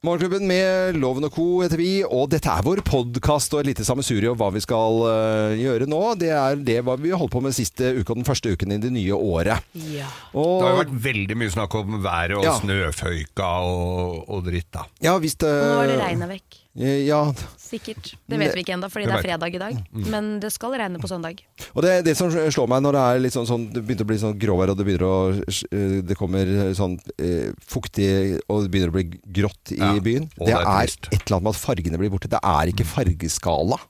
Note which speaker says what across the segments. Speaker 1: Morgenklubben med Loven og Co. heter vi, og dette er vår podkast og et lite sammensurie om hva vi skal øh, gjøre nå. Det er det hva vi holdt på med siste uke og den første uken i det nye året.
Speaker 2: Ja.
Speaker 1: Og,
Speaker 3: Det har jo vært veldig mye snakk om været og
Speaker 1: Ja.
Speaker 3: snøføyka og, og dritt, da.
Speaker 1: Ja, hvis det
Speaker 2: Nå har det regna vekk.
Speaker 1: Ja,
Speaker 2: Sikkert. Det vet vi ikke ennå, fordi det er fredag i dag.
Speaker 1: Mm,
Speaker 2: Men det skal regne på søndag.
Speaker 1: Og det, det som slår meg når det er litt sånn, sånn Det begynner å bli sånn gråvær, og det begynner å Det kommer sånn eh, fuktig Og det begynner å bli grått i
Speaker 3: Ja,
Speaker 1: byen.
Speaker 3: og
Speaker 1: Det er,
Speaker 3: det er trist.
Speaker 1: et eller annet med at fargene blir borte. Det er ikke fargeskala.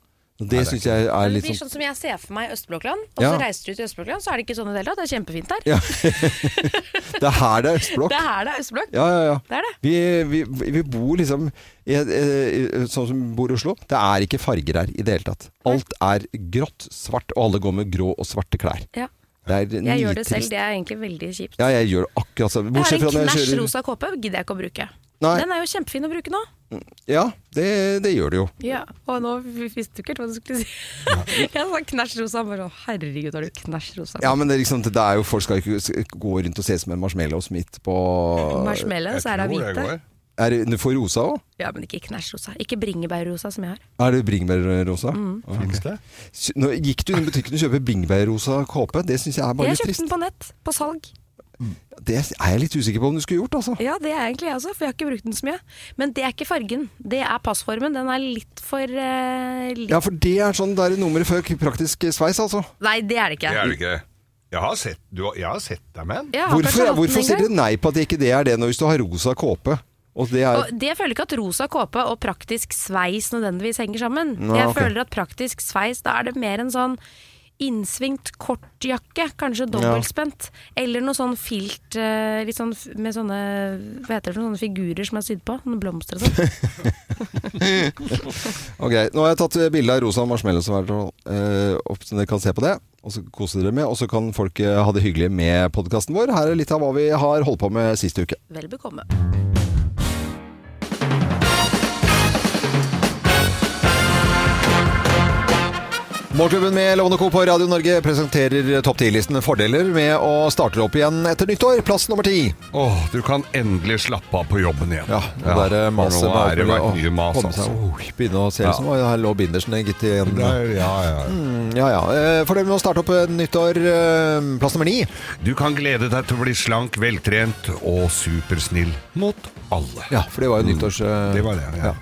Speaker 1: Det
Speaker 3: er
Speaker 1: syns jeg er
Speaker 2: Men det
Speaker 1: litt
Speaker 2: blir
Speaker 1: sånn
Speaker 2: sånn som jeg ser for meg Østblokkland, og så
Speaker 1: Ja.
Speaker 2: reiser du til Østblokkland, så er det ikke sånn i det hele tatt. Det er kjempefint der.
Speaker 1: ja. Det er her det er østblokk.
Speaker 2: Det er her det er Østblokk.
Speaker 1: Ja, ja, ja.
Speaker 2: Det er det.
Speaker 1: Vi, vi, vi bor liksom i, et- eh, Sånn som vi bor i Oslo. Det er ikke farger her i det hele tatt. Alt er grått, svart, og alle går med grå og svarte klær.
Speaker 2: Ja.
Speaker 1: Det er
Speaker 2: Jeg gjør det
Speaker 1: nitrist.
Speaker 2: selv. Det er egentlig veldig kjipt.
Speaker 1: Ja, jeg gjør det akkurat samme.
Speaker 2: Jeg har
Speaker 1: Bortsett
Speaker 2: en
Speaker 1: fra når jeg
Speaker 2: knæsj
Speaker 1: kjører
Speaker 2: rosa kåpe, gidder jeg ikke å bruke.
Speaker 1: Nei.
Speaker 2: Den er jo kjempefin å bruke nå.
Speaker 1: Ja, det, det gjør det jo.
Speaker 2: Ja, og nå visste du ikke helt hva du skulle si. jeg sa knæsj rosa, bare å, herregud, har du knæsj rosa?
Speaker 1: Ja, men det er liksom, det er jo, folk skal ikke s- gå rundt og se ut som en marshmallows midt på
Speaker 2: Marshmallow, så er det
Speaker 3: tror
Speaker 2: hvite.
Speaker 3: går.
Speaker 1: Er det du får rosa òg?
Speaker 2: Ja, men ikke knæsj rosa. Ikke bringebærrosa som jeg har.
Speaker 1: Er det bringebærrosa?
Speaker 2: Mm.
Speaker 1: Ok.
Speaker 3: Finnes det?
Speaker 1: S- Nå gikk du inn i butikken og kjøpte bringebærrosa kåpe. Det syns jeg er bare litt
Speaker 2: Jeg kjøpte
Speaker 1: trist.
Speaker 2: den på nett, på salg.
Speaker 1: Det er jeg litt usikker på om du skulle gjort, altså.
Speaker 2: Ja, det er egentlig jeg også, for jeg har ikke brukt den så mye. Men det er ikke fargen, det er passformen. Den er litt for eh, litt...
Speaker 1: Ja, for det er sånn der nummeret før praktisk sveis, altså.
Speaker 2: Nei, det er det ikke.
Speaker 3: Det er det ikke. Jeg har sett, du, har- jeg har sett deg med den.
Speaker 2: Jeg har kanskje
Speaker 1: Hvorfor,
Speaker 2: hatt den
Speaker 1: hvorfor
Speaker 2: en
Speaker 1: sier
Speaker 2: gang.
Speaker 1: dere nei på at ikke det er det, når hvis du har rosa kåpe? Og det er
Speaker 2: Og det føler ikke at rosa kåpe og praktisk sveis nødvendigvis henger sammen.
Speaker 1: Nei,
Speaker 2: jeg
Speaker 1: ok.
Speaker 2: føler at praktisk sveis, da er det mer en sånn innsvingt kortjakke, kanskje dobbeltspent. Eller noe sånn filt eh, litt sånn f- med sånne hva heter det, for noe, sånne figurer som er sydd på. Sånne blomster og sånn.
Speaker 1: Ok, nå har jeg tatt eh, bilde av rosa marshmallow som er eh, opp, så dere kan se på det. Og så koser dere med, og så kan folk eh, ha det hyggelig med podkasten vår. Her er litt av hva vi har holdt på med sist uke.
Speaker 2: Vel bekomme.
Speaker 1: Morgenklubben med Lovende Co. på Radio Norge presenterer topp 10-listen fordeler med å starte opp igjen etter nyttår. Plass nummer ti.
Speaker 3: Åh, du kan endelig slappe av på jobben igjen.
Speaker 1: Ja, det der eh, maset
Speaker 3: Nå
Speaker 1: med
Speaker 3: er det
Speaker 1: alt mulig.
Speaker 3: vært mye
Speaker 1: Åh,
Speaker 3: mas,
Speaker 1: komme seg-
Speaker 3: altså.
Speaker 1: Åh, Begynne å se
Speaker 3: Ja.
Speaker 1: ut som «Oi, her lå bindersen gitt igjen.
Speaker 3: Det er- Ja, ja.
Speaker 1: Mm, Ja ja. Eh, Fordel med å starte opp eh, nyttår. eh, Plass nummer ni.
Speaker 3: Du kan glede deg til å bli slank, veltrent og supersnill mot alle.
Speaker 1: Ja, for det var jo nyttårs... eh,
Speaker 3: Mm, Det var det, ja.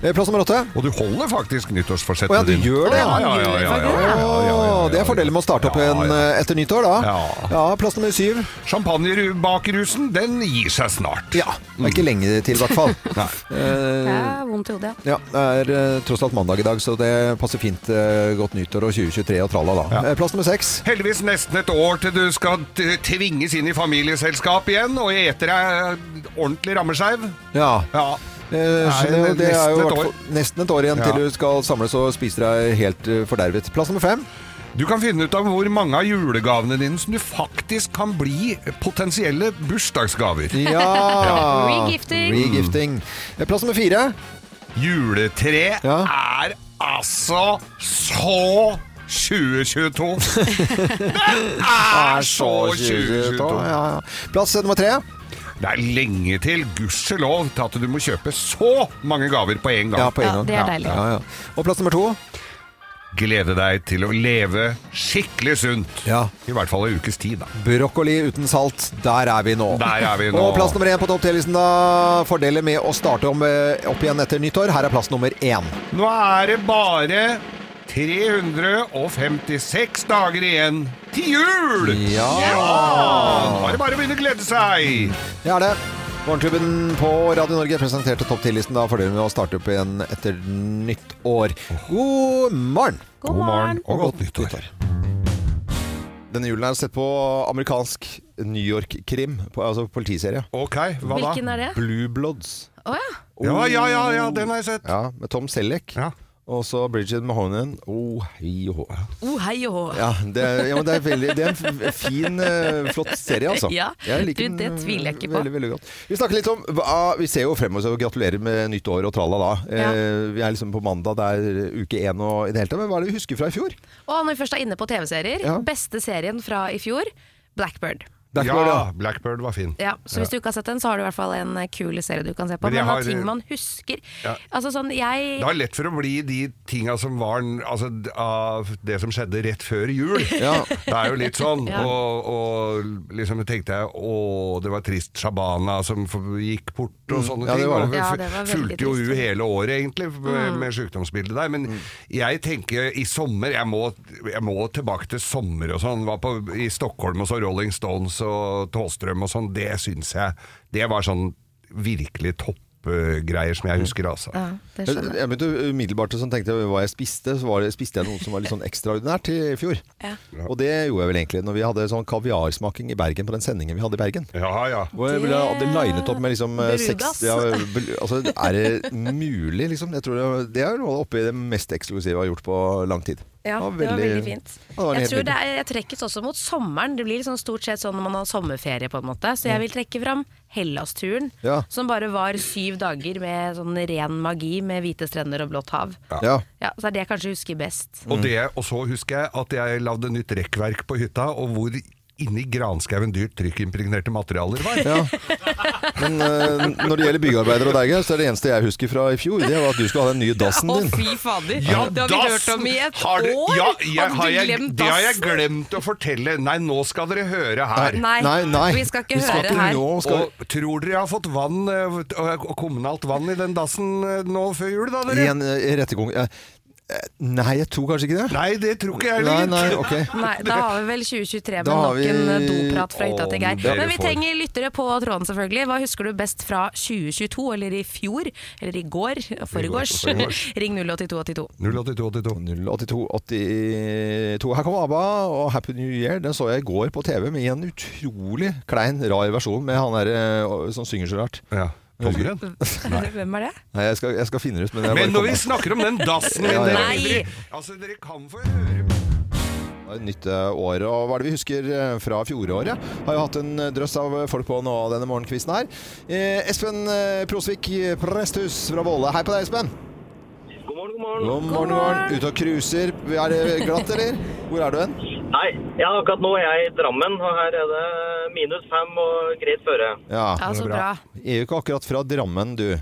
Speaker 1: Eh, Plass nummer åtte.
Speaker 3: Og du holder faktisk nyttårsforsettet
Speaker 1: Å ja, du gjør det, ja.
Speaker 3: Ja, ja, ja, ja, ja, ja, ja, ja, ja, ja.
Speaker 1: Det er fordelen med å starte opp
Speaker 3: Ja,
Speaker 1: igjen
Speaker 3: ja.
Speaker 1: eh, etter nyttår, da.
Speaker 3: Ja.
Speaker 1: plass nummer syv.
Speaker 3: Champagnebakerusen, den gir seg snart.
Speaker 1: Ja, det er ikke lenge til, i hvert fall.
Speaker 3: Nei.
Speaker 2: Jeg
Speaker 1: Eh,
Speaker 2: har vondt i hodet,
Speaker 1: ja,
Speaker 2: ja.
Speaker 1: det er eh, tross alt mandag i dag, så det passer fint eh, godt nyttår og 2023 og tralla, da. Eh, plass nummer seks.
Speaker 3: Heldigvis nesten et år til du skal t- tvinges inn i familieselskap igjen og ete deg ordentlig rammeskeiv.
Speaker 1: Ja.
Speaker 3: Ja.
Speaker 1: Eh, skjønner, jo,
Speaker 3: Nei,
Speaker 1: det er jo
Speaker 3: nesten et
Speaker 1: hvert
Speaker 3: år.
Speaker 1: fall- nesten et år igjen
Speaker 3: Ja.
Speaker 1: til du skal samles og spise deg helt eh, fordervet. Plass nummer fem.
Speaker 3: Du kan finne ut av hvor mange av julegavene dine som du faktisk kan bli potensielle bursdagsgaver.
Speaker 1: Ja!
Speaker 2: Regifting.
Speaker 1: Regifting. Eh, Plass nummer fire.
Speaker 3: Juletre
Speaker 1: Ja.
Speaker 3: er altså så 2022. Det er så 2022.
Speaker 1: Ja, ja. Plass eh, nummer tre.
Speaker 3: Det er lenge til, gudskjelov, til at du må kjøpe så mange gaver på en gang.
Speaker 1: Ja, på en
Speaker 2: Ja,
Speaker 1: gang.
Speaker 2: det er deilig.
Speaker 1: Ja, ja. Og plass nummer to?
Speaker 3: Glede deg til å leve skikkelig sunt.
Speaker 1: Ja.
Speaker 3: I hvert fall en ukes tid, da.
Speaker 1: Brokkoli uten salt. Der er vi nå.
Speaker 3: Der er vi nå.
Speaker 1: Og plass nummer én på topp 10-listen, da. Fordeler med å starte om, eh, opp igjen etter nyttår. Her er plass nummer én.
Speaker 3: Nå er det bare 356 dager igjen til jul!
Speaker 1: Ja.
Speaker 3: Nå er det bare å begynne å glede seg!
Speaker 1: Det er det. Morgenklubben på Radio Norge presenterte topp 10-listen. Da fordeler med å starte opp igjen etter nytt år. God morgen!
Speaker 2: God morgen.
Speaker 3: og godt nyttår.
Speaker 1: Denne julen er sett på amerikansk New York-krim, på- altså politiserie.
Speaker 3: Ok, hva da?
Speaker 2: Hvilken er det?
Speaker 1: Blue Bloods.
Speaker 2: Å
Speaker 3: Ja, ja, ja, ja, den har jeg sett.
Speaker 1: Ja, med Tom Selleck.
Speaker 3: Ja.
Speaker 1: Og så Bridget Mahonen. Oh, hei og hå.
Speaker 2: ja. Oh, hei og hå.
Speaker 1: Ja, det er, ja, men det er, veldig, det er en f- fin, eh, flott serie, altså.
Speaker 2: Ja,
Speaker 1: Jeg liker
Speaker 2: du, det
Speaker 1: den, eh,
Speaker 2: tviler jeg ikke på.
Speaker 1: Veldig, veldig godt. Vi snakker litt om hva, Vi ser jo fremover så gratulerer med nytt år og tralla da.
Speaker 2: Ja.
Speaker 1: Eh, vi er liksom på mandag, det er uke én og i det hele tatt. Men hva er det vi husker fra i fjor?
Speaker 2: Og når vi først er inne på TV-serier,
Speaker 1: Ja.
Speaker 2: beste serien fra i fjor, Blackbird.
Speaker 1: Blackbird, ja.
Speaker 3: ja, Blackbird var fin.
Speaker 2: Ja, så hvis du ikke har sett den, så har du i hvert fall en eh, kul serie du kan se på.
Speaker 3: Men jeg
Speaker 2: Men, av
Speaker 3: har-
Speaker 2: ting man husker
Speaker 3: Ja.
Speaker 2: Altså sånn, jeg
Speaker 3: Det er lett for å bli de tinga som var Altså d- av det som skjedde rett før jul.
Speaker 1: Ja.
Speaker 3: Det er jo litt sånn.
Speaker 2: Ja.
Speaker 3: Og, og liksom tenkte jeg å, det var trist Shabana som f- gikk bort og
Speaker 1: Mm.
Speaker 3: sånne
Speaker 1: Ja, det
Speaker 3: ting.
Speaker 1: var det.
Speaker 3: Og
Speaker 2: Ja, det var veldig
Speaker 3: fulgte jo
Speaker 2: trist. Mm.
Speaker 3: hun hele året egentlig med, med sykdomsbildet der. Men
Speaker 1: Mm.
Speaker 3: jeg tenker i sommer jeg må, jeg må tilbake til sommer og sånn. Var på, i Stockholm og så Rolling Stones og Tåstrøm og sånn. Det syns jeg Det var sånn virkelig toppgreier som jeg husker, altså.
Speaker 2: ja, det
Speaker 1: Jeg
Speaker 2: skjønner jeg.
Speaker 1: jeg begynte umiddelbart å sånn, tenke hva jeg spiste. Så var det, spiste jeg noe som var litt sånn ekstraordinært i fjor.
Speaker 2: Ja.
Speaker 1: Og det gjorde jeg vel egentlig når vi hadde sånn kaviarsmaking i Bergen på den sendingen vi hadde i Bergen.
Speaker 3: Ja, ja.
Speaker 1: Hvor jeg
Speaker 2: Det-
Speaker 1: ville hadde linet opp med liksom eh,
Speaker 2: Brudas.
Speaker 1: seks ja, bl- altså, Er det mulig, liksom? Jeg tror det, det er noe oppi det mest eksklusive jeg har gjort på lang tid.
Speaker 2: Ja, det var veldig fint.
Speaker 1: Ja, det var en
Speaker 2: jeg,
Speaker 1: helt
Speaker 2: tror
Speaker 1: nydelig.
Speaker 2: det er, jeg trekkes også mot sommeren. Det blir liksom stort sett sånn når man har sommerferie, på en måte. Så
Speaker 1: Mm.
Speaker 2: jeg vil trekke fram Hellas-turen,
Speaker 1: Ja.
Speaker 2: som bare var syv dager med sånn ren magi med hvite strender og blått hav.
Speaker 1: Ja.
Speaker 2: Ja, så er det jeg kanskje husker best.
Speaker 1: Mm.
Speaker 3: Og, det, og så husker jeg at jeg lagde nytt rekkverk på hytta, og hvor inni granskauen dyrt trykkimpregnerte materialer var.
Speaker 1: Ja. Men eh, når det gjelder byggearbeidere og deg, Geir, så er det eneste jeg husker fra i fjor, det var at du skulle ha den nye dassen
Speaker 4: Å,
Speaker 1: din.
Speaker 4: fy fader!
Speaker 3: Ja,
Speaker 4: det har vi ikke hørt
Speaker 3: dassen!
Speaker 4: om i et
Speaker 3: Har du-
Speaker 4: år!
Speaker 3: Ja, jeg,
Speaker 4: Hadde
Speaker 3: har
Speaker 4: du
Speaker 3: jeg,
Speaker 4: glemt
Speaker 3: det har jeg
Speaker 4: dassen?
Speaker 3: glemt å fortelle. Nei, nå skal dere høre her.
Speaker 2: Nei,
Speaker 1: Nei, nei.
Speaker 2: vi skal ikke
Speaker 1: Vi skal
Speaker 2: høre
Speaker 1: ikke
Speaker 2: her.
Speaker 1: nå, skal vi-
Speaker 3: Og tror dere jeg har fått vann, eh, og og kommunalt vann i den dassen eh, nå før jul, da,
Speaker 1: I
Speaker 3: dere?
Speaker 1: en eh, rettegång eh, eh, Nei, jeg tror kanskje ikke det.
Speaker 3: Nei, det tror ikke jeg
Speaker 1: Nei,
Speaker 3: heller.
Speaker 1: nei, ok.
Speaker 2: Nei, da har vi vel 2023 med
Speaker 1: Da har
Speaker 2: nok
Speaker 1: vi-
Speaker 2: en eh, doprat fra hytta til
Speaker 3: Å,
Speaker 2: Geir.
Speaker 3: dere
Speaker 2: Men vi
Speaker 3: får-
Speaker 2: trenger lyttere på tråden, selvfølgelig. Hva husker du best fra 2022, eller i fjor, eller i går, foregårs?
Speaker 3: foregårs.
Speaker 2: Ring 08282.
Speaker 3: 08282.
Speaker 1: 08282. Her kommer ABBA og Happy New Year. Den så jeg i går på TV med en utrolig klein, rar versjon med han der eh, som synger så rart.
Speaker 3: Ja. Tomgren.
Speaker 2: Hvem er det?
Speaker 1: Nei, jeg skal, jeg skal finne det ut, men jeg
Speaker 3: Men
Speaker 1: bare
Speaker 3: når vi snakker om den dassen min,
Speaker 1: Ja, ja.
Speaker 3: dere,
Speaker 2: Nei.
Speaker 3: altså, dere kan få høre
Speaker 1: Det er et Nytt eh, år, og hva er det vi husker eh, fra fjoråret? Har jo hatt en eh, drøss av eh, folk på nå denne morgenkvisten her. Eh, Espen eh, Prosvik eh, Presthus fra Våle. Hei på deg, Espen.
Speaker 5: God morgen, god morgen.
Speaker 1: God morgen, god morgen. Ute og cruiser. Er det glatt, eller? Hvor er du hen?
Speaker 5: Hei, ja, akkurat nå er jeg i Drammen, og her er det minus fem og greit føre.
Speaker 1: Ja.
Speaker 2: Ja, så bra.
Speaker 1: Er jo ikke akkurat fra Drammen, du.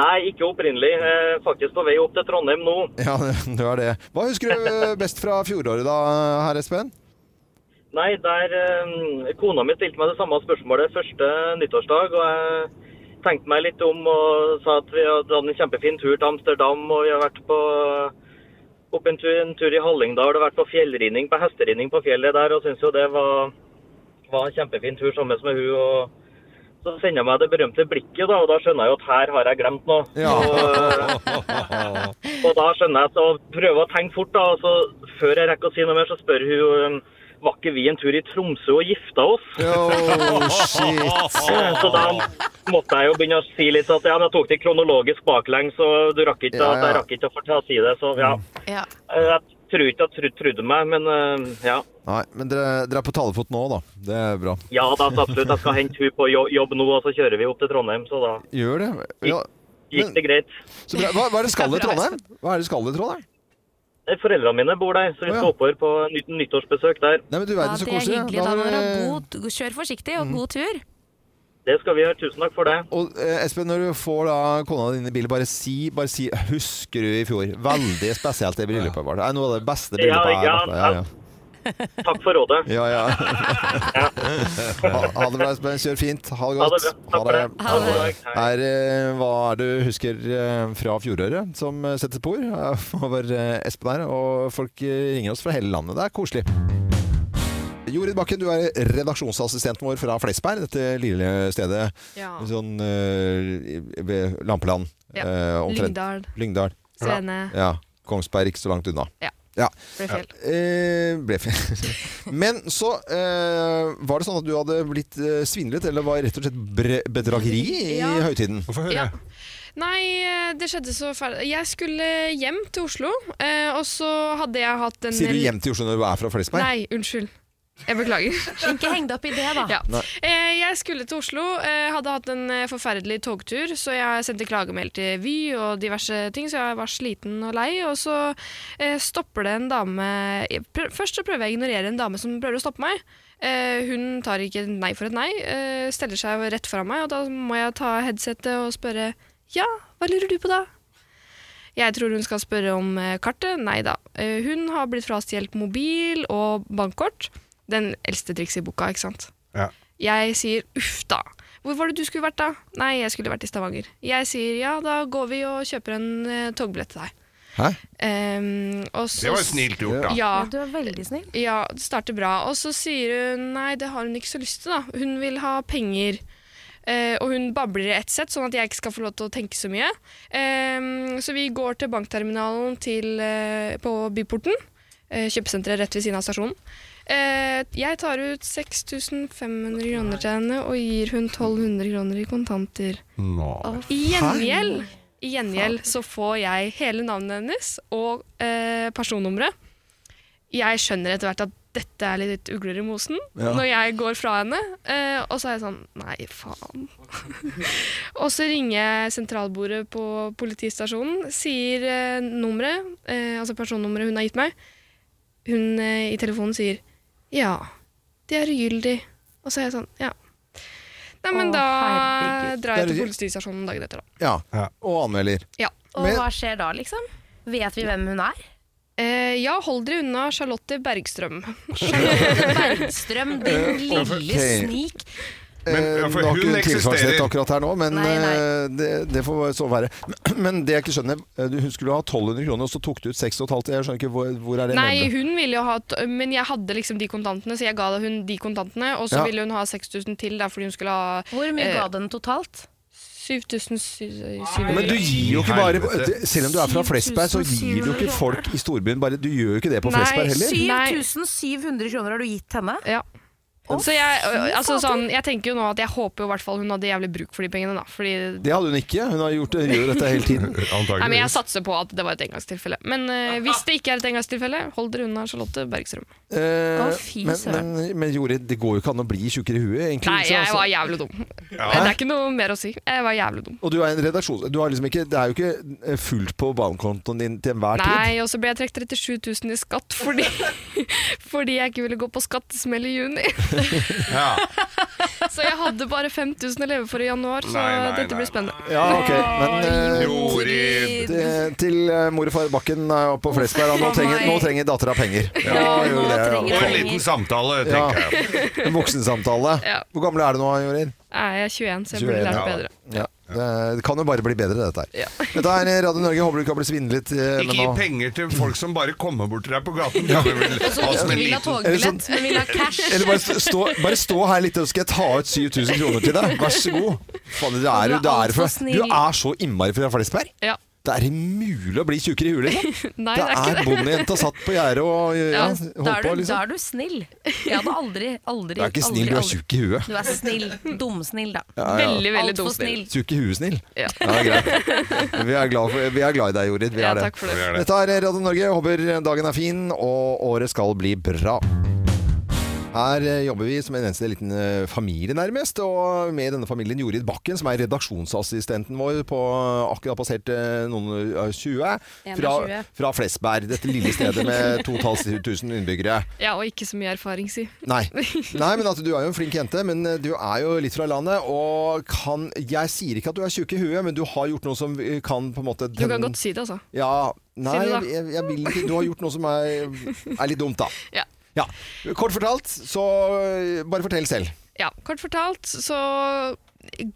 Speaker 5: Nei, ikke opprinnelig. Eh, faktisk på vei opp til Trondheim nå.
Speaker 1: Ja, du er det. Hva husker du eh, best fra fjoråret da, herr Espen?
Speaker 5: Nei, der eh, kona mi stilte meg det samme spørsmålet første nyttårsdag, og jeg tenkte meg litt om og sa at vi hadde hatt en kjempefin tur til Amsterdam, og vi har vært på opp en tur, en tur i Hallingdal og vært på fjellridning, på hesteridning på fjellet der, og syntes jo det var, var en kjempefin tur sammen med hun, og så sender jeg meg det berømte blikket da, og da skjønner jeg jo at her har jeg glemt noe.
Speaker 1: Ja.
Speaker 5: Og da skjønner jeg at å prøve å tenke fort, da. Og så før jeg rekker å si noe mer, så spør hun um, var ikke vi en tur i Tromsø og gifta oss?
Speaker 1: Oh, shit.
Speaker 5: Så da måtte jeg jo begynne å si litt sånn at ja, men jeg tok det kronologisk baklengs, og du rakk ikke,
Speaker 1: Ja, Mm. ja.
Speaker 5: jeg rakk ikke å fortelle å si det. Så ja, Eh,
Speaker 2: Ja.
Speaker 5: jeg tror ikke jeg trodde, trodde meg, men um, ja.
Speaker 1: Nei, men dere, dere er på talefot nå, da. Det er bra.
Speaker 5: Ja da, så absolutt. Jeg skal hente hun på jo- jobb nå, og så kjører vi opp til Trondheim. Så da
Speaker 1: Gjør det. Ja.
Speaker 5: gikk det greit.
Speaker 1: Så bra. Hva, hva er det skal i Trondheim? Hva er det skal i Trondheim?
Speaker 5: Eh, Foreldrene mine bor der, så vi
Speaker 1: Å, ja.
Speaker 5: skal oppover på nytt, nyttårsbesøk der.
Speaker 1: Nei, men du
Speaker 2: Ja,
Speaker 1: verden så
Speaker 2: det er
Speaker 1: koselig.
Speaker 2: hyggelig. Da,
Speaker 1: har
Speaker 2: Nora.
Speaker 1: dere- Mm.
Speaker 2: God, kjør forsiktig, og god tur.
Speaker 5: Det skal vi gjøre. Tusen takk for det.
Speaker 1: Og eh, Espen, når du får da kona din i bil, bare si, bare si 'husker du i fjor'? Veldig spesielt det bryllupet vårt. Det er noe av det beste bryllupet jeg har vært på.
Speaker 5: Takk for rådet.
Speaker 1: Ja, ja. ja, ja. Ha, ha det bra, Espen. Kjør fint. Ha det
Speaker 5: Ha det
Speaker 1: godt.
Speaker 5: bra. Takk for det.
Speaker 1: Ha det.
Speaker 5: Ha det.
Speaker 1: Er, eh, hva er det du husker eh, fra fjoråret som eh, setter spor eh, over eh, Espen her? Og folk eh, ringer oss fra hele landet. Det er koselig. Jorid Bakken, du er redaksjonsassistenten vår fra Flesberg, dette lille stedet
Speaker 6: Ja.
Speaker 1: sånn, eh, ved Lampeland.
Speaker 6: Ja.
Speaker 1: eh, omtrent.
Speaker 6: Lyngdal,
Speaker 1: Lyngdal.
Speaker 6: Svene,
Speaker 1: Ja. Kongsberg ikke så langt unna.
Speaker 6: Ja.
Speaker 1: ja.
Speaker 6: Bløyfjell.
Speaker 1: Eh, ble fint. Men så eh, var det sånn at du hadde blitt eh, svindlet, eller var rett og slett bre- bedrageri i
Speaker 6: Ja.
Speaker 1: høytiden?
Speaker 3: Få høre.
Speaker 6: Ja. Nei, eh, det skjedde så fælt. Jeg skulle hjem til Oslo, eh, og så hadde jeg hatt en
Speaker 1: Sier du hjem til Oslo når du er fra Flesberg?
Speaker 6: Nei, unnskyld. Jeg beklager.
Speaker 2: Ikke heng deg opp i det, da.
Speaker 6: Ja. Eh, jeg skulle til Oslo, eh, hadde hatt en eh, forferdelig togtur, så jeg sendte klagemelding til Vy og diverse ting, så jeg var sliten og lei, og så eh, stopper det en dame jeg prø- Først så prøver jeg å ignorere en dame som prøver å stoppe meg. Eh, hun tar ikke nei for et nei, eh, steller seg rett foran meg, og da må jeg ta headsetet og spørre ja, hva lurer du på da? Jeg tror hun skal spørre om eh, kartet. Nei da. Eh, Hun har blitt frastjålet mobil og bankkort. Den eldste trikset i boka, ikke sant.
Speaker 3: Ja.
Speaker 6: Jeg sier uff da. Hvor var det du skulle vært da? Nei, jeg skulle vært i Stavanger. Jeg sier ja, da går vi og kjøper en eh, togbillett til deg.
Speaker 1: Hæ?
Speaker 6: Ehm, og så,
Speaker 3: Det var jo snilt gjort, da.
Speaker 6: Ja,
Speaker 2: Ja, du er veldig snill.
Speaker 6: ja, det starter bra. Og så sier hun nei, det har hun ikke så lyst til, da. Hun vil ha penger. Eh, og hun babler i ett sett, sånn at jeg ikke skal få lov til å tenke så mye. Ehm, så vi går til bankterminalen til, eh, på Byporten. Eh, kjøpesenteret rett ved siden av stasjonen. Eh, jeg tar ut 6500 kroner til henne og gir hun 1200 kroner i kontanter.
Speaker 3: Nå.
Speaker 6: I gjengjeld, i gjengjeld så får jeg hele navnet hennes og eh, personnummeret. Jeg skjønner etter hvert at dette er litt ugler i mosen
Speaker 1: Ja.
Speaker 6: når jeg går fra henne. Eh, og så er jeg sånn Nei, faen. og så ringer jeg sentralbordet på politistasjonen, sier eh, nummeret, eh, altså personnummeret hun har gitt meg. Hun eh, i telefonen sier Ja, det er ugyldig. Og så er jeg sånn Ja. Nei, men
Speaker 2: Å,
Speaker 6: da drar jeg
Speaker 2: herregud.
Speaker 1: Det er
Speaker 6: til
Speaker 1: ugyldig.
Speaker 6: politistasjonen dagen etter, da.
Speaker 1: Ja.
Speaker 3: Ja.
Speaker 1: Og anmelder.
Speaker 6: Ja.
Speaker 2: Og
Speaker 1: Men-
Speaker 2: hva skjer da, liksom? Vet vi hvem hun er?
Speaker 6: Eh, ja, hold dere unna Charlotte Bergstrøm.
Speaker 2: Bergstrøm, din
Speaker 1: Eh,
Speaker 2: lille
Speaker 1: Ok.
Speaker 2: snik.
Speaker 3: Men,
Speaker 1: Eh,
Speaker 3: ja, for
Speaker 1: det har
Speaker 3: hun
Speaker 1: ikke tilsvarsrett
Speaker 3: eksisterer.
Speaker 1: akkurat her nå, men
Speaker 2: Nei, nei.
Speaker 1: eh, Det, det får så være. Men det jeg ikke skjønner, eh, du- hun skulle ha 1200 kroner, og så tok du ut 6500. Jeg skjønner ikke hvor, hvor er det
Speaker 6: Nei,
Speaker 1: mellom?
Speaker 6: hun ville jo ha t- Men jeg hadde liksom de kontantene, så jeg ga hun de kontantene. Og så
Speaker 1: Ja.
Speaker 6: ville hun ha 6000 til, da, fordi hun skulle ha
Speaker 2: Hvor mye
Speaker 6: Eh,
Speaker 2: ga den totalt?
Speaker 6: 7700.
Speaker 1: Men du gir jo ikke
Speaker 3: Nei,
Speaker 1: bare
Speaker 3: helvete.
Speaker 1: Selv om du er fra Flesberg, så gir du ikke folk i storbyen bare Du gjør jo ikke det på
Speaker 6: Nei,
Speaker 1: Flesberg heller.
Speaker 6: sy-
Speaker 2: 7700 kroner har du gitt henne?
Speaker 6: Ja.
Speaker 2: Å,
Speaker 6: så jeg,
Speaker 2: fy
Speaker 6: altså,
Speaker 2: fader.
Speaker 6: sånn, jeg tenker jo nå at jeg håper jo i hvert fall hun hadde jævlig bruk for de pengene, da. Fordi
Speaker 1: Det hadde hun ikke. Hun har gjort det, gjør dette hele tiden.
Speaker 6: Nei, men Jeg
Speaker 3: Antakeligvis.
Speaker 6: satser på at det var et engangstilfelle. Men eh, hvis det ikke er et engangstilfelle, hold dere unna Charlotte Bergstrøm.
Speaker 1: Eh,
Speaker 2: Å, fy
Speaker 1: men,
Speaker 2: søren.
Speaker 1: men, men Jorid, det går jo ikke an å bli tjukkere i huet, egentlig. altså-
Speaker 6: Nei,
Speaker 1: ikke sant?
Speaker 6: jeg var jævlig dum. Det er ikke noe mer å si. Jeg var jævlig dum.
Speaker 1: Og du er en redaksjon... Du har liksom ikke, det er jo ikke eh, fullt på bankkontoen din til enhver tid.
Speaker 6: Nei, og så ble jeg trukket 37 000 i skatt fordi, fordi jeg ikke ville gå på skattesmell i juni.
Speaker 3: Ja.
Speaker 6: Så jeg hadde bare 5000 å leve for i januar, så
Speaker 3: Nei, nei,
Speaker 6: dette
Speaker 3: nei,
Speaker 6: blir spennende.
Speaker 1: Ja, ok. Men eh,
Speaker 3: Jorid.
Speaker 1: det- til eh, mor og far Bakken eh, oppe på Flesberg, og nå
Speaker 2: Å,
Speaker 1: trenger,
Speaker 2: nei.
Speaker 1: nå trenger dattera penger. Ja,
Speaker 2: nå
Speaker 1: gjør det,
Speaker 3: Og
Speaker 2: trenger
Speaker 1: ja.
Speaker 3: en liten samtale,
Speaker 1: Ja.
Speaker 3: tenker jeg.
Speaker 1: En voksensamtale.
Speaker 6: Ja.
Speaker 1: Hvor gammel er du nå, Jorid?
Speaker 6: Nei, Jeg er 21, så jeg burde
Speaker 1: 21,
Speaker 6: lært
Speaker 1: ja.
Speaker 6: bedre.
Speaker 1: Ja. Det det kan jo bare bli bedre, dette her.
Speaker 6: Ja.
Speaker 1: Dette er Radio Norge. Håper du ikke har blitt svindlet. eh,
Speaker 3: Ikke gi
Speaker 1: men nå-
Speaker 3: penger til folk som bare kommer bort til deg på gaten. Kan vi vel
Speaker 2: Og så
Speaker 3: ha som en
Speaker 2: ikke vil ha
Speaker 3: liten-
Speaker 1: Eller
Speaker 2: togbillett, men vil ha cash.
Speaker 1: sånn- Eller bare st- stå, bare stå her litt, og så skal jeg ta ut 7000 kroner til deg. Vær så god. Faen, det er,
Speaker 2: Du
Speaker 1: jo-
Speaker 2: er
Speaker 1: det er,
Speaker 2: alt for
Speaker 1: fra-
Speaker 2: snill.
Speaker 1: du er så innmari fra Flesberg.
Speaker 6: Ja.
Speaker 1: Det er umulig å bli tjukkere i hulet. liksom.
Speaker 6: Nei,
Speaker 1: Det
Speaker 6: det er ikke
Speaker 1: er
Speaker 6: det.
Speaker 1: bondejenta satt på gjerdet og eh, ja,
Speaker 6: Ja,
Speaker 2: Da
Speaker 1: holdt
Speaker 2: er,
Speaker 1: på,
Speaker 2: du, da
Speaker 1: liksom.
Speaker 2: er du snill. Jeg hadde aldri, aldri
Speaker 1: Du er ikke snill,
Speaker 2: aldri,
Speaker 1: du er
Speaker 2: aldri-
Speaker 1: tjukk i huet.
Speaker 2: Du er snill. Dumsnill, da.
Speaker 6: Veldig, veldig
Speaker 2: Altfor
Speaker 6: dumt.
Speaker 2: snill.
Speaker 1: Tjukk i huet, snill.
Speaker 6: Ja.
Speaker 1: Ja, det er greit. Vi er glad, for, vi er glad i deg, Jorid. Vi
Speaker 6: Ja,
Speaker 1: er det.
Speaker 6: takk for det.
Speaker 3: Ja, det.
Speaker 1: Dette er Radio Norge. Jeg Håper dagen er fin, og året skal bli bra. Her eh, jobber vi som en eneste liten eh, familie, nærmest. Og med i denne familien Jorid Bakken, som er redaksjonsassistenten vår på akkurat passert eh, noen eh, 20. Fra,
Speaker 2: 21.
Speaker 1: fra Flesberg, dette lille stedet med 2500 innbyggere.
Speaker 6: Ja, og ikke så mye erfaring, si.
Speaker 1: Nei. Nei, men at du er jo en flink jente, men eh, du er jo litt fra landet, og kan Jeg sier ikke at du er tjukk i huet, men du har gjort noe som eh, kan på en måte
Speaker 6: Du kan godt si det, altså.
Speaker 1: Ja, nei,
Speaker 6: det da.
Speaker 1: jeg, jeg, jeg vil ikke Du har gjort noe som er, er litt dumt, da.
Speaker 6: Ja.
Speaker 1: Ja. Kort fortalt, så eh, bare fortell selv.
Speaker 6: Ja, kort fortalt så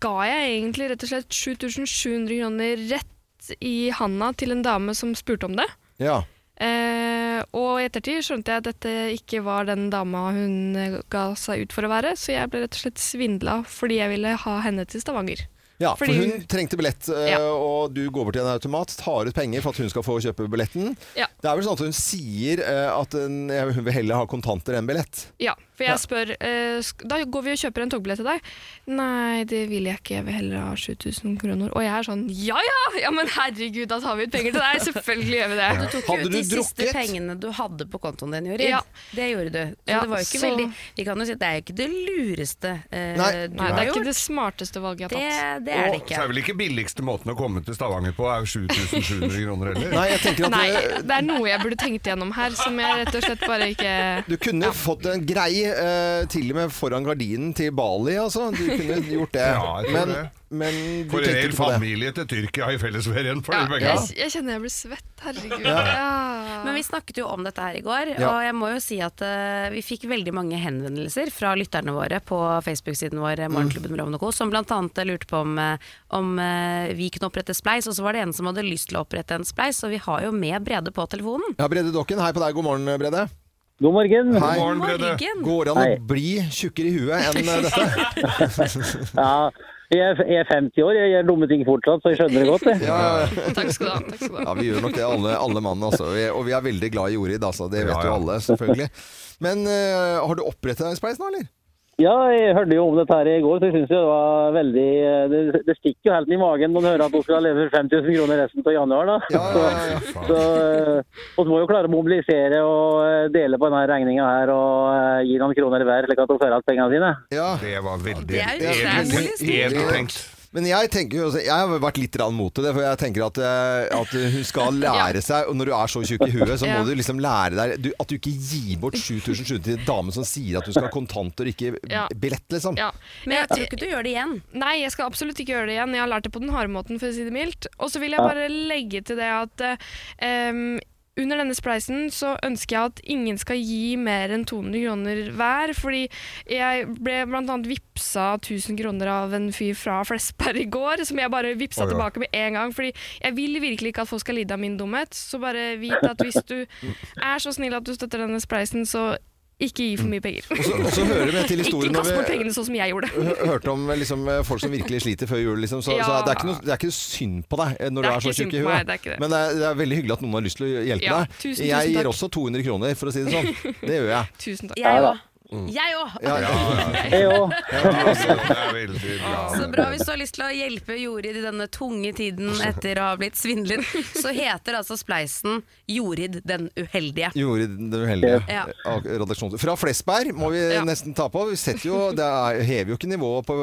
Speaker 6: ga jeg egentlig rett og slett 7700 kroner rett i handa til en dame som spurte om det.
Speaker 1: Ja.
Speaker 6: Eh, og i ettertid skjønte jeg at dette ikke var den dama hun eh, ga seg ut for å være, så jeg ble rett og slett svindla fordi jeg ville ha henne til Stavanger.
Speaker 1: Ja, for
Speaker 6: Fordi-
Speaker 1: hun trengte billett, eh,
Speaker 6: Ja.
Speaker 1: og du går bort til en automat, tar ut penger for at hun skal få kjøpe billetten.
Speaker 6: Ja.
Speaker 1: Det er vel sånn at hun sier eh, at en- eh, hun vil heller ha kontanter enn billett.
Speaker 6: Ja, for jeg
Speaker 1: Ja.
Speaker 6: spør eh, sk- Da går vi og kjøper en togbillett til deg. Nei, det vil jeg ikke. Jeg vil heller ha 7000 kroner. Og jeg er sånn Ja ja! ja men herregud, da tar vi ut penger til deg! Selvfølgelig gjør vi det.
Speaker 2: Du tok
Speaker 1: Hadde
Speaker 2: jo ut
Speaker 1: du
Speaker 2: de siste
Speaker 1: drukket?
Speaker 2: pengene du hadde på kontoen din, Jorid.
Speaker 6: Ja.
Speaker 2: Det gjorde du. Så
Speaker 6: Ja,
Speaker 2: det var jo ikke
Speaker 6: så-
Speaker 2: veldig Vi kan jo si at det er jo ikke det lureste eh,
Speaker 1: Nei.
Speaker 2: du
Speaker 6: Nei, det
Speaker 2: har
Speaker 6: er ikke
Speaker 2: gjort.
Speaker 6: det smarteste valget jeg
Speaker 2: Det,
Speaker 6: har tatt.
Speaker 2: det er det
Speaker 3: Så er
Speaker 2: ikke.
Speaker 3: vel ikke billigste måten å komme til Stavanger på er 7700 kroner heller?
Speaker 1: Nei, jeg tenker at
Speaker 6: Nei,
Speaker 1: eh,
Speaker 6: det er noe jeg burde tenkt gjennom her, som jeg rett og slett bare ikke
Speaker 1: Du kunne fått en grei eh, til og med foran gardinen til Bali, altså. Du kunne gjort det.
Speaker 3: Ja, jeg tror
Speaker 1: men,
Speaker 3: det.
Speaker 1: men du
Speaker 3: For en
Speaker 1: tenkte
Speaker 3: hel
Speaker 1: ikke på det.
Speaker 3: familie til Tyrkia i fellesferien for
Speaker 6: ja,
Speaker 3: dere begge.
Speaker 6: jeg, jeg kjenner jeg blir svett. Herregud. Ja.
Speaker 2: Men vi snakket jo om dette her i går,
Speaker 1: Ja.
Speaker 2: og jeg må jo si at eh, vi fikk veldig mange henvendelser fra lytterne våre på Facebook-siden vår
Speaker 1: Mm.
Speaker 2: eh, Morgenklubben med Loven og Co., som bl.a. lurte på om, eh, om eh, vi kunne opprette spleis, og så var det en som hadde lyst til å opprette en spleis, og vi har jo med Brede på telefonen.
Speaker 1: Ja, Brede Dokken, hei på deg. God morgen, Brede.
Speaker 5: God morgen.
Speaker 1: Hei.
Speaker 3: God morgen, Brede.
Speaker 2: Morgen!
Speaker 1: Går det an
Speaker 5: Hei.
Speaker 1: å bli tjukkere i huet enn eh, dette?
Speaker 5: Ja, jeg er- jeg er 50 år, jeg gjør dumme ting fortsatt, så jeg skjønner det godt. Jeg.
Speaker 1: Ja,
Speaker 6: Takk skal du ha. Takk skal du ha.
Speaker 1: ja, vi gjør nok det, alle, alle mann. Altså. Vi, og vi er veldig glad i Jorid, altså. Det vet
Speaker 3: Ja,
Speaker 1: jo
Speaker 3: ja.
Speaker 1: alle, selvfølgelig. Men eh, har du oppretta Spleis nå, eller?
Speaker 5: Ja, jeg hørte jo om dette her i går, så jeg syns det var veldig eh, det, det stikker jo helt i magen når en hører at hun skal leve for 5000 kroner resten av januar, da.
Speaker 1: Ja, ja, ja, ja.
Speaker 5: Så eh, vi må jo klare å mobilisere og eh, dele på denne regninga her og eh, gi noen kroner hver, slik at hun får igjen pengene sine.
Speaker 1: ja.
Speaker 3: Det var veldig
Speaker 2: Det er jo liksom.
Speaker 3: edelt
Speaker 1: utrolig stort.
Speaker 3: edelt tenkt.
Speaker 1: Men jeg tenker jo også, jeg har vært litt rann mot det, for jeg tenker at, eh, at hun skal lære seg, og når du er så tjukk i huet, så
Speaker 6: Ja.
Speaker 1: må du liksom lære deg du, at du ikke gir bort 7000 kroner til en dame som sier at du skal ha kontanter, ikke
Speaker 6: Ja.
Speaker 1: billett, liksom.
Speaker 6: Ja.
Speaker 2: Men jeg tror ikke du gjør det igjen.
Speaker 6: Nei, jeg skal absolutt ikke gjøre det igjen. Jeg har lært det på den harde måten, for å si det mildt. Og så vil jeg bare legge til det at eh, em, under denne spleisen så ønsker jeg at ingen skal gi mer enn 200 kroner hver, fordi jeg ble bl.a. vippsa 1000 kroner av en fyr fra Flesberg i går, som jeg bare vippsa
Speaker 3: Oi, oi.
Speaker 6: tilbake med en gang, fordi jeg vil virkelig ikke at folk skal lide av min dumhet, så bare vit at hvis du er så snill at du støtter denne spleisen, så ikke gi for mye penger.
Speaker 1: Og så- Og så hører vi til
Speaker 6: Ikke
Speaker 1: historien
Speaker 6: kast bort
Speaker 1: når vi
Speaker 6: pengene sånn som jeg gjorde.
Speaker 1: hø- hørte om liksom, eh, folk som virkelig sliter før jul, liksom, så,
Speaker 6: Ja.
Speaker 1: så det, er ikke noe, det er ikke synd på deg eh, når
Speaker 6: Det
Speaker 1: du
Speaker 6: er
Speaker 1: er så
Speaker 6: ikke synd
Speaker 1: tjukk i
Speaker 6: på
Speaker 1: huet.
Speaker 6: meg, det er ikke det.
Speaker 1: Men eh, det er, det er veldig hyggelig at noen har lyst til å hjelpe
Speaker 6: Ja,
Speaker 1: deg.
Speaker 6: tusen, tusen
Speaker 1: jeg gir
Speaker 6: takk.
Speaker 1: også 200 kroner, for å si det sånn. Det gjør jeg. Mm.
Speaker 6: Tusen takk.
Speaker 2: Jeg
Speaker 5: da.
Speaker 2: òg. Jeg òg!
Speaker 1: Ja, ja.
Speaker 5: Jeg òg.
Speaker 3: Ja, altså, det er veldig bra.
Speaker 2: Så bra hvis du har lyst til å hjelpe Jorid i denne tunge tiden etter å ha blitt svindlet, så heter altså spleisen Jorid den uheldige.
Speaker 1: Gjorde det uheldige.
Speaker 2: Ja.
Speaker 1: Ak- redaksjons- Fra Flesberg må vi
Speaker 6: Ja.
Speaker 1: nesten ta på. Vi setter jo, det er, hever jo ikke nivået på,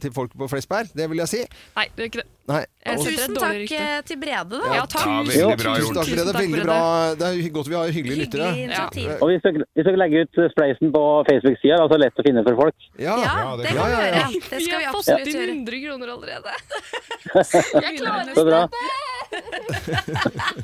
Speaker 1: til folk på Flesberg, det vil jeg si.
Speaker 6: Nei, det gjør ikke det.
Speaker 1: Nei.
Speaker 6: Jeg
Speaker 1: Og,
Speaker 6: synes-
Speaker 2: Tusen
Speaker 6: Dårlig
Speaker 2: takk
Speaker 6: rykte.
Speaker 2: eh, til Brede, da.
Speaker 6: Ja, takk.
Speaker 3: Ja,
Speaker 1: jo,
Speaker 3: veldig
Speaker 1: tusen takk,
Speaker 3: bra gjort.
Speaker 1: Brede.
Speaker 6: Tusen takk,
Speaker 1: Veldig
Speaker 6: Brede.
Speaker 1: bra. Det er hy- godt vi har hyggelige lyttere.
Speaker 2: Hyggelig initiativ.
Speaker 5: Og vi skal, vi skal legge ut eh, spleisen på Facebook-sida, altså lett å finne for folk.
Speaker 1: Ja.
Speaker 2: Ja,
Speaker 3: Ja, det kan-
Speaker 2: det kan vi
Speaker 1: Ja, ja, ja.
Speaker 2: gjøre. Det skal vi
Speaker 6: har fått
Speaker 2: absolutt
Speaker 6: inn 100
Speaker 2: gjøre.
Speaker 6: kroner allerede.
Speaker 2: Jeg klarer
Speaker 5: Så bra.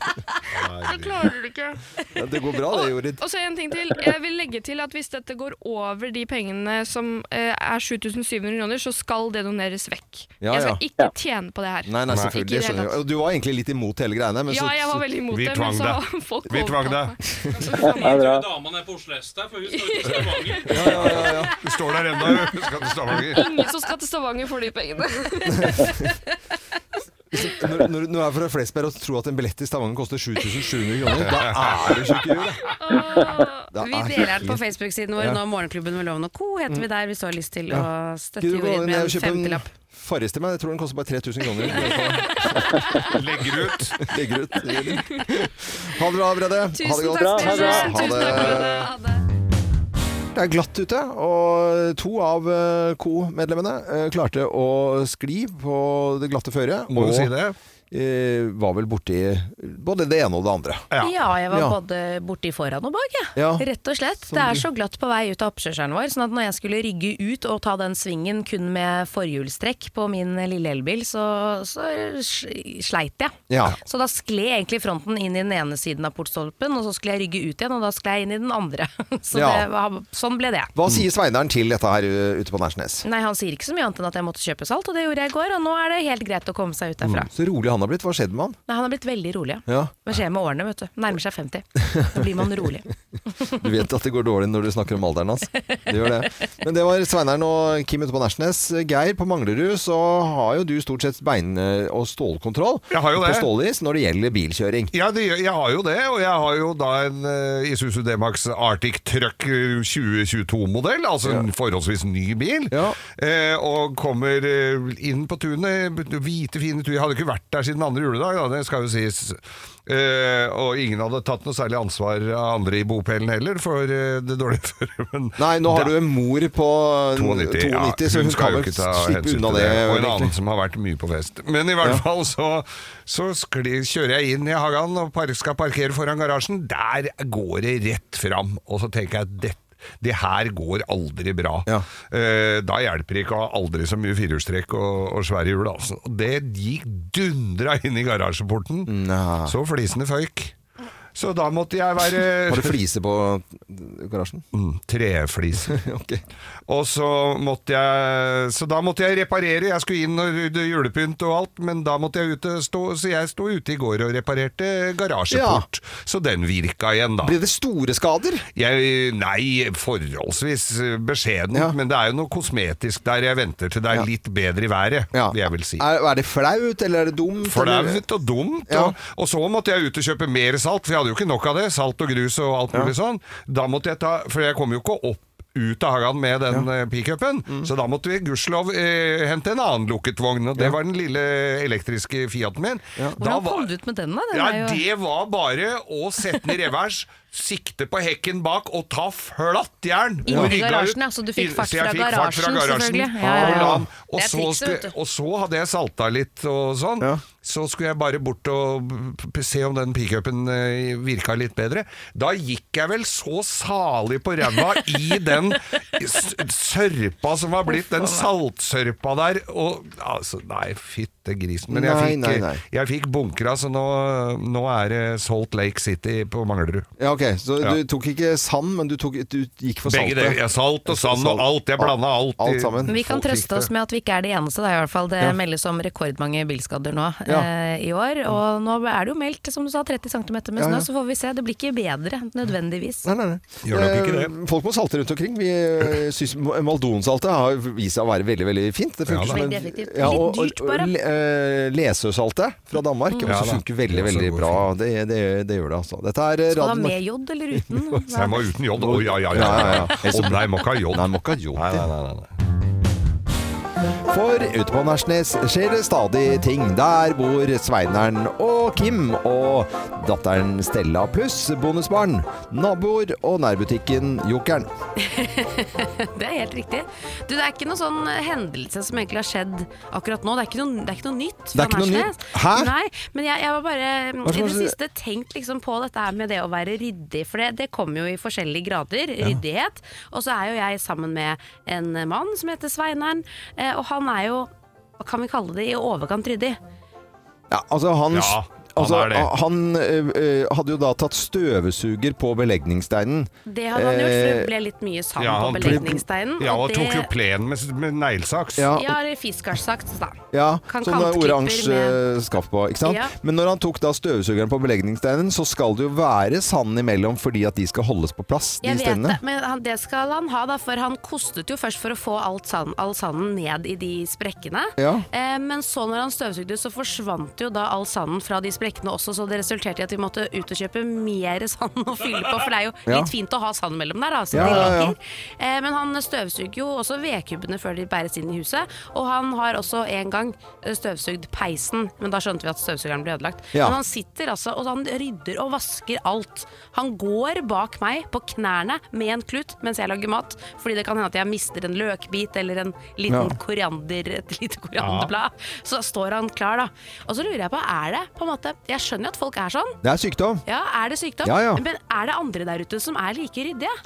Speaker 6: klarer det ikke.
Speaker 1: Ja, Det går bra det, Jorid.
Speaker 6: Og så en ting til. Jeg vil legge til at hvis dette går over de pengene som eh, er 7700 kroner, så skal det doneres vekk.
Speaker 1: Ja,
Speaker 6: Jeg
Speaker 1: ja.
Speaker 6: skal ikke tjene på det her.
Speaker 1: Nei, nei,
Speaker 3: Nei.
Speaker 1: selvfølgelig.
Speaker 6: Ikke i det
Speaker 1: skjønner
Speaker 6: hele
Speaker 1: jeg. Og Du var egentlig litt imot hele greiene. Men
Speaker 6: Ja,
Speaker 1: så,
Speaker 6: jeg var veldig imot
Speaker 3: Vi
Speaker 6: det,
Speaker 3: tvang
Speaker 6: men så
Speaker 3: deg.
Speaker 6: har folk
Speaker 3: Vi tvang
Speaker 6: overtalt meg.
Speaker 3: deg.
Speaker 5: Det er bra.
Speaker 4: Damene er på Oslo S der, for hun står ikke i Stavanger.
Speaker 3: Du står der ennå, du. Skal til Stavanger.
Speaker 6: Ingen som skal til Stavanger for de pengene.
Speaker 1: når, når du er fra Flesberg og tror at en billett til Stavanger koster 7700 kroner, da er du tjukk i huet. Da
Speaker 2: Vi
Speaker 1: er du
Speaker 2: deler den på
Speaker 1: helt-
Speaker 2: Facebook-siden vår nå, Morgenklubben med Loven og Co. heter vi der hvis du har lyst til å støtte
Speaker 1: Gidder Mm. du gå
Speaker 2: Jorid
Speaker 1: ned
Speaker 2: med
Speaker 1: og
Speaker 2: en
Speaker 1: kjøpe en
Speaker 2: femtilapp.
Speaker 1: Farris til meg? Jeg tror den koster bare 3000 kroner.
Speaker 3: Legger ut.
Speaker 1: Legger ut. Ha det bra, Brede. ha det
Speaker 2: Tusen
Speaker 1: godt.
Speaker 2: takk,
Speaker 5: Ha det
Speaker 2: Brede.
Speaker 5: bra.
Speaker 1: Ha
Speaker 6: Tusen takk for det.
Speaker 2: Ha det.
Speaker 1: Det er glatt ute, og to av eh, co-medlemmene eh, klarte å skli på det glatte føret.
Speaker 3: Må
Speaker 1: og
Speaker 3: jo si det.
Speaker 1: eh, var vel borti både det ene og det andre.
Speaker 3: Ja.
Speaker 2: Ja, jeg var
Speaker 1: Ja.
Speaker 2: både borti foran og bak, jeg.
Speaker 1: Ja.
Speaker 2: Rett og slett.
Speaker 1: Som
Speaker 2: det er
Speaker 1: du-
Speaker 2: så glatt på vei ut av oppkjørselen vår, sånn at når jeg skulle rygge ut og ta den svingen kun med forhjulstrekk på min lille elbil, så, så sl- sleit jeg.
Speaker 1: Ja.
Speaker 2: Så da skled egentlig fronten inn i den ene siden av portstolpen, og så skulle jeg rygge ut igjen, og da skled jeg inn i den andre. Så
Speaker 1: Ja.
Speaker 2: det var, sånn ble det.
Speaker 1: Hva sier Sveinaren til dette her eh, ute på Nærsnes?
Speaker 2: Nei, han sier ikke så mye annet enn at jeg måtte kjøpe salt, og det gjorde jeg i går, og nå er det helt greit å komme seg ut derfra.
Speaker 1: Mm. Så rolig han har blitt. Hva skjedde med han?
Speaker 2: Nei, han har blitt veldig rolig. ja.
Speaker 1: Mm. Ja,
Speaker 2: Hva skjer med årene, vet du. Nærmer seg 50. Da blir man rolig.
Speaker 1: Du vet at det går dårlig når du snakker om alderen hans. Det gjør det. Men det var Sveinaren og Kim ute på Nærsnes. Geir, på Manglerud så har jo du stort sett bein- eh, og stålkontroll
Speaker 3: Jeg har jo
Speaker 1: på
Speaker 3: det.
Speaker 1: stålis når det gjelder bilkjøring.
Speaker 3: Ja, det, gjør- jeg har jo det, og jeg har jo da en eh, Isuzu D-Max Arctic Truck 2022-modell, altså en forholdsvis ny bil,
Speaker 1: Ja.
Speaker 3: eh, og kommer eh, inn på tunet, hvite fine tur, jeg hadde ikke vært der siden andre juledag, da, det skal jo sies. Eh, og ingen hadde tatt noe særlig ansvar av andre i bopelen heller for eh, det dårlige føret. men
Speaker 1: Nei, nå har
Speaker 3: da-
Speaker 1: du en mor på 92,
Speaker 3: 92, ja,
Speaker 1: så hun kan vel slippe unna det.
Speaker 3: Og en
Speaker 1: egentlig.
Speaker 3: annen som har vært mye på fest. Men i hvert
Speaker 1: Ja.
Speaker 3: fall så, så skli, kjører jeg inn i hagen og par, skal parkere foran garasjen. Der går det rett fram, og så tenker jeg dette det her går aldri bra.
Speaker 1: Ja.
Speaker 3: Eh, da hjelper det ikke å ha aldri så mye firehjulstrekk og, og svære hjul. Altså. Og Det gikk dundra inn i garasjeporten.
Speaker 1: Nei.
Speaker 3: Så flisene føyk. Så da måtte jeg være
Speaker 1: Har du fliser på eh, garasjen?
Speaker 3: Mm, Trefliser.
Speaker 1: Ok.
Speaker 3: Og så måtte jeg Så da måtte jeg reparere. Jeg skulle inn og rydde julepynt og alt, men da måtte jeg ute stå, så jeg sto ute i går og reparerte garasjeport. Så den virka igjen, da.
Speaker 1: Blir det store skader?
Speaker 3: Jeg, nei, forholdsvis beskjedent,
Speaker 1: Ja.
Speaker 3: men det er jo noe kosmetisk der. Jeg venter til det er
Speaker 1: Ja.
Speaker 3: litt bedre i været,
Speaker 1: Ja.
Speaker 3: vil jeg vil si.
Speaker 1: Er, er det flaut, eller er Mm, det dumt? eller-
Speaker 3: Flaut og dumt.
Speaker 1: Ja.
Speaker 3: Og, og så måtte jeg ut og kjøpe mer salt, for jeg hadde jo ikke nok av det. Salt og grus og alt mulig sånn. Da måtte jeg ta For jeg kom jo ikke opp ut av hagen med den ja. pickupen,
Speaker 1: Mm.
Speaker 3: så da måtte vi gudskjelov eh, hente en annen lukket vogn, og det var den lille elektriske Fiaten min. Da
Speaker 2: Hvordan kom du ut med den, da? Den
Speaker 3: ja,
Speaker 2: er jo...
Speaker 3: det var bare å sette den i revers, sikte på hekken bak og ta flatt jern.
Speaker 2: Inn
Speaker 3: Og
Speaker 2: i
Speaker 3: rygga
Speaker 2: garasjen,
Speaker 3: ut.
Speaker 2: ja, så du fikk
Speaker 3: Inn-
Speaker 2: fart
Speaker 3: så jeg
Speaker 2: fra
Speaker 3: fikk fart fra
Speaker 2: garasjen, selvfølgelig. Ja, ja,
Speaker 3: Og,
Speaker 2: ja.
Speaker 3: la den- og,
Speaker 2: Det er
Speaker 3: så
Speaker 2: trikset, vet
Speaker 3: skulle,
Speaker 2: du.
Speaker 3: og så hadde jeg salta litt og sånn.
Speaker 1: Ja.
Speaker 3: Så skulle jeg bare bort og p- p- se om den pickupen eh, virka litt bedre. Da gikk jeg vel så salig på ræva i den s- sørpa som var blitt, den saltsørpa der. Og altså, nei, fytte grisen. Men jeg
Speaker 1: Nei,
Speaker 3: fikk,
Speaker 1: nei, nei.
Speaker 3: jeg fikk bunkra, så nå, nå er det Salt Lake City på Manglerud.
Speaker 1: Ja, ok. Så
Speaker 3: Ja.
Speaker 1: du tok ikke sand, men du, tok, du gikk for
Speaker 3: Begge
Speaker 1: saltet?
Speaker 3: deler. Ja, salt og sand og alt. Jeg blanda alt. i-
Speaker 1: Alt sammen.
Speaker 2: Men vi kan
Speaker 3: Folk likte
Speaker 2: trøste oss
Speaker 3: det.
Speaker 2: med at vi ikke er de eneste. Det, er i hvert fall. det meldes om rekordmange bilskader nå
Speaker 1: Ja.
Speaker 2: eh, i år. Og nå er det jo meldt som du sa, 30 cm med snø,
Speaker 1: Ja, ja.
Speaker 2: så får vi se. Det blir ikke bedre nødvendigvis.
Speaker 1: Nei, nei, nei.
Speaker 3: Gjør nok ikke det.
Speaker 1: Eh, Folk må salte rundt omkring. Vi eh, syns Maldonsaltet har vist seg å være veldig veldig fint. Det
Speaker 3: Ja, da.
Speaker 1: som en-
Speaker 2: Veldig effektivt.
Speaker 1: Ja,
Speaker 2: Litt
Speaker 1: og, og,
Speaker 2: dyrt,
Speaker 1: og,
Speaker 2: bare. Mm.
Speaker 1: le- eh, Lesøsaltet fra Danmark
Speaker 3: Ja,
Speaker 1: også
Speaker 3: da.
Speaker 1: funker veldig,
Speaker 3: Det også
Speaker 1: veldig
Speaker 3: går
Speaker 1: bra. Det, det, det gjør det, altså. Dette er eh,
Speaker 2: Skal du ha
Speaker 1: Radio Norge-
Speaker 2: med jod eller uten?
Speaker 3: Så jeg må uten jod. Å, ja, ja, ja.
Speaker 1: Ja, ja, ja.
Speaker 3: Å, nei, må ikke ha jod.
Speaker 1: Nei, må ikke ha jod
Speaker 3: Nei,
Speaker 1: i.
Speaker 3: nei, nei, nei.
Speaker 1: For ute på Nærsnes skjer det stadig ting. Der bor Sveineren og Kim og datteren Stella pluss bonusbarn, naboer og nærbutikken Jokeren.
Speaker 2: Det er helt riktig. Du, det er ikke noen sånn hendelse som egentlig har skjedd akkurat nå. Det er ikke noe, det er ikke noe nytt.
Speaker 1: Det er
Speaker 2: fra
Speaker 1: ikke noe
Speaker 2: Nærsnes.
Speaker 1: nytt. Hæ?
Speaker 2: Nei, men jeg, jeg var bare
Speaker 1: Hva er
Speaker 2: i
Speaker 1: det
Speaker 2: det
Speaker 1: som-
Speaker 2: siste tenkt liksom på dette her med det å være ryddig, for det, det kommer jo i forskjellige grader. Ryddighet. Og så er jo jeg sammen med en mann som heter Sveineren, eh, og han er jo hva kan vi kalle det i overkant ryddig?
Speaker 1: Ja, altså han...
Speaker 3: Ja, han
Speaker 1: Altså,
Speaker 3: er det.
Speaker 1: han ø, ø, hadde jo da tatt støvsuger på belegningssteinen.
Speaker 2: Det har han gjort, for
Speaker 1: Eh,
Speaker 2: det ble litt mye sand
Speaker 3: ja, han
Speaker 2: på
Speaker 3: tok-
Speaker 2: belegningssteinen.
Speaker 3: Ja, og
Speaker 2: det-
Speaker 3: tok jo plenen med, med neglesaks.
Speaker 1: Ja,
Speaker 2: Ja, eller fiskersagt, da.
Speaker 1: ja
Speaker 2: Kan
Speaker 1: sånn
Speaker 2: kantklipper
Speaker 1: oransje
Speaker 2: med-
Speaker 1: ø, skaff på, ikke sant?
Speaker 2: Ja.
Speaker 1: Men når han tok da støvsugeren på belegningssteinen, så skal det jo være sand imellom fordi at de skal holdes på plass, de
Speaker 2: Jeg vet
Speaker 1: steinene.
Speaker 2: det, men han, det skal han ha, da, for han kostet jo først for å få alt sand, all sanden ned i de sprekkene.
Speaker 1: Ja.
Speaker 2: Eh, men så når han støvsugde, så forsvant jo da all sanden fra de sprekkene også, så det resulterte i at vi måtte ut og kjøpe mer sand å fylle på, for det er jo
Speaker 1: Ja.
Speaker 2: litt fint å ha sand mellom der, da, så
Speaker 1: Ja,
Speaker 2: det
Speaker 1: ja, ja.
Speaker 2: ligger. Eh, men han støvsuger jo også vedkubbene før de bæres inn i huset, og han har også en gang eh, støvsugd peisen, men da skjønte vi at støvsugeren ble ødelagt.
Speaker 1: Ja.
Speaker 2: Men han sitter altså og han rydder og vasker alt. Han går bak meg på knærne med en klut mens jeg lager mat, fordi det kan hende at jeg mister en løkbit eller en liten
Speaker 1: Ja.
Speaker 2: koriander, et lite korianderblad. Så da står han klar, da. Og så lurer jeg på, er det på en måte Jeg skjønner jo at folk er sånn.
Speaker 1: Det er sykdom.
Speaker 2: Ja, er det sykdom?
Speaker 1: Ja, ja.
Speaker 2: Men er det andre der ute som er like ryddige?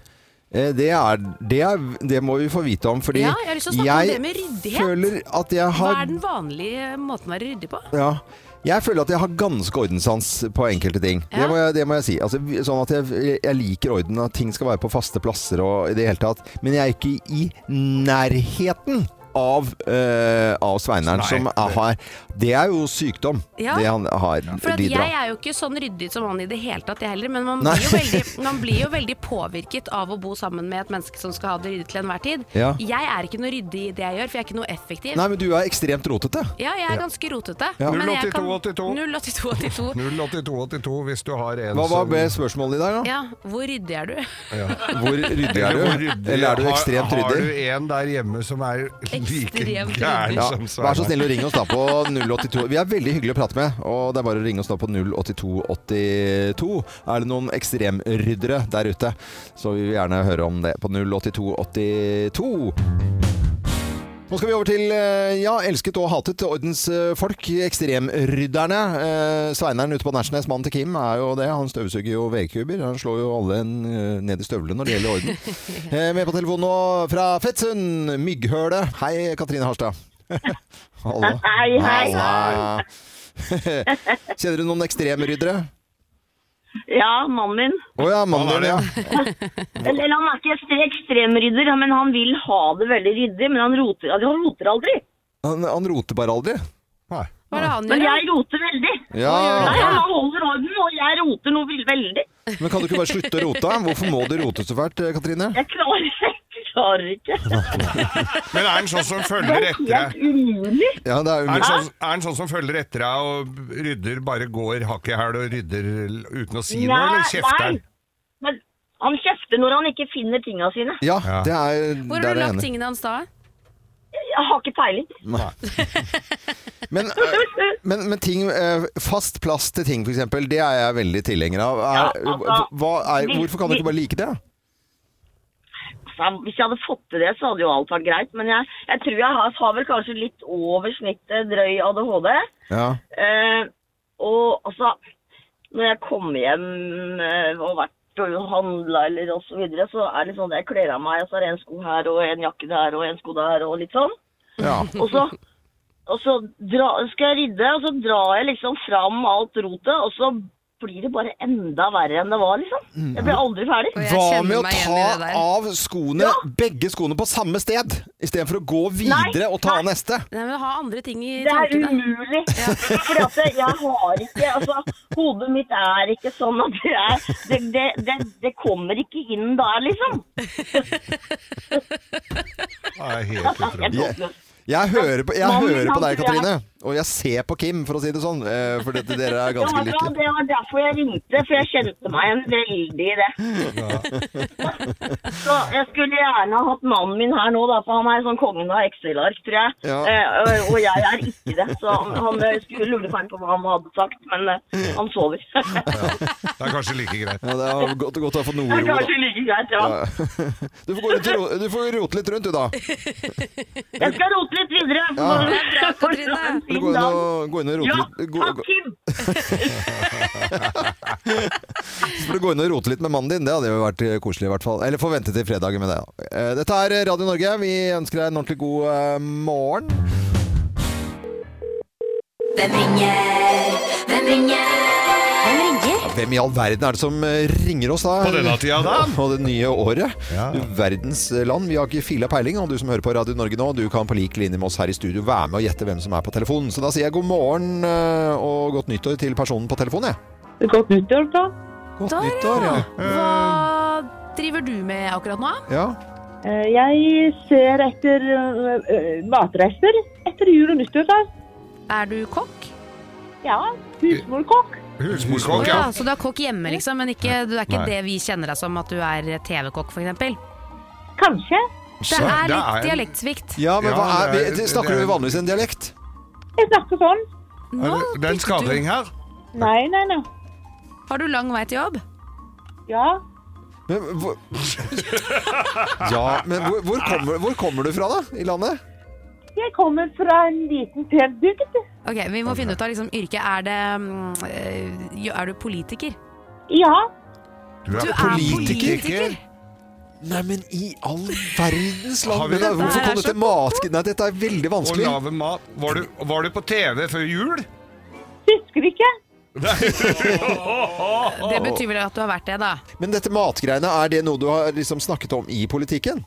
Speaker 1: Eh, Det, er, det, er, det må vi få vite om, fordi
Speaker 2: Ja, jeg har lyst til å snakke om det med ryddighet.
Speaker 1: føler at jeg
Speaker 2: Hva
Speaker 1: har
Speaker 2: er den vanlige måten å være ryddig på?
Speaker 1: ja, jeg føler at jeg har ganske ordenssans på enkelte ting.
Speaker 2: Ja.
Speaker 1: Det, må jeg, det må jeg si. Altså, vi- sånn at jeg, jeg liker orden, at ting skal være på faste plasser og i det hele tatt. Men jeg er ikke i nærheten av, eh, av Sveineren,
Speaker 3: Nei.
Speaker 1: som er, har Det er jo sykdom,
Speaker 2: Ja.
Speaker 1: det han har
Speaker 2: For at
Speaker 1: lider
Speaker 2: jeg
Speaker 1: av.
Speaker 2: er jo ikke sånn ryddig som han i det hele tatt, jeg heller. Men man
Speaker 1: Nei.
Speaker 2: blir, jo veldig, man blir jo veldig påvirket av å bo sammen med et menneske som skal ha det ryddig til enhver tid.
Speaker 1: Ja.
Speaker 2: Jeg er ikke noe ryddig i det jeg gjør, for jeg er ikke noe effektiv.
Speaker 1: Nei, men du er ekstremt rotete.
Speaker 2: Ja, jeg er ganske rotete.
Speaker 1: Ja.
Speaker 2: men jeg kan-
Speaker 3: 082.
Speaker 2: 08282.
Speaker 3: 08282 hvis du har en
Speaker 1: Hva var
Speaker 3: som-
Speaker 1: ble spørsmålet i dag, da?
Speaker 2: Ja, hvor ryddig er du?
Speaker 1: Hvor ryddig er
Speaker 3: Eller
Speaker 1: du?
Speaker 3: hvor ryddig-
Speaker 1: Eller er du ekstremt
Speaker 3: har,
Speaker 1: ryddig?
Speaker 3: Har du en der hjemme som er like
Speaker 2: Ekstremt
Speaker 3: gæren
Speaker 1: Ja,
Speaker 3: som
Speaker 1: vær så
Speaker 3: Svein.
Speaker 1: snill å ringe oss da på 082 Vi er veldig hyggelige å prate med, og det er bare å ringe oss da på 08282. Er det noen ekstremryddere der ute, så vil vi gjerne høre om det på 08282. Nå skal vi over til eh, ja, elsket og hatet ordensfolk, ekstremrydderne. Eh, Sveineren ute på Nesjnes, mannen til Kim, er jo det. Han støvsuger jo vedkuber. Han slår jo alle en, eh, ned i støvlene når det gjelder orden. Eh, Med på telefonen nå fra Fettsund, Mygghøle. Hei, Katrine Harstad. Hallo.
Speaker 7: Hei, hei.
Speaker 1: Halla. Kjenner du noen ekstremryddere?
Speaker 7: Ja, mannen min.
Speaker 1: Å ja, mannen
Speaker 3: Han
Speaker 1: din,
Speaker 3: er
Speaker 1: ja.
Speaker 7: Eller han er ikke ekstrem- ekstremrydder, men han vil ha det veldig ryddig. Men han roter, altså, han roter aldri.
Speaker 1: Han, han roter bare aldri.
Speaker 3: Nei.
Speaker 2: Hva er det han
Speaker 7: Men
Speaker 2: gjør? da?
Speaker 7: jeg roter veldig.
Speaker 1: Ja,
Speaker 7: Nei, han holder orden, og jeg roter noe vill- veldig.
Speaker 1: Men kan du ikke bare slutte å rote? Hvorfor må du rote så fælt, eh, Katrine?
Speaker 7: Jeg klarer, jeg klarer ikke.
Speaker 3: Men er han sånn som følger etter
Speaker 7: Helt
Speaker 3: deg?
Speaker 7: urimelig.
Speaker 1: Ja, det er
Speaker 3: Er han,
Speaker 1: umulig.
Speaker 3: sånn, er han sånn som følger etter deg og rydder, bare går hakk i hæl og rydder l- uten å si noe,
Speaker 7: Nei,
Speaker 3: eller kjefter han?
Speaker 7: nei. Men han kjefter når han ikke finner tinga sine.
Speaker 1: Ja, det er
Speaker 2: Hvor
Speaker 1: der er
Speaker 2: har du
Speaker 1: jeg
Speaker 2: lagt
Speaker 1: enig.
Speaker 2: tingene hans da?
Speaker 7: Jeg har ikke peiling.
Speaker 1: Men, eh, men, men ting, eh, fast plass til ting, f.eks., det er jeg veldig tilhenger av. Er,
Speaker 7: Ja, altså,
Speaker 1: hva er, hvorfor kan du ikke bare like det?
Speaker 7: Så hvis jeg hadde fått til det, så hadde jo alt vært greit. Men jeg, jeg tror jeg har, har vel kanskje litt over snittet drøy ADHD.
Speaker 1: Ja.
Speaker 7: Eh, og altså, når jeg kommer hjem eh, og vært og handla eller og så videre, så er det sånn at jeg kler av meg, og så er det en sko her og en jakke der og en sko der og litt sånn.
Speaker 1: ja.
Speaker 7: Og så, og så dra, skal jeg rydde, og så drar jeg liksom fram alt rotet, og så blir det bare enda verre enn det var, liksom. Jeg blir aldri ferdig.
Speaker 8: Og jeg
Speaker 1: Hva
Speaker 8: kjenner
Speaker 1: med å
Speaker 8: meg igjen i det
Speaker 1: ta
Speaker 8: der.
Speaker 1: av skoene, begge skoene på samme sted, istedenfor å gå videre
Speaker 7: Nei,
Speaker 1: og ta av neste?
Speaker 2: Nei, men Ha andre ting i
Speaker 7: Det er
Speaker 2: tankene.
Speaker 7: umulig. Fordi at jeg har ikke altså, Hodet mitt er ikke sånn at det er Det, det, det, det kommer ikke inn der, liksom.
Speaker 3: Det er helt
Speaker 7: Jeg
Speaker 3: utrolig.
Speaker 7: tåler det.
Speaker 1: Jeg hører på, jeg
Speaker 7: Mannen
Speaker 1: hører på
Speaker 7: hans
Speaker 1: deg,
Speaker 7: tror jeg-
Speaker 1: Katrine, og jeg ser på Kim, for å si det sånn. eh, For dette, dere er
Speaker 7: Det
Speaker 1: ganske
Speaker 7: var, bra,
Speaker 1: like.
Speaker 7: det var derfor jeg ringte, for jeg kjente meg igjen veldig i det. Så jeg skulle gjerne ha hatt mannen min her nå, da, for han er sånn kongen av Excel-ark, tror jeg.
Speaker 1: Ja.
Speaker 7: Eh, og- og jeg er ikke det, så han, han eh, skulle lure meg på hva han hadde sagt, men eh, han sover. det
Speaker 3: Det er kanskje like greit.
Speaker 1: Ja, det er godt, godt å få noe
Speaker 7: er
Speaker 1: ro. da.
Speaker 7: kanskje like greit, ja.
Speaker 1: Du får, gå rundt og ro, du får rote litt rundt, du, da.
Speaker 7: Jeg skal rote litt videre.
Speaker 1: Ja.
Speaker 7: Det er bra,
Speaker 2: Katrine.
Speaker 1: Du går inn og, gå inn og rote
Speaker 7: Ja,
Speaker 1: litt gå,
Speaker 7: takk,
Speaker 1: gå,
Speaker 7: Kim.
Speaker 1: for å gå inn og rote litt med mannen din. Det hadde jo vært eh, koselig, i hvert fall. Eller få vente til fredagen med det. da. Eh, Dette er Radio Norge. Vi ønsker deg en ordentlig god eh, morgen.
Speaker 8: Hvem ringer? Hvem ringer? Hvem ringer?
Speaker 1: Hvem i all verden er det som eh, ringer oss da?
Speaker 3: På denne tida da?
Speaker 1: På det nye året.
Speaker 3: Ja.
Speaker 1: Du verdens eh, land. Vi har ikke fila peiling, og du som hører på Radio Norge nå, du kan på lik linje med oss her i studio være med og gjette hvem som er på telefonen. Så da sier jeg god morgen eh, og godt nyttår til personen på telefonen, jeg.
Speaker 7: Godt nyttår, da.
Speaker 1: Godt
Speaker 2: Da, ja.
Speaker 1: nyttår, ja.
Speaker 2: Hva driver du med akkurat nå?
Speaker 1: ja.
Speaker 7: Eh, Jeg ser etter eh, eh, matrester etter jul og nyttår. da.
Speaker 2: Er du kokk?
Speaker 7: Ja, husmorkokk.
Speaker 3: Husmorkokk, ja.
Speaker 2: ja. Så du er kokk hjemme, liksom, men ikke, det er ikke
Speaker 3: Nei.
Speaker 2: det vi kjenner deg som, at du er TV-kokk, f.eks.?
Speaker 7: Kanskje.
Speaker 2: Det er
Speaker 3: det
Speaker 2: litt
Speaker 3: er-
Speaker 2: dialektsvikt.
Speaker 1: Ja, men
Speaker 3: Ja,
Speaker 1: hva er,
Speaker 3: det er-
Speaker 1: vi- snakker
Speaker 3: det
Speaker 1: du
Speaker 3: er-
Speaker 1: vanligvis en dialekt?
Speaker 7: Jeg snakker sånn.
Speaker 2: Nå
Speaker 3: Er det- Det er en
Speaker 2: fikk du-
Speaker 3: skadring her.
Speaker 7: Nei, nei, nei.
Speaker 2: Har du lang vei til jobb?
Speaker 7: Ja.
Speaker 1: Men, hvor... Ja, men hvor, hvor, kommer, hvor kommer du fra, da? I landet?
Speaker 7: Jeg kommer fra en liten, pen bygd.
Speaker 2: Ok, Vi må finne ut av liksom, yrket. Er, det, mm, øh, jo, er du politiker?
Speaker 7: Ja.
Speaker 2: Du er
Speaker 1: politiker?
Speaker 2: politiker!
Speaker 1: Nei, men i all verdens
Speaker 3: Har
Speaker 1: land!
Speaker 3: vi-
Speaker 1: Men da,
Speaker 2: Dette
Speaker 1: hvorfor
Speaker 2: er
Speaker 1: kom
Speaker 2: så
Speaker 1: dette mat... Nei, dette er veldig
Speaker 3: Og
Speaker 1: vanskelig.
Speaker 3: lave mat. Var du, var du på TV før jul?
Speaker 7: Husker ikke.
Speaker 2: Det betyr vel at du har vært det, da.
Speaker 1: Men dette matgreiene, er det noe du har liksom snakket om i politikken?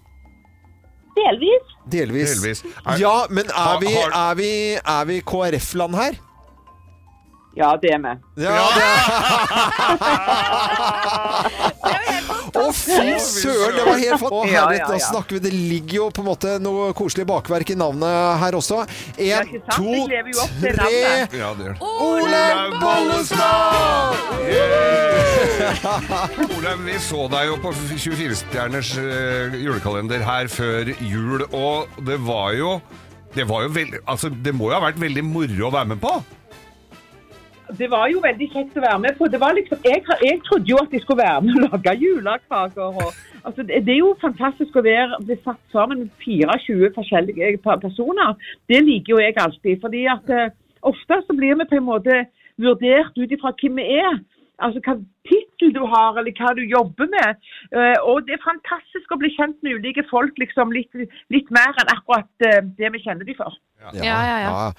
Speaker 7: Delvis.
Speaker 1: Delvis.
Speaker 3: Delvis. Er-
Speaker 1: Ja, men er
Speaker 3: Har-
Speaker 1: vi,
Speaker 3: har-
Speaker 1: er vi, er vi KrF-land her?
Speaker 7: Ja, det er med.
Speaker 1: Ja, det er
Speaker 2: Det er jo helt
Speaker 1: Å,
Speaker 2: podkast.
Speaker 1: fy søren! Det var helt fantastisk.
Speaker 7: Ja, ja,
Speaker 1: herlighet,
Speaker 7: ja.
Speaker 1: da snakker vi. Det ligger jo på en måte noe koselig bakverk i navnet her også. En,
Speaker 7: ikke sant?
Speaker 1: to,
Speaker 7: Det lever jo opp til
Speaker 1: tre
Speaker 7: navnet.
Speaker 3: Ja, det gjør det.
Speaker 1: Olaug Bollestad!
Speaker 3: Olav, vi så deg jo på 24-stjerners eh, julekalender her før jul, og det var jo det, var jo veld, altså, det må jo ha vært veldig moro å være med på?
Speaker 9: Det var jo veldig kjekt å være med på. Det var liksom, jeg, har- jeg trodde jo at de skulle være med og lage julekaker. Og, altså, det, det er jo fantastisk å være, bli satt sammen med 24 forskjellige eh, pa- personer. Det liker jo jeg alltid. fordi at eh, ofte så blir vi på en måte vurdert ut ifra hvem vi er. Altså hva tittel du har, eller hva du jobber med. Eh, og det er fantastisk å bli kjent med ulike folk, liksom litt, litt mer enn akkurat eh, det vi kjenner de for.
Speaker 6: Ja, ja, ja.
Speaker 1: ja.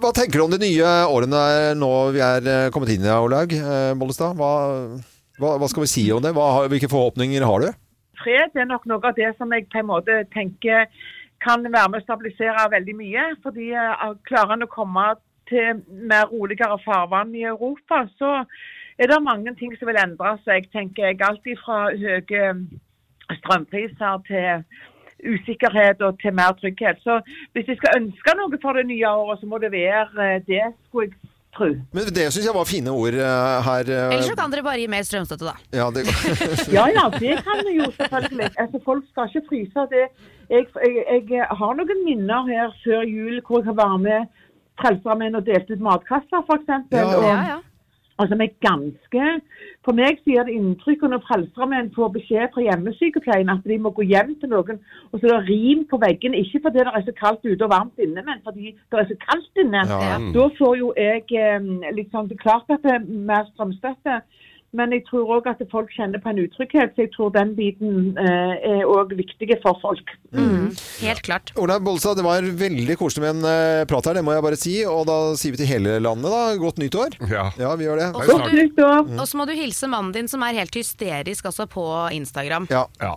Speaker 1: Hva tenker du om de nye årene er nå vi er eh, kommet inn i, Olaug eh, Bollestad? Hva, hva, hva skal vi si om det? Hva, har- hvilke forhåpninger har du?
Speaker 9: fred er nok noe av det som jeg på en måte tenker kan være med å stabilisere veldig mye. Fordi eh, klarer en å komme til mer roligere farvann i Europa, så er det mange ting som vil endre seg, tenker jeg. Alt fra høye eh, strømpriser til usikkerhet og til mer trygghet. Så hvis jeg skal ønske noe for det nye året, så må det være eh, det, skulle jeg tro.
Speaker 1: Men Det syns jeg var fine ord eh, her. eh,
Speaker 10: Ellers så kan dere bare gi mer strømstøtte, da.
Speaker 1: ja, det,
Speaker 9: Ja, ja, det kan vi jo selvfølgelig. Altså, folk skal ikke fryse. Det, jeg, jeg, jeg har noen minner her før jul hvor jeg var med Frelsesarmeen og delte ut matkasser, f.eks.
Speaker 1: Ja, ja.
Speaker 9: Og,
Speaker 10: Ja, ja.
Speaker 9: og som er ganske For meg så gjør det inntrykk når Frelsesarmeen får beskjed fra hjemmesykepleien at de må gå hjem til noen, og så er det rim på veggen. Ikke fordi det er så kaldt ute og varmt inne, men fordi det er så kaldt inne.
Speaker 1: ja.
Speaker 9: Da får jo jeg eh, litt sånn, det er klart at det er mer strømstøtte, men jeg tror òg at folk kjenner på en utrygghet. Så jeg tror den biten eh, er òg viktig for folk.
Speaker 2: Helt klart.
Speaker 1: Olaug Bollestad, det var veldig koselig med en eh, prat her, det må jeg bare si. Og da sier vi til hele landet, da. Godt nytt år.
Speaker 3: Ja.
Speaker 1: Ja, vi gjør det. Mm.
Speaker 3: Det er
Speaker 9: Godt
Speaker 3: snart.
Speaker 9: nyttår!
Speaker 10: Og så må du hilse mannen din som er helt hysterisk også på Instagram.
Speaker 1: Ja.
Speaker 3: Ja.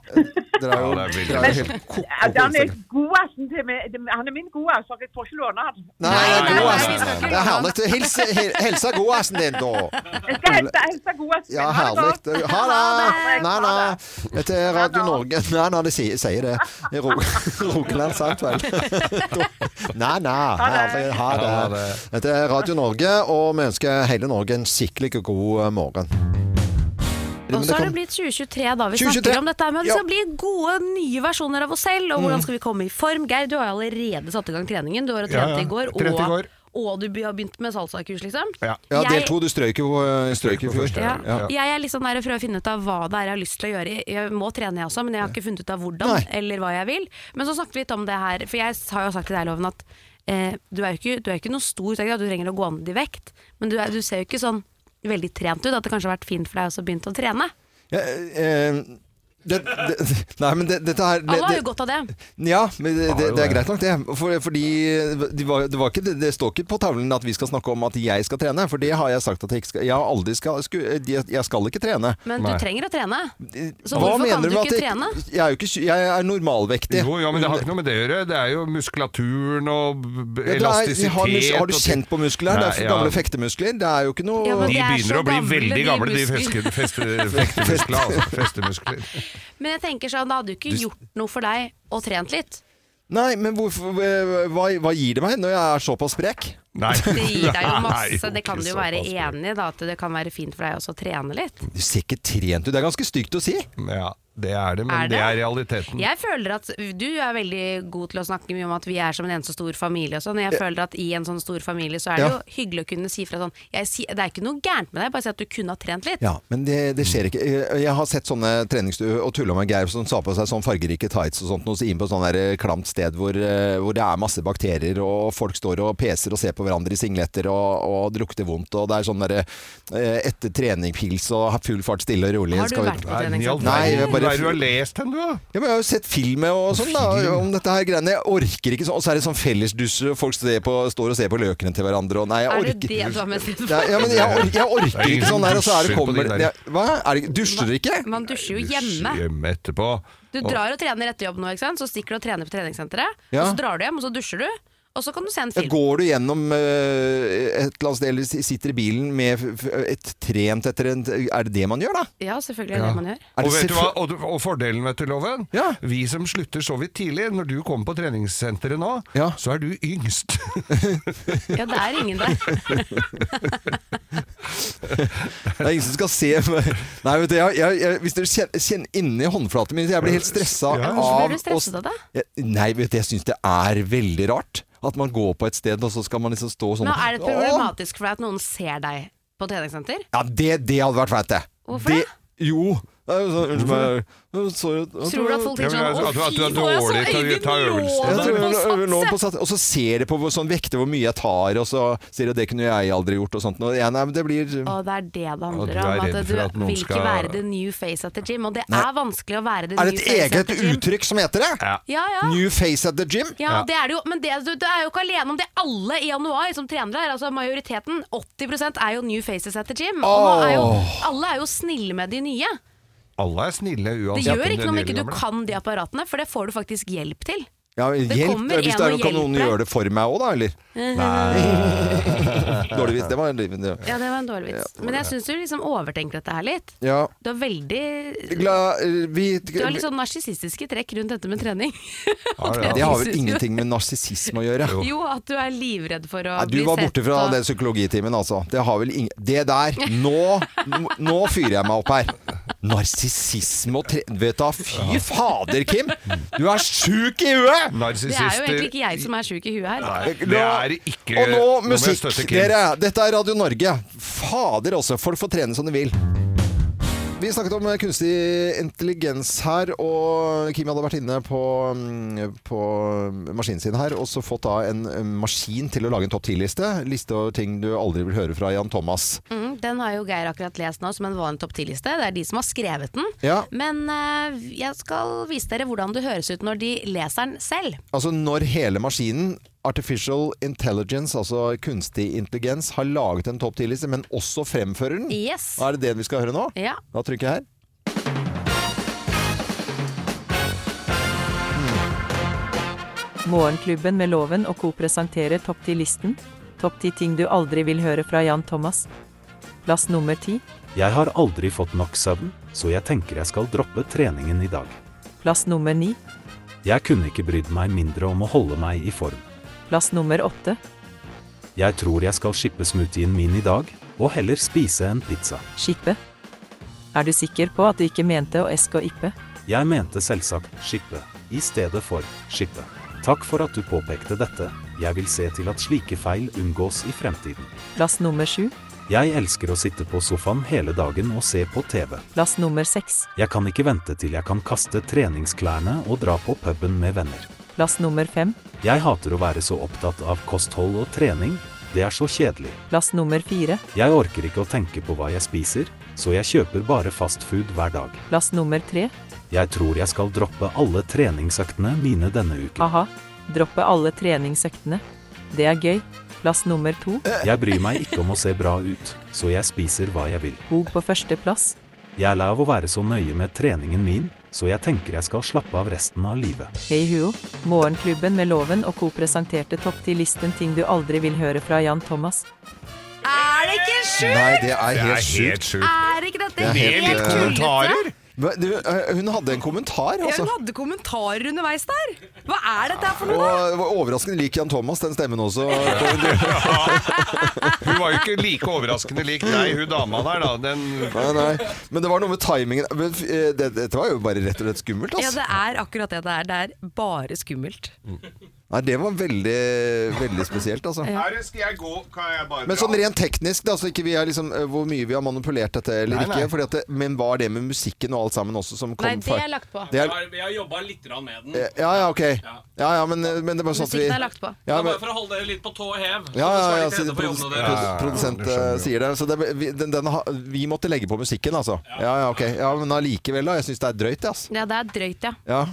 Speaker 1: Dere er jo,
Speaker 3: Ja, det er veldig
Speaker 1: dere er jo helt ko-ko på
Speaker 9: Ja, Han er
Speaker 1: Instagram.
Speaker 9: god, assen, til meg. Han er min gode, altså. Jeg får ikke låne han.
Speaker 1: Nei, det er
Speaker 3: Nei,
Speaker 1: god,
Speaker 3: nei,
Speaker 1: assen.
Speaker 3: vi skal ikke
Speaker 1: Det er herlig. Helse, hel- helsa god, assen din, da.
Speaker 9: Jeg skal helse, helse god assen.
Speaker 1: Ja,
Speaker 9: Ha det
Speaker 1: herlig.
Speaker 9: godt.
Speaker 1: Ha det! Nei,
Speaker 9: Ha
Speaker 1: nei.
Speaker 9: det.
Speaker 1: Dette er Radio Norge. Nei, nei, det sier, sier det. I Ro- Rogaland sant vel. Nei, nei. Herlig. Ha det. Dette er Radio Norge, og vi ønsker hele Norge en skikkelig god morgen.
Speaker 2: Og så har det blitt 2023, da vi
Speaker 1: 2023.
Speaker 2: snakker om dette. her, Men vi
Speaker 1: Ja.
Speaker 2: skal bli gode, nye versjoner av oss selv. Og
Speaker 3: Mm.
Speaker 2: hvordan skal vi komme i form? Geir, du har jo allerede satt i gang treningen. Du har jo
Speaker 3: Ja,
Speaker 2: trent
Speaker 3: ja.
Speaker 2: i går.
Speaker 3: Trent i går.
Speaker 2: Og, og du be- har begynt med salsakurs, liksom.
Speaker 3: Ja.
Speaker 1: Ja, del
Speaker 2: Jeg-
Speaker 1: to. Du strøyk jo eh, strøyk i fjor.
Speaker 2: Ja.
Speaker 1: Ja.
Speaker 2: Jeg er litt sånn der for å finne ut av hva det er jeg har lyst til å gjøre. Jeg må trene jeg også, men jeg har ikke funnet ut av hvordan
Speaker 1: Nei.
Speaker 2: eller hva jeg vil. Men så snakket vi litt om det her, for jeg har jo sagt til deg, Loven, at eh, du er jo ikke, du er jo ikke noe stor, så det er ikke at du trenger å gå ned i vekt, men du, er, du ser jo ikke sånn veldig trent ut, at det kanskje har vært fint for deg også å begynne å trene.
Speaker 1: Ja, eh, det, det, nei, men det, dette her det,
Speaker 2: Alle har
Speaker 1: det-
Speaker 2: jo godt av det.
Speaker 1: Ja, men det, det,
Speaker 3: jo
Speaker 1: det er
Speaker 3: det.
Speaker 1: greit nok det. For, fordi det, var, det, var ikke, det, det står ikke på tavlen at vi skal snakke om at jeg skal trene, for det har jeg sagt at jeg ikke skal. Jeg, har aldri skal, sku, jeg jeg skal ikke trene.
Speaker 2: Men
Speaker 3: Nei.
Speaker 2: du trenger å trene. Så hvorfor kan du
Speaker 1: med at
Speaker 2: ikke trene?
Speaker 1: Jeg, jeg er jo ikke sy- jeg er normalvektig.
Speaker 3: Jo, ja, men det har ikke noe med det å gjøre. Det er jo muskulaturen og
Speaker 1: Ja,
Speaker 3: b-
Speaker 1: det er-
Speaker 3: elastisitet
Speaker 1: har, mus- har du
Speaker 3: og-
Speaker 1: kjent på muskler? Det er
Speaker 3: Nei,
Speaker 1: for
Speaker 3: ja.
Speaker 1: gamle fektemuskler. Det er jo ikke noe
Speaker 2: Ja, men
Speaker 3: De
Speaker 2: Det er
Speaker 3: begynner
Speaker 2: så
Speaker 3: å bli
Speaker 2: gamle,
Speaker 3: veldig
Speaker 2: de
Speaker 3: gamle, de
Speaker 2: muskler.
Speaker 3: feske- feste- festemusklene. Altså. Festemuskler.
Speaker 2: Men jeg tenker sånn, det hadde jo ikke gjort noe for deg å trent litt.
Speaker 1: Nei, men hvorfor, hva, hva gir det meg når jeg er såpass sprek?
Speaker 3: Nei.
Speaker 2: Det gir deg jo
Speaker 3: Nei,
Speaker 2: masse, det kan
Speaker 3: ikke
Speaker 2: du jo være
Speaker 3: såpass.
Speaker 2: enig i, da, at det kan være fint for deg også å trene litt.
Speaker 1: Du ser ikke trent ut. Det er ganske stygt å si.
Speaker 3: Ja, det er det, men
Speaker 2: Er det?
Speaker 3: det? er realiteten.
Speaker 2: Jeg føler at du er veldig god til å snakke mye om at vi er som en eneste stor familie og sånn. Jeg føler at i en sånn stor familie så er det
Speaker 1: Ja.
Speaker 2: jo hyggelig å kunne si fra sånn jeg, si- Det er ikke noe gærent med deg, bare si at du kunne ha trent litt.
Speaker 1: Ja, men det, det skjer ikke. Eh, Jeg jeg har sett sånne treningsstuer og tulla med Geir som sa på seg sånn fargerike tights og sånt, og så inn på sånn der klamt sted hvor, eh, hvor det er masse bakterier, og folk står og peser og ser på hverandre i singletter, og, og det lukter vondt, og det er sånn derre eh, etter trening-pils og full fart stille og rolig.
Speaker 2: Har du
Speaker 1: skal vi-
Speaker 2: vært på
Speaker 3: Nei,
Speaker 2: trening?
Speaker 3: i all
Speaker 2: sant?
Speaker 1: Nei, jeg
Speaker 3: verden,
Speaker 1: bare-
Speaker 3: Hva er det du har lest hen, du? da?
Speaker 1: Ja, men jeg har jo sett film og sånn da, om dette her greiene. Jeg orker ikke sånn. Og så er det sånn fellesdusje, og folk ser på, står og ser på løkene til hverandre. Og nei, jeg
Speaker 2: Er det
Speaker 1: orker
Speaker 2: det du har mest lyst
Speaker 1: Ja,
Speaker 2: på?
Speaker 1: ja, men jeg, orker, jeg orker
Speaker 3: ingen
Speaker 1: ikke sånn der, og så er det
Speaker 3: dusjer på de
Speaker 1: kommer
Speaker 3: der.
Speaker 1: ja, Hva? Er det, dusjer dere ikke?
Speaker 2: Man dusjer jo hjemme.
Speaker 3: Dusj Hjemme etterpå.
Speaker 2: Du
Speaker 3: Og-
Speaker 2: drar og trener etter jobb nå, ikke sant? så stikker du og trener på treningssenteret.
Speaker 1: Ja.
Speaker 2: Og så drar du hjem, og så dusjer du. Og så kan du se en
Speaker 1: Ja,
Speaker 2: film.
Speaker 1: Går du gjennom eh, et eller annet sted, eller si- sitter i bilen med f- f- et trent etter en Er det det man gjør, da?
Speaker 2: Ja, selvfølgelig er det
Speaker 1: Ja.
Speaker 2: det man gjør.
Speaker 1: Er
Speaker 3: Og,
Speaker 1: det
Speaker 3: vet du hva,
Speaker 1: selvfø-
Speaker 3: og, du- og fordelen, vet du, Loven? Vi som slutter så vidt tidlig, når du kommer på treningssenteret nå, så er du yngst.
Speaker 2: Ja, det er ingen der.
Speaker 1: Det er ingen som skal se Nei, vet du, jeg, jeg, jeg, Hvis dere kjenner, kjenner inni håndflaten min så Jeg blir helt stressa
Speaker 2: Ja, hvorfor
Speaker 1: av
Speaker 2: blir du stresset av det?
Speaker 1: Jeg, nei, vet du, jeg syns det er veldig rart. At man går på et sted, og så skal man liksom stå sånn
Speaker 2: Men er det
Speaker 1: «Åh!»
Speaker 2: problematisk for deg at noen ser deg på treningssenter?
Speaker 1: Ja, det, det hadde vært feit, det.
Speaker 2: Hvorfor det?
Speaker 1: Jo. det er jo sånn, Unnskyld meg. Sorry.
Speaker 2: Tror du at folk tenker
Speaker 3: altså,
Speaker 2: sånn, «Å, fy, nå er jeg så Øyvind
Speaker 1: Jeg tror
Speaker 2: Loven på
Speaker 1: jeg
Speaker 2: satse!»
Speaker 1: lå på satse. Og så ser de på hvor- sånn vekter hvor mye jeg tar, og så sier de det kunne jeg aldri gjort, og sånt. Og jeg, nei, men det blir
Speaker 2: Og det er det det
Speaker 1: du
Speaker 2: handler
Speaker 1: er
Speaker 2: om.
Speaker 1: redd
Speaker 2: At du
Speaker 1: for at noen
Speaker 2: vil ikke
Speaker 1: skal-
Speaker 2: være the new face at the gym. Og det
Speaker 1: Nei.
Speaker 2: er vanskelig å være the
Speaker 1: Er
Speaker 2: new
Speaker 1: det et
Speaker 2: face at
Speaker 1: eget
Speaker 2: the gym.
Speaker 1: uttrykk som heter det?
Speaker 2: Ja, ja.
Speaker 1: New face at the gym?
Speaker 2: Ja, det er det jo, men det, du, du er jo ikke alene om det. Alle i januar som trenere er, altså majoriteten, 80 er jo new faces at the gym. Og nå er jo,
Speaker 3: Åh.
Speaker 2: alle er jo snille med de nye.
Speaker 3: Alle er snille
Speaker 2: Det
Speaker 3: uansett.
Speaker 2: gjør ikke noe om
Speaker 3: nye
Speaker 2: ikke du
Speaker 3: eller gamle.
Speaker 2: kan de apparatene, for det får du faktisk hjelp til.
Speaker 1: Ja,
Speaker 2: Det
Speaker 1: hjelp,
Speaker 2: kommer
Speaker 1: hvis
Speaker 2: en
Speaker 1: det er
Speaker 2: og
Speaker 1: noe, kan noen
Speaker 2: hjelper.
Speaker 1: gjøre det for meg òg, da, eller?
Speaker 2: Nei.
Speaker 1: Dårlig vits. Det var en liten ja.
Speaker 2: Ja, det var en dårlig vits. Men jeg syns du liksom overtenker dette her litt.
Speaker 1: Ja.
Speaker 2: Du har veldig
Speaker 1: Gla, vi,
Speaker 2: Du har litt sånn narsissistiske trekk rundt dette med trening.
Speaker 1: Ja,
Speaker 2: Og
Speaker 1: ja. Det har vel
Speaker 2: synes jo-
Speaker 1: ingenting med narsissisme å gjøre?
Speaker 2: Jo, at du er livredd for å
Speaker 1: Nei, du
Speaker 2: bli
Speaker 1: var
Speaker 2: sett
Speaker 1: borte fra
Speaker 2: og-
Speaker 1: den psykologitimen, altså. Det har vel ingen Det der! Nå, nå- nå fyrer jeg meg opp her. Narsissisme og tre... Vet du hva, fy fader, Kim! Du er sjuk i huet!
Speaker 2: Det er jo egentlig ikke jeg som er sjuk i huet her.
Speaker 1: Nå- Og nå musikk, dere! Dette er Radio Norge. Fader også, folk får trene som de vil. Vi snakket om eh, kunstig intelligens her, og Kim hadde vært inne på, mm, på maskinen sin her, og så fått da en mm, maskin til å lage en topp 10-liste. Liste over ting du aldri vil høre fra Jan Thomas.
Speaker 2: Mm, den har jo Geir akkurat lest nå som en vanlig topp 10-liste. Det er de som har skrevet den.
Speaker 1: Ja.
Speaker 2: Men eh, jeg skal vise dere hvordan det høres ut når de leser den selv.
Speaker 1: Altså når hele maskinen, artificial intelligence, altså kunstig intelligens, har laget en topp 10-liste, men også fremfører den.
Speaker 2: Yes.
Speaker 1: Er det det vi skal høre nå?
Speaker 2: Ja.
Speaker 1: Da trykker jeg her.
Speaker 11: Morgenklubben med Loven og Co. presenterer Topp 10-listen. Topp 10 ting du aldri vil høre fra Jan Thomas. Plass nummer 10.
Speaker 12: Jeg har aldri fått nok søvn, så jeg tenker jeg skal droppe treningen i dag.
Speaker 11: Plass nummer 9.
Speaker 12: Jeg kunne ikke brydd meg mindre om å holde meg i form.
Speaker 11: Plass nummer 8.
Speaker 12: Jeg tror jeg skal skippe smoothien min i dag, og heller spise en pizza.
Speaker 11: Skippe. Er du sikker på at du ikke mente å eske og ippe?
Speaker 12: Jeg mente selvsagt skippe, i stedet for skippe. Takk for at du påpekte dette, jeg vil se til at slike feil unngås i fremtiden.
Speaker 11: Plass nummer 7.
Speaker 12: Jeg elsker å sitte på sofaen hele dagen og se på TV.
Speaker 11: Plass nummer 6.
Speaker 12: Jeg kan ikke vente til jeg kan kaste treningsklærne og dra på puben med venner.
Speaker 11: Plass nummer 5.
Speaker 12: Jeg hater å være så opptatt av kosthold og trening. Det er så kjedelig.
Speaker 11: Plass nummer 4.
Speaker 12: Jeg orker ikke å tenke på hva jeg spiser, så jeg kjøper bare fast food hver dag.
Speaker 11: Plass nummer 3.
Speaker 12: Jeg tror jeg skal droppe alle treningsøktene mine denne uken.
Speaker 11: Aha. Droppe alle treningsøktene. Det er gøy. Plass nummer 2.
Speaker 12: Jeg bryr meg ikke om å se bra ut, så jeg spiser hva jeg vil.
Speaker 11: Bok på førsteplass.
Speaker 12: Jeg er lei av å være så nøye med treningen min, så jeg tenker jeg skal slappe av resten av livet.
Speaker 11: Hei Huo, Morgenklubben med Loven og co. presenterte topp 10-listen ting du aldri vil høre fra Jan Thomas.
Speaker 2: Er det ikke sjukt?!
Speaker 1: Nei, det er
Speaker 3: Det er
Speaker 1: helt
Speaker 3: helt
Speaker 1: sjukt.
Speaker 3: sjukt.
Speaker 2: Er ikke dette helt,
Speaker 1: eh,
Speaker 2: tullete?
Speaker 1: Hva- du, eh, Hun hadde en kommentar,
Speaker 2: Ja,
Speaker 1: altså.
Speaker 2: hun hadde kommentarer underveis der! Hva er dette her for
Speaker 1: Og
Speaker 2: noe?
Speaker 1: det var overraskende lik Jan Thomas, den stemmen også.
Speaker 3: Hun var jo ikke like overraskende lik deg, hun dama der, da. Den
Speaker 1: Nei, nei. Men det var noe med timingen Men, eh, det- Dette var jo bare rett og slett skummelt,
Speaker 2: Ja,
Speaker 1: altså.
Speaker 2: det er akkurat det det er. Det er bare skummelt.
Speaker 1: Nei, det var veldig, veldig spesielt, altså.
Speaker 3: skal jeg gå, kan jeg bare
Speaker 1: Men sånn rent teknisk, da, så ikke vi er liksom, eh, hvor mye vi har manipulert dette eller
Speaker 3: Nei, nei.
Speaker 1: ikke. Fordi at det, men var det med musikken og alt sammen også som kom
Speaker 2: Nei, det
Speaker 1: fra-
Speaker 2: er lagt på.
Speaker 1: Det er-
Speaker 4: Jeg har- Jeg har jobba litt grann med den.
Speaker 1: Ja, ja, ok. Ja, ja, men, eh, men det er bare sånn at vi
Speaker 4: Musikken er lagt på.
Speaker 1: Ja,
Speaker 4: Det er bare
Speaker 1: men,
Speaker 4: for å holde dere litt på tå og hev. så
Speaker 1: Ja, ja, ja,
Speaker 4: det skal litt
Speaker 1: siden
Speaker 4: rede på
Speaker 1: produs
Speaker 4: jobbene
Speaker 1: pro-
Speaker 4: deres.
Speaker 1: produsent
Speaker 3: Ja, ja, ja,
Speaker 1: eh, sier det. Så det, vi, den, den, har- vi måtte legge på musikken, altså. Ja, ja, ok. Ja, men allikevel, da. Jeg syns det er drøyt, altså.
Speaker 2: Ja, det er drøyt, ja.
Speaker 1: Ja.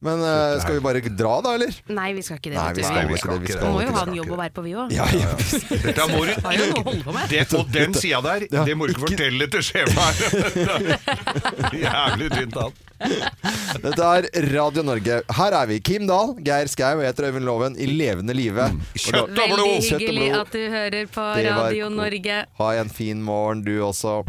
Speaker 1: Men eh, skal vi bare dra da, eller?
Speaker 2: Nei, vi skal ikke det.
Speaker 1: Nei,
Speaker 2: vet
Speaker 1: vi
Speaker 2: du.
Speaker 1: skal ikke det, vi skal
Speaker 2: Vi må
Speaker 1: ikke
Speaker 2: jo ha
Speaker 1: det.
Speaker 2: en jobb å være på, vi òg.
Speaker 1: Ja, ja.
Speaker 3: Dette må du
Speaker 2: Har jo noe å holde på med.
Speaker 3: det, Og den sida der, det må du ikke fortelle til skjemaet! Jævlig tynt an.
Speaker 1: Dette er Radio Norge. Her er vi. Kim Dahl, Geir Skau og jeg heter Øyvind Loven i levende live. Og da-
Speaker 2: Veldig
Speaker 1: Kjøtt og
Speaker 2: hyggelig
Speaker 1: blod.
Speaker 2: at du hører på
Speaker 1: Det var
Speaker 2: Radio
Speaker 1: kos-
Speaker 2: Norge.
Speaker 1: Ha en fin morgen, du også.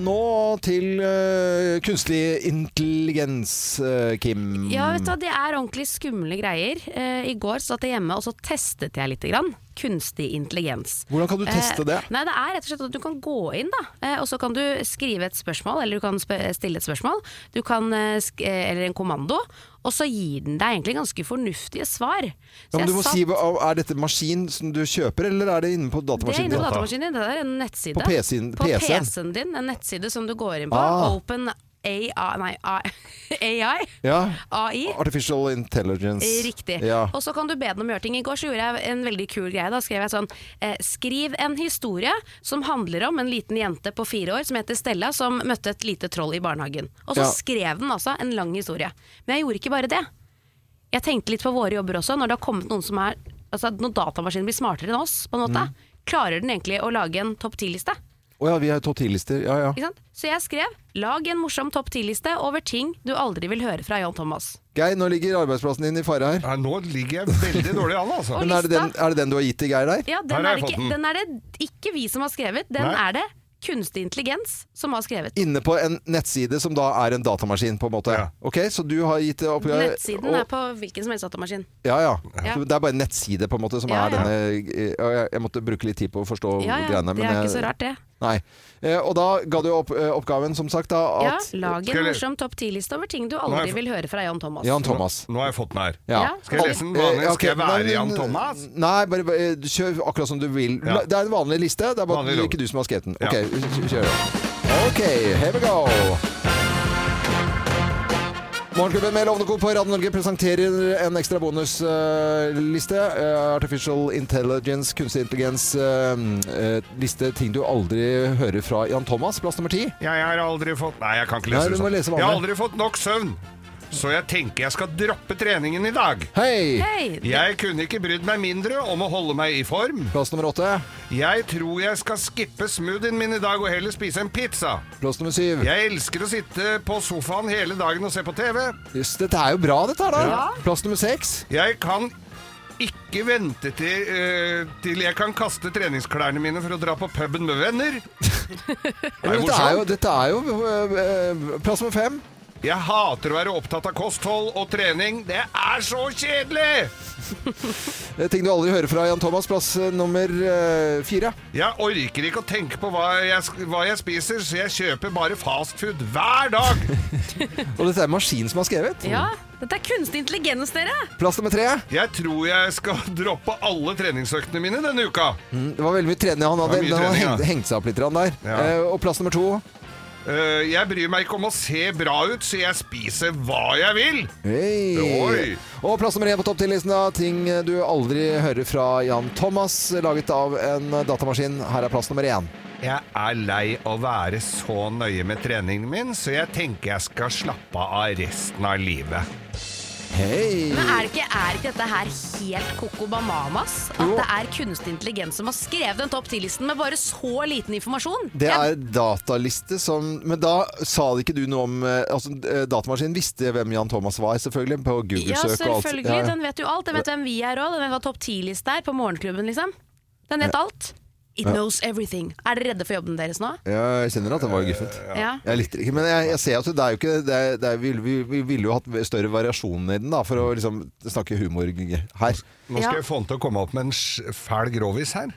Speaker 1: Nå til eh, kunstlig intelligens, eh, Kim.
Speaker 2: Ja, vet du, hva, det er ordentlig skumle greier. Eh, I går satt jeg hjemme og så testet jeg litt. Grann. Kunstig intelligens. Eh,
Speaker 1: Hvordan kan du teste det?
Speaker 2: Nei, det er rett og slett at Du kan gå inn da, eh, og så kan du skrive et spørsmål, eller du kan sp stille et spørsmål. Du kan, eh, sk eh, eller en kommando, og så gir den deg egentlig ganske fornuftige svar. Så
Speaker 1: Ja, men
Speaker 2: jeg
Speaker 1: du må
Speaker 2: satt-
Speaker 1: si, hva- Er dette maskin som du kjøper, eller er det inne på
Speaker 2: det er
Speaker 1: datamaskinen?
Speaker 2: inne på datamaskinen din. Det er en nettside.
Speaker 1: På PC-en
Speaker 2: På
Speaker 1: PC-en.
Speaker 2: PC-en din, en nettside som du går inn på.
Speaker 1: Ah.
Speaker 2: Open AI, nei, AI.
Speaker 1: Ja.
Speaker 2: AI.
Speaker 1: Artificial Intelligence.
Speaker 2: Riktig.
Speaker 1: Ja.
Speaker 2: Og så kan du be den om å gjøre ting. I går så gjorde jeg en veldig kul greie. Da skrev jeg sånn eh, Skriv en historie som handler om en liten jente på fire år som heter Stella, som møtte et lite troll i barnehagen. Og så
Speaker 7: Ja.
Speaker 2: skrev den altså en lang historie. Men jeg gjorde ikke bare det. Jeg tenkte litt på våre jobber også, når det har kommet noen som er Altså når datamaskinen blir smartere enn oss, på en måte.
Speaker 1: Mm.
Speaker 2: Klarer den egentlig å lage en topp ti-liste?
Speaker 1: Å ja, vi har topp 10-lister. Ja, ja.
Speaker 2: Ikke sant? Så jeg skrev 'Lag en morsom topp ti-liste over ting du aldri vil høre fra Jan Thomas'.
Speaker 1: Geir, nå ligger arbeidsplassen din i fare her.
Speaker 3: Ja, nå ligger jeg veldig dårlig an, altså.
Speaker 2: Og
Speaker 1: Men er det, den, er det den du har gitt til Geir der?
Speaker 2: Ja, den er, det ikke, den er det ikke vi som har skrevet, den
Speaker 1: Nei.
Speaker 2: er det kunstig intelligens som har skrevet.
Speaker 1: Inne på en nettside som da er en datamaskin, på en måte. Ok, Så du har gitt opp
Speaker 2: Nettsiden
Speaker 1: og-
Speaker 2: er på hvilken som helst datamaskin.
Speaker 1: Ja, ja.
Speaker 2: Ja.
Speaker 1: Så Det er bare en nettside, på en måte, som
Speaker 2: Ja,
Speaker 1: er
Speaker 2: ja.
Speaker 1: denne og jeg, jeg måtte bruke litt tid på å forstå
Speaker 2: Ja, ja,
Speaker 1: greiene.
Speaker 2: det er ikke så rart, det.
Speaker 1: Nei. Eh, Og da ga du opp, eh, oppgaven, som sagt, da
Speaker 2: Ja,
Speaker 1: at
Speaker 2: Lag en morsom topp ti-liste over ting du aldri
Speaker 1: Nei, for-
Speaker 2: vil høre fra Jan Thomas.
Speaker 1: Jan Thomas.
Speaker 3: Nå, nå har jeg fått den her.
Speaker 1: Ja.
Speaker 3: Skal jeg lese den vanlig?
Speaker 1: Eh, ok,
Speaker 3: Skal jeg
Speaker 1: nei,
Speaker 3: være
Speaker 1: men-
Speaker 3: Jan Thomas?
Speaker 1: Nei, bare, bare eh, kjør akkurat som du vil. La- Det er en vanlig liste, det er bare
Speaker 3: Vanlig lov.
Speaker 1: ikke du som har skrevet den.
Speaker 3: Ja.
Speaker 1: Ok, kj- kjør. Ok, here we go. Morgenklubben med Lovende Co. på Radio Norge presenterer en ekstra bonusliste. Eh, Artificial Intelligence, kunstig intelligens, eh, eh, liste ting du aldri hører fra Jan Thomas, plass nummer ti.
Speaker 3: Ja, jeg har aldri fått Nei, jeg kan ikke
Speaker 1: Nei,
Speaker 3: lese
Speaker 1: du
Speaker 3: det
Speaker 1: må
Speaker 3: sånn.
Speaker 1: lese vanlig.
Speaker 3: jeg har aldri fått nok søvn. Så jeg tenker jeg skal droppe treningen i dag.
Speaker 1: Hei!
Speaker 2: Hei!
Speaker 3: Jeg kunne ikke brydd meg mindre om å holde meg i form.
Speaker 1: Plass nummer åtte.
Speaker 3: Jeg tror jeg skal skippe smoothien min i dag og heller spise en pizza.
Speaker 1: Plass nummer syv.
Speaker 3: Jeg elsker å sitte på sofaen hele dagen og se på TV.
Speaker 1: Jøss, dette er jo bra, dette her, da.
Speaker 3: Ja.
Speaker 1: Plass nummer seks.
Speaker 3: Jeg kan ikke vente til, eh, til jeg kan kaste treningsklærne mine for å dra på puben med venner.
Speaker 1: Men dette er jo, dette er jo eh, eh, plass nummer fem.
Speaker 3: Jeg hater å være opptatt av kosthold og trening. Det er så kjedelig!
Speaker 1: Det er Eh, ting du aldri hører fra Jan Thomas, plass eh, nummer eh, fire.
Speaker 3: Jeg orker ikke å tenke på hva jeg, sk- hva jeg spiser, så jeg kjøper bare fastfood hver dag.
Speaker 1: Og dette er en maskin som har skrevet.
Speaker 2: Ja, dette er kunstig intelligens, dere!
Speaker 1: Plass nummer tre.
Speaker 3: Jeg tror jeg skal droppe alle treningsøktene mine denne uka.
Speaker 1: Mm, Det var veldig mye trening. Han hadde,
Speaker 3: Det var mye
Speaker 1: den hadde
Speaker 3: trening, ja.
Speaker 1: hengt, hengt seg opp litt grann der. Eh, og plass nummer to.
Speaker 3: Eh, jeg bryr meg ikke om å se bra ut, så jeg spiser hva jeg vil.
Speaker 1: Hei.
Speaker 3: Oi.
Speaker 1: Og plass nummer én på topp 10-listen av ting eh, du aldri hører fra Jan Thomas, laget av en datamaskin. Her er plass nummer én.
Speaker 3: Jeg er lei å være så nøye med treningen min, så jeg tenker jeg skal slappe av resten av livet.
Speaker 1: Hei!
Speaker 2: Men er ikke, er ikke dette her helt koko bananas? At det er kunstig intelligens som har skrevet den topp ti-listen med bare så liten informasjon?
Speaker 1: Det er dataliste som Men da sa det ikke du noe om eh, altså, eh, Datamaskinen visste hvem Jan Thomas var, selvfølgelig, på
Speaker 2: Ja,
Speaker 1: Google-søk og alt.
Speaker 2: selvfølgelig. Den vet jo alt. Den vet hvem vi er òg. Den vet hva topp ti-liste er på morgenklubben, liksom. Den vet
Speaker 1: Ja.
Speaker 2: alt. It
Speaker 1: Ja.
Speaker 2: knows everything. Er dere redde for jobben deres nå?
Speaker 1: Ja, jeg kjenner at den var guffent.
Speaker 2: Ja.
Speaker 1: Jeg likte det ikke, men jeg, jeg ser at det er jo ikke det er, det er, vi, vi, vi ville jo hatt større variasjon i den, da, for å liksom snakke humor her.
Speaker 3: Nå skal jeg få han til å komme opp med en sj- fæl grovis her.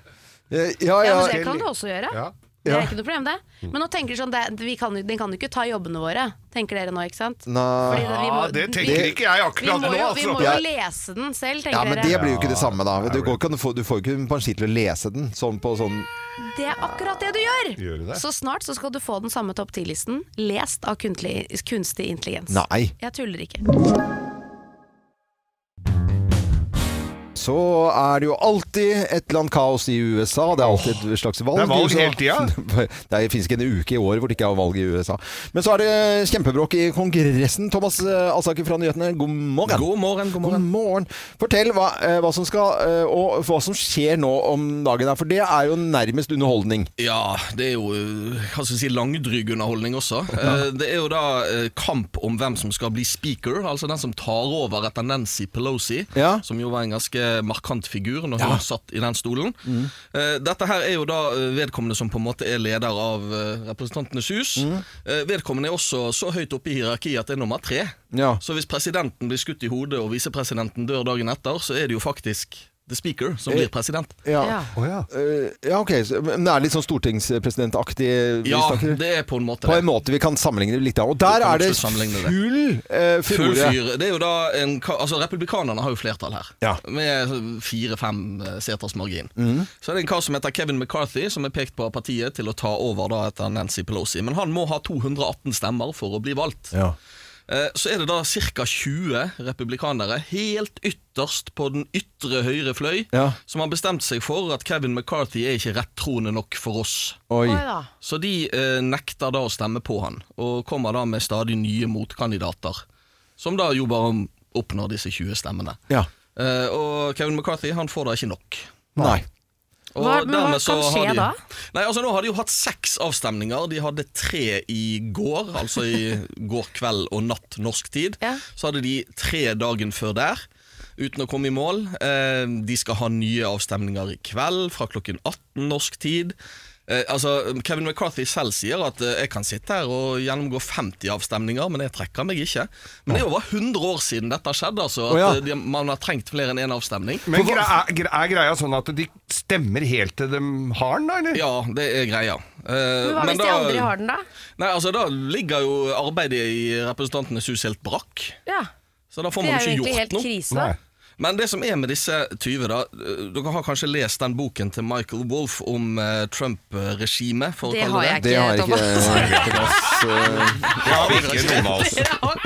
Speaker 1: Ja, Eh, ja,
Speaker 2: Ja,
Speaker 1: ja.
Speaker 2: men det kan du også gjøre.
Speaker 3: Ja.
Speaker 2: Det
Speaker 1: Ja. Mm.
Speaker 2: er ikke noe problem, det. Men nå tenker du sånn, det, vi kan, jo- den kan jo ikke ta jobbene våre, tenker dere nå, ikke sant?
Speaker 1: Nei.
Speaker 2: Fordi vi må-
Speaker 3: Ah, det tenker
Speaker 2: vi-
Speaker 3: ikke jeg
Speaker 2: Vi må
Speaker 3: akkurat nå,
Speaker 2: jo, vi
Speaker 3: altså.
Speaker 2: må jo lese den selv,
Speaker 1: Ja,
Speaker 2: tenker
Speaker 1: men
Speaker 2: dere.
Speaker 1: det blir jo ikke det samme, da. Du, går ikke, an å få- du får jo ikke en pensji til å lese den sånn på sånn
Speaker 2: Det er akkurat det du gjør!
Speaker 1: Gjør du det?
Speaker 2: Så snart så skal du få den samme topp 10-listen, lest av kunstig, kunstig intelligens.
Speaker 1: Eh, Nei.
Speaker 2: Jeg tuller ikke.
Speaker 1: så er det jo alltid et eller annet kaos i USA. Det er alltid et slags valg.
Speaker 3: Det er valg
Speaker 1: i USA.
Speaker 3: hele tida.
Speaker 1: Det finnes ikke en uke i året hvor det ikke er valg i USA. Men så er det kjempebråk i Kongressen. Thomas eh, Alsaker fra Nyhetene, god morgen.
Speaker 13: God morgen, god
Speaker 1: morgen. Fortell hva, eh, hva som skal, eh, og hva som skjer nå om dagen her, for det er jo nærmest underholdning.
Speaker 13: Ja, det er jo eh, hva skal vi si, langdryg underholdning også. Eh, Det er jo da eh, kamp om hvem som skal bli speaker, altså den som tar over etter Nancy Pelosi, som jo var en ganske markant figur når hun satt i den stolen.
Speaker 1: Mm.
Speaker 13: Eh, Dette her er jo da eh, vedkommende som på en måte er leder av eh, Representantenes hus.
Speaker 1: Mm.
Speaker 13: Eh, Vedkommende er også så høyt oppe i hierarkiet at det er nummer tre.
Speaker 1: Ja.
Speaker 13: Så hvis presidenten blir skutt i hodet og visepresidenten dør dagen etter, så er det jo faktisk the speaker som blir president.
Speaker 1: Ja, Eh, ja ok. Så, men det er litt sånn stortingspresidentaktig? vi
Speaker 13: Ja,
Speaker 1: snakker-
Speaker 13: det er på en måte
Speaker 1: På
Speaker 13: det.
Speaker 1: en måte vi kan sammenligne det litt av. Og der
Speaker 13: kan
Speaker 1: er det
Speaker 13: absolutt sammenligne det.
Speaker 1: full eh,
Speaker 13: Full
Speaker 1: furore.
Speaker 13: fyr. Det er jo da en, ka- altså Republikanerne har jo flertall her,
Speaker 1: Ja.
Speaker 13: med fire-fem eh, seters margin.
Speaker 1: Mhm.
Speaker 13: Så er det en kar som heter Kevin McCarthy, som er pekt på av partiet til å ta over da etter Nancy Pelosi. Men han må ha 218 stemmer for å bli valgt.
Speaker 1: Ja.
Speaker 13: Eh, Så er det da ca. 20 republikanere, helt ytterst på den ytre høyre fløy,
Speaker 1: Ja.
Speaker 13: som har bestemt seg for at Kevin McCarthy er ikke rettroende nok for oss.
Speaker 1: Oi. Oi
Speaker 10: da.
Speaker 13: Så de eh, nekter da å stemme på han, og kommer da med stadig nye motkandidater, som da jo bare oppnår disse 20 stemmene.
Speaker 1: Ja.
Speaker 13: Eh, og Kevin McCarthy han får da ikke nok.
Speaker 1: Nei.
Speaker 13: Og
Speaker 10: Hva- men hva
Speaker 13: dermed så
Speaker 10: kan
Speaker 13: har
Speaker 10: skje
Speaker 13: de,
Speaker 10: da?
Speaker 13: Nei, altså Nå har de jo hatt seks avstemninger. De hadde tre i går, altså i går kveld og natt norsk tid. Så hadde de tre dagen før der, uten å komme i mål. Eh, de skal ha nye avstemninger i kveld, fra klokken 18 norsk tid. Eh, altså, Kevin McCarthy selv sier at eh, jeg kan sitte her og gjennomgå 50 avstemninger, men jeg trekker meg ikke. Men det er jo over 100 år siden dette skjedde, altså. At
Speaker 3: Å, ja.
Speaker 13: eh, de, man har trengt flere enn én avstemning.
Speaker 3: Men
Speaker 13: For-
Speaker 3: gre er, gre- er greia sånn at de stemmer helt til de har den, da? eller?
Speaker 13: Ja, det er greia. Eh,
Speaker 2: Men hva hvis de aldri har den, da?
Speaker 13: Nei, altså Da ligger jo arbeidet i Representantenes hus helt brakk.
Speaker 2: Ja.
Speaker 13: Så da får
Speaker 2: Det
Speaker 13: man
Speaker 2: er jo
Speaker 13: ikke
Speaker 2: egentlig
Speaker 13: gjort
Speaker 2: helt
Speaker 13: noe.
Speaker 2: krise, da. Nei.
Speaker 13: Men det som er med disse 20, da eh, Dere har kanskje lest den boken til Michael Wolff om eh, Trump-regimet? for å
Speaker 2: Det
Speaker 13: kalle
Speaker 2: har jeg ikke, Det har jeg ikke, eh, Thomas. eh.
Speaker 3: ikke noen av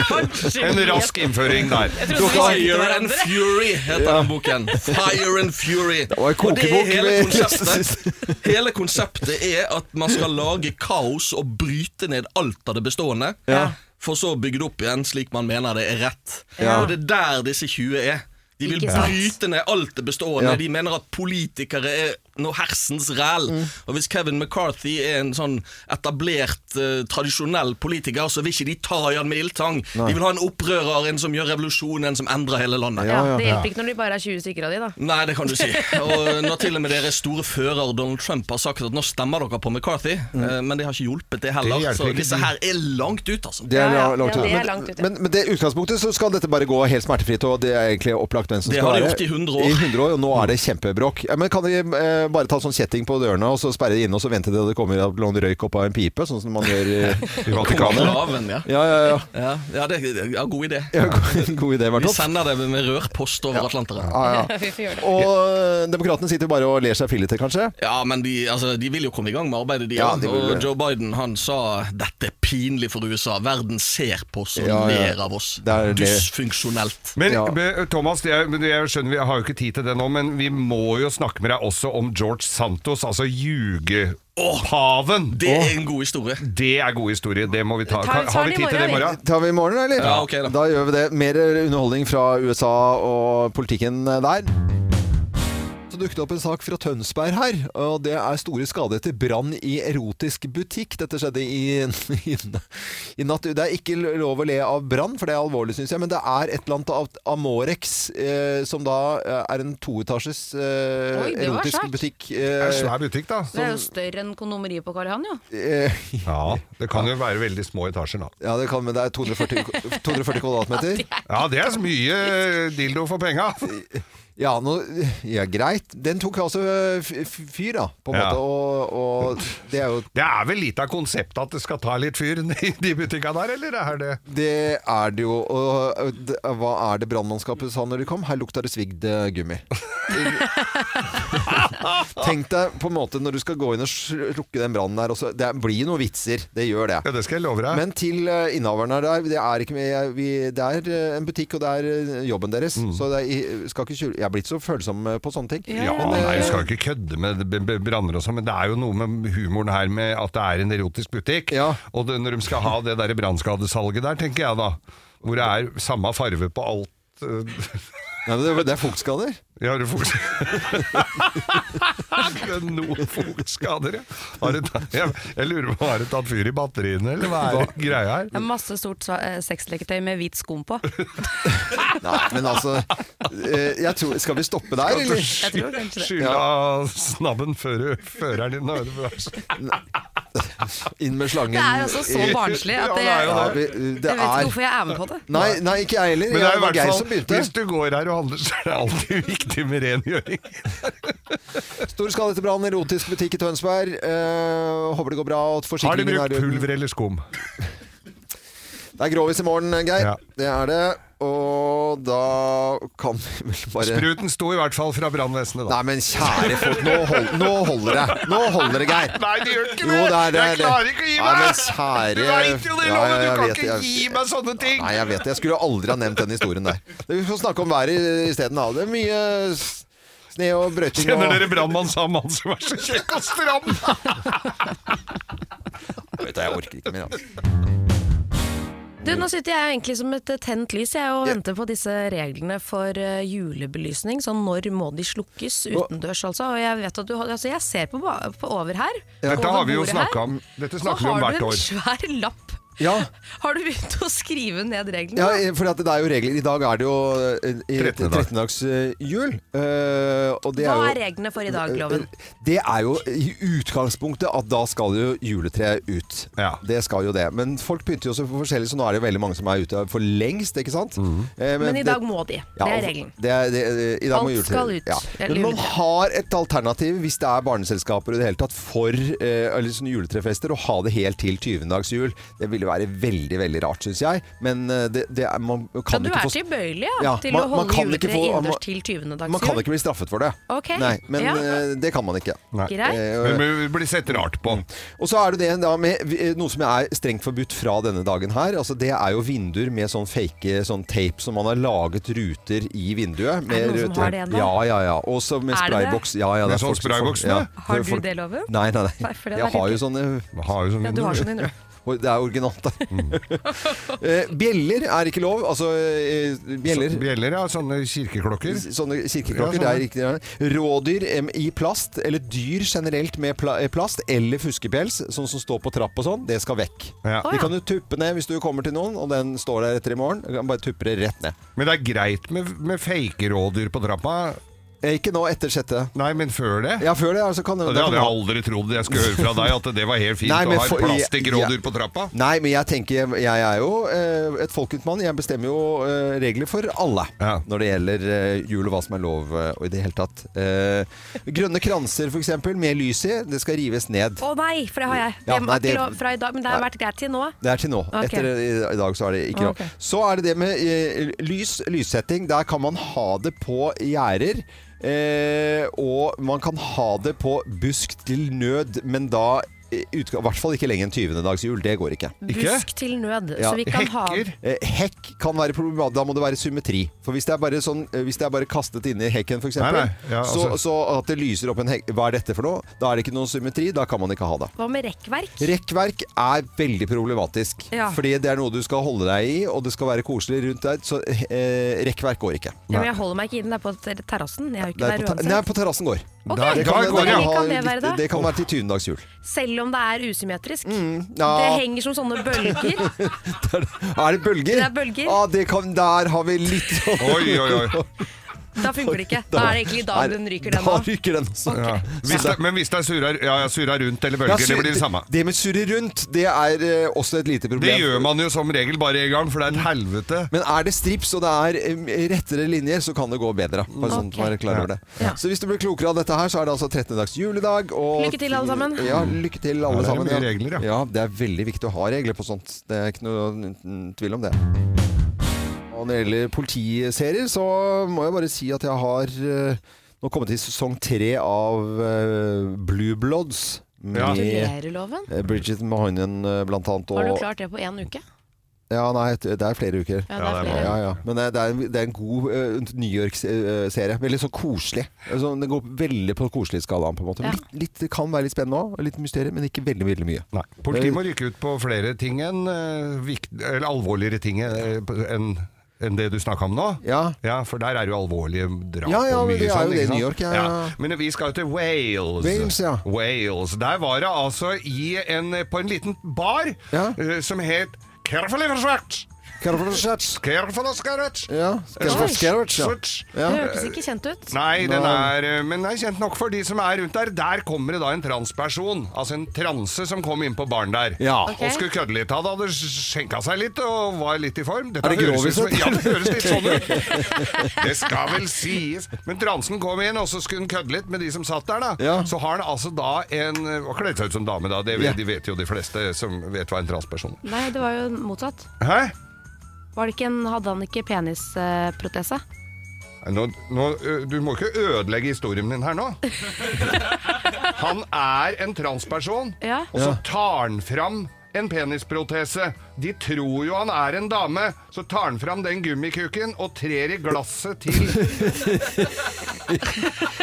Speaker 3: oss. En rask innføring der.
Speaker 13: Jeg trodde vi kjente Fire and Fury heter den boken. Fire and Fury.
Speaker 3: var en
Speaker 13: Og det er
Speaker 3: kokebok
Speaker 13: hele
Speaker 3: vi-
Speaker 13: konseptet. Hele konseptet er at man skal lage kaos og bryte ned alt av det bestående.
Speaker 1: Ja.
Speaker 13: For så å bygge det opp igjen slik man mener det er rett.
Speaker 1: Ja.
Speaker 13: Og det er der disse 20 er. De vil
Speaker 1: Ikke sant.
Speaker 13: bryte ned alt det bestående.
Speaker 1: Ja.
Speaker 13: De mener at politikere er noe hersens ræl.
Speaker 1: Mm.
Speaker 13: Og hvis Kevin McCarthy er en sånn etablert, eh, tradisjonell politiker, så vil ikke de ta i han med ildtang.
Speaker 1: Nei.
Speaker 13: De vil ha en opprører, en som gjør revolusjon, en som endrer hele landet.
Speaker 2: Ja, det hjelper ikke når de bare er 20 stykker av de, da.
Speaker 13: Nei, det kan du si. Og når til og med deres store fører Donald Trump har sagt at nå stemmer dere på McCarthy,
Speaker 1: Mm.
Speaker 13: eh, men det har ikke hjulpet det heller.
Speaker 1: Det hjelper
Speaker 13: så
Speaker 1: ikke.
Speaker 13: disse her er langt ut, altså.
Speaker 1: Det er la- langt ut.
Speaker 13: Men-
Speaker 1: Men, men, men det utgangspunktet så skal dette bare gå helt smertefritt, og det er egentlig opplagt hvem som
Speaker 13: Det
Speaker 1: skal
Speaker 13: har de
Speaker 1: være-
Speaker 13: gjort i 100 år.
Speaker 1: I 100 år, og nå er det kjempebråk. Ja, men kan de eh, bare ta sånn kjetting på dørene, og så sperre det inne, og så vente til det kommer noen røyk opp av en pipe, sånn som man gjør i, i Vatikanet?
Speaker 13: Konklaven, ja.
Speaker 1: Ja, ja, ja.
Speaker 13: Ja, ja, det, ja, god idé.
Speaker 1: God idé, i hvert
Speaker 13: Vi
Speaker 1: fall.
Speaker 13: sender det med rørpost over Atlanteren.
Speaker 1: Ja, ja. Og eh, demokratene sitter bare og ler seg fillete, kanskje?
Speaker 13: Ja, men de, altså, de vil jo komme i gang med arbeidet, de.
Speaker 1: Ja,
Speaker 13: Ja,
Speaker 1: de vil det.
Speaker 13: og Joe Biden han sa dette er pinlig for USA. Verden ser på oss og
Speaker 3: Ja, ja.
Speaker 13: ler av oss.
Speaker 1: Det er det.
Speaker 13: Dysfunksjonelt.
Speaker 3: Men be- Thomas, jeg, men jeg skjønner vi har jo ikke tid til det nå, men vi må jo snakke med deg også om George Santos, altså ljugepaven.
Speaker 13: Det er en god historie.
Speaker 3: Det er god historie, det må vi ta. Kan- Har vi tid til det i morgen?
Speaker 1: Tar vi i morgen, eller?
Speaker 3: Ja, ok
Speaker 1: da. gjør vi det. Mer underholdning fra USA og politikken eh, der. Så dukket det opp en sak fra Tønsberg her, og det er store skader etter brann i erotisk butikk. Dette skjedde i, i, i natt. Det er ikke lov å le av brann, for det er alvorlig, syns jeg, men det er et eller annet av Amorex, eh, som da eh, er en toetasjes eh,
Speaker 2: Oi, det var
Speaker 1: erotisk
Speaker 2: svært.
Speaker 1: butikk. eh,
Speaker 3: Det er en svær butikk, da.
Speaker 2: Det er jo større enn kondomeriet på Karl Johan, jo.
Speaker 3: Ja, det kan jo være veldig små etasjer, da.
Speaker 1: Eh, Ja, det kan, men det er 240, k- 240 kvadratmeter.
Speaker 3: Ja, det er så mye eh, dildo for penga.
Speaker 1: Ja, nå, ja, greit. Den tok altså eh, f- f- fyr, da, på en
Speaker 3: Ja.
Speaker 1: måte. Og, og det er jo
Speaker 3: Det er vel litt av konseptet at det skal ta litt fyr i de butikka der, eller er det
Speaker 1: Det er det jo. Og eh, det, hva er det brannmannskapet sa når de kom? Her lukta det svigd eh, gummi. Tenk deg på en måte når du skal gå inn og slukke den brannen der. og så- Det blir noen vitser. Det gjør det.
Speaker 3: Ja, det skal jeg love deg.
Speaker 1: Men til eh, innehaveren her der, det er, ikke, vi- vi, det er eh, en butikk, og det er eh, jobben deres.
Speaker 3: Mm.
Speaker 1: Så det er, jeg skal ikke skjule Jeg er blitt så følsom eh, på sånne ting.
Speaker 3: Ja,
Speaker 1: Men,
Speaker 3: nei,
Speaker 1: eh,
Speaker 3: Du skal jo ikke kødde med b- b- branner og sånn, men det er jo noe med humoren her med at det er en erotisk butikk. Og det, når de skal ha det der brannskadesalget der, tenker jeg da, hvor det er samme farve på alt. eh.
Speaker 1: Nei, men det er fuktskader.
Speaker 3: Ja, det er fuktskader. det er noen fuktskader, ja. Har det tatt- Jeg, jeg lurer på, har det tatt fyr i batteriene, eller hva er det greia her?
Speaker 2: Det er masse stort sva- eh, sexleketøy med hvit skum på.
Speaker 1: Nei, men altså eh, jeg tror, Skal vi stoppe der,
Speaker 3: Skal du
Speaker 1: eller?
Speaker 3: sky-
Speaker 2: Jeg tror kanskje det.
Speaker 3: Skylle av snabben før du- føreren din. da, er det bra.
Speaker 1: Inn med slangen.
Speaker 2: Det er altså så barnslig at det,
Speaker 3: Ja, det er jo det.
Speaker 1: vi-
Speaker 2: Jeg vet ikke hvorfor jeg er med på det.
Speaker 1: Nei, nei, ikke jeg heller.
Speaker 3: Men det er
Speaker 1: Det
Speaker 3: i
Speaker 1: var
Speaker 3: hvert
Speaker 1: Geir
Speaker 3: fall,
Speaker 1: som begynte.
Speaker 3: Hvis du går her og handler, så er det alltid viktig med rengjøring.
Speaker 1: Stor skade etter brann, erotisk butikk i Tønsberg. Eh, håper det går bra. og at
Speaker 3: Har de
Speaker 1: forsikringen er
Speaker 3: brukt
Speaker 1: i orden.
Speaker 3: pulver eller skum?
Speaker 1: Det er grovis i morgen, Geir. Det er det. Og da kan vi vel bare
Speaker 3: Spruten sto i hvert fall fra brannvesenet, da.
Speaker 1: Nei, men kjære folk, nå, hold, nå holder det. Nå holder det, Geir.
Speaker 3: Nei, det gjør ikke
Speaker 1: Jo, det er det.
Speaker 3: Jeg klarer ikke å gi
Speaker 1: Nei,
Speaker 3: meg!
Speaker 1: men kjære
Speaker 3: Du vet jo det,
Speaker 1: Ja,
Speaker 3: Loven!
Speaker 1: jeg
Speaker 3: Du kan
Speaker 1: vet,
Speaker 3: ikke
Speaker 1: jeg-
Speaker 3: gi meg sånne ting!
Speaker 1: Nei, jeg vet det. Jeg skulle aldri ha nevnt den historien der. Vi får snakke om været isteden. da. Det er mye s- sne og brøyting.
Speaker 3: Kjenner
Speaker 1: og-
Speaker 3: dere brannmann sa mann som er så kjekk og stram?
Speaker 1: Vet du, jeg orker ikke mer. altså.
Speaker 2: Du, nå sitter jeg jo egentlig som et eh, tent lys jeg, og venter på disse reglene for eh, julebelysning. Sånn når må de slukkes utendørs, altså. Og jeg vet at du har Altså, jeg ser på, ba- på over her.
Speaker 3: Dette
Speaker 2: over
Speaker 3: har vi jo
Speaker 2: bordet her,
Speaker 3: snakka om. Dette
Speaker 2: Så
Speaker 3: snakker vi om
Speaker 2: har
Speaker 3: hvert
Speaker 2: du en
Speaker 3: år.
Speaker 2: svær lapp.
Speaker 1: Ja,
Speaker 2: Har du begynt å skrive ned reglene?
Speaker 1: Ja,
Speaker 2: da?
Speaker 1: for at det er jo regler. I dag er det jo eh, i-
Speaker 3: 13. dag.
Speaker 1: 13. dags eh, jul. eh, og det
Speaker 2: Hva
Speaker 1: er
Speaker 2: er
Speaker 1: jo
Speaker 2: reglene for i dag, Loven?
Speaker 1: det er jo i utgangspunktet at da skal jo juletreet ut. Det skal jo det. Men folk pynter jo så forskjellig, så nå er det jo veldig mange som er ute for lengst, ikke sant? Eh,
Speaker 2: Men i dag
Speaker 1: det-
Speaker 2: må de.
Speaker 1: Ja,
Speaker 2: Det er
Speaker 1: og-
Speaker 2: regelen.
Speaker 1: Det er, det, eh, i dag må
Speaker 2: Alt
Speaker 1: juletre-
Speaker 2: skal ut.
Speaker 1: Ja.
Speaker 2: Eller
Speaker 1: Men man
Speaker 2: juletre.
Speaker 1: har et alternativ, hvis det er barneselskaper i det hele tatt, for eh, eller sånne juletrefester, å ha det helt til 20. dags jul. Det ville være veldig, veldig rart, syns jeg. Men eh, det, det er, man
Speaker 2: Ja,
Speaker 1: kan
Speaker 2: du
Speaker 1: ikke
Speaker 2: er
Speaker 1: få
Speaker 2: tilbøyelig ja,
Speaker 1: Ja,
Speaker 2: til
Speaker 1: man-
Speaker 2: å
Speaker 1: man
Speaker 2: holde
Speaker 1: kan ikke
Speaker 2: juletreet
Speaker 1: få- man-
Speaker 2: innendørs til 20. dags
Speaker 1: Man kan ikke bli straffet for det.
Speaker 2: Ok.
Speaker 1: Nei, men
Speaker 2: Ja.
Speaker 1: eh, det kan man ikke. Eh,
Speaker 2: Greit.
Speaker 3: Men vi blir sett rart på.
Speaker 1: Og så er det det da med vi- eh, noe som er strengt forbudt fra denne dagen her. Altså det er jo vinduer med sånn fake sånn tape som man har laget ruter i vinduet. Med
Speaker 2: noen som
Speaker 1: rød tape.
Speaker 2: har det ennå?
Speaker 1: Ja, ja, ja. Og så med
Speaker 2: Er det det?
Speaker 1: sprayboks. Ja, ja, det
Speaker 3: Med
Speaker 1: er
Speaker 3: sånn
Speaker 1: folk som-
Speaker 3: sprayboks
Speaker 1: ja.
Speaker 3: med?
Speaker 2: Har du
Speaker 1: Folk-
Speaker 2: det, Loven?
Speaker 1: Nei, nei,
Speaker 2: Nei,
Speaker 1: nei.
Speaker 2: for det
Speaker 1: Jeg
Speaker 2: var
Speaker 1: har jo
Speaker 2: litt-
Speaker 1: sånne
Speaker 2: Ja, du har sånn vinduer.
Speaker 1: Og Det er originalt, da. Eh, Bjeller er ikke lov. Altså eh, bjeller.
Speaker 3: Bjeller, ja. Sånne kirkeklokker.
Speaker 1: Sånne kirkeklokker,
Speaker 3: Ja, sånne.
Speaker 1: det er riktig. ja. Rådyr em, i plast, eller dyr generelt med pla eh, plast, eller fuskepels, sånn som står på trapp og sånn, det skal vekk.
Speaker 3: Å,
Speaker 1: Det kan du tuppe ned hvis du kommer til noen, og den står der etter i morgen. Du kan bare tuppe det rett ned.
Speaker 3: Men det er greit med, med fake rådyr på trappa?
Speaker 1: Eh, Ikke nå, etter sjette.
Speaker 3: Nei, men før det?
Speaker 1: Ja, før det. Altså, kan,
Speaker 3: Det
Speaker 1: da kan
Speaker 3: hadde jeg
Speaker 1: man-
Speaker 3: aldri trodd jeg skulle høre fra deg, at det var helt fint
Speaker 1: Nei, men
Speaker 3: å ha
Speaker 1: for-
Speaker 3: et
Speaker 1: ja.
Speaker 3: plastikkrådyr på trappa.
Speaker 1: Nei, men jeg tenker Jeg er jo eh, et folkets mann. Jeg bestemmer jo eh, regler for alle når det gjelder eh, jul og hva som er lov eh, og i det hele tatt. Eh, grønne kranser, f.eks., med lys i, det skal rives ned.
Speaker 2: Å nei, for det har jeg. Det
Speaker 1: Ja, nei,
Speaker 2: var
Speaker 1: det-
Speaker 2: ikke lov fra i dag, men det har vært greit til nå.
Speaker 1: Det er til nå.
Speaker 2: Ok.
Speaker 1: Etter eh, i, i dag så er det ikke lov.
Speaker 2: Ok.
Speaker 1: Så er det det med eh, lys, lyssetting. Der kan man ha det på gjerder. Eh, og man kan ha det på busk til nød, men da eh, utga- i hvert fall ikke lenger enn 20. dags jul. Det går ikke.
Speaker 2: Busk til nød,
Speaker 1: Ja.
Speaker 2: så vi kan ha
Speaker 1: Eh, Hekk kan være problematisk. Da må det være symmetri. For hvis det er bare, sånn, eh, hvis det er bare kastet inni hekken, f.eks.,
Speaker 3: Nei, nei. Ja, altså-
Speaker 1: så, så at det lyser opp en hekk Hva er dette for noe? Da er det ikke noen symmetri. Da kan man ikke ha det.
Speaker 2: Hva med rekkverk?
Speaker 1: Rekkverk er veldig problematisk.
Speaker 2: Ja.
Speaker 1: Fordi det er noe du skal holde deg i, og det skal være koselig rundt deg. Så eh, rekkverk går ikke.
Speaker 2: Ja, men jeg holder meg ikke i den der på ter- terrassen. Jeg er
Speaker 1: Nei,
Speaker 2: jo ikke der
Speaker 1: på, ta- nei,
Speaker 2: uansett.
Speaker 1: på terrassen går.
Speaker 2: Ok, Der- da går det.
Speaker 1: ha
Speaker 2: Kan det være
Speaker 1: litt-
Speaker 2: da?
Speaker 1: det kan være til tyvendags jul.
Speaker 2: Selv om det er usymmetrisk.
Speaker 1: Mm, ja.
Speaker 2: Det henger som sånne bølger.
Speaker 1: Er det bølger?
Speaker 2: Det er bølger.
Speaker 1: Ah, det kan, der har vi litt
Speaker 3: Oi, oi, oi.
Speaker 2: Da funker det ikke. Da er det egentlig i
Speaker 1: Nei,
Speaker 2: dag den ryker, den
Speaker 1: Da
Speaker 2: òg.
Speaker 1: ryker den også. Ja.
Speaker 3: Hvis det, men hvis det er surra, ja, ja, surra rundt eller bølger,
Speaker 1: Ja, sur-
Speaker 3: det blir det samme.
Speaker 1: Det med surre rundt, det er eh, også et lite problem.
Speaker 3: Det gjør man jo som regel bare en gang, for det er et helvete.
Speaker 1: Men er det strips og det er eh, rettere linjer, så kan det gå bedre.
Speaker 2: Mm.
Speaker 1: Bare sånn at man er klar over det. Så hvis du blir klokere av dette her, så er det altså 13. dags juledag. Og
Speaker 2: Lykke til, alle sammen.
Speaker 1: Ja, lykke til
Speaker 3: Ja,
Speaker 1: alle
Speaker 3: det er
Speaker 1: sammen.
Speaker 3: mye regler,
Speaker 1: ja. ja, det er veldig viktig å ha regler på sånt. Det er ikke noe mm, tvil om det. Og når det gjelder politiserier, så må jeg bare si at jeg har eh, Nå kommet til sesong tre av eh, Blue Bloods.
Speaker 10: Ja. Gratulerer, Loven.
Speaker 1: eh, Bridget Mahoinen eh, blant annet.
Speaker 10: Har du
Speaker 1: og-
Speaker 10: klart det på én uke?
Speaker 1: Ja, nei, det er flere uker.
Speaker 10: Ja, det er Ja, det er flere.
Speaker 1: Ja, ja. Men det det er, en, det er en god eh, New York-serie. Veldig sånn koselig. Altså, det går veldig på koselig-skalaen, på en måte.
Speaker 3: Ja.
Speaker 1: Litt, litt, det kan være litt spennende òg, litt mysterium, men ikke veldig veldig mye. Eh,
Speaker 3: Politiet må rykke ut på flere ting enn eh, vikt- eller alvorligere ting eh, på- enn enn det du snakka om nå?
Speaker 1: Ja.
Speaker 3: For der er jo alvorlige drap
Speaker 1: Ja, ja,
Speaker 3: og
Speaker 1: men
Speaker 3: mye
Speaker 1: det er jo
Speaker 3: sånn.
Speaker 1: det i
Speaker 3: ikke sant?
Speaker 1: New York, ja, ja.
Speaker 3: Men vi skal jo til Wales.
Speaker 1: Wales, ja.
Speaker 3: Wales. Der var det altså i en, på en liten bar eh, som het Carefully Forsvart.
Speaker 1: Careful Sketch.
Speaker 3: Careful Sketch.
Speaker 1: Ja,
Speaker 3: Careful Sketch, ja.
Speaker 2: Det hørtes ikke kjent ut.
Speaker 3: Nei, den er, eh, men den er kjent nok for de som er rundt der. Der kommer det da en transperson, altså en transe som kom inn på baren der.
Speaker 1: Ok.
Speaker 3: Og skulle kødde litt. Han hadde skjenka seg litt og var litt i form. Dette
Speaker 1: Er det
Speaker 3: høres
Speaker 1: grovis,
Speaker 3: ut som-
Speaker 1: dette?
Speaker 3: Ja, det høres litt sånn ut. Det skal vel sies. Men transen kom inn, og så skulle han kødde litt med de som satt der, da. Så har han altså da en Og kledd seg ut som dame, da. Det vet,
Speaker 1: Ja.
Speaker 3: De vet jo de fleste som vet hva en transperson er.
Speaker 2: Nei, det var jo motsatt.
Speaker 3: Hæ?
Speaker 2: Var det ikke en, hadde han ikke penisprotese?
Speaker 3: Nå, nå, ø, du må ikke ødelegge historien min her nå. Han er en transperson,
Speaker 2: Ja.
Speaker 3: og så
Speaker 1: Ja.
Speaker 3: tar han fram en penisprotese. De tror jo han er en dame, så tar han fram den gummikuken og trer i glasset til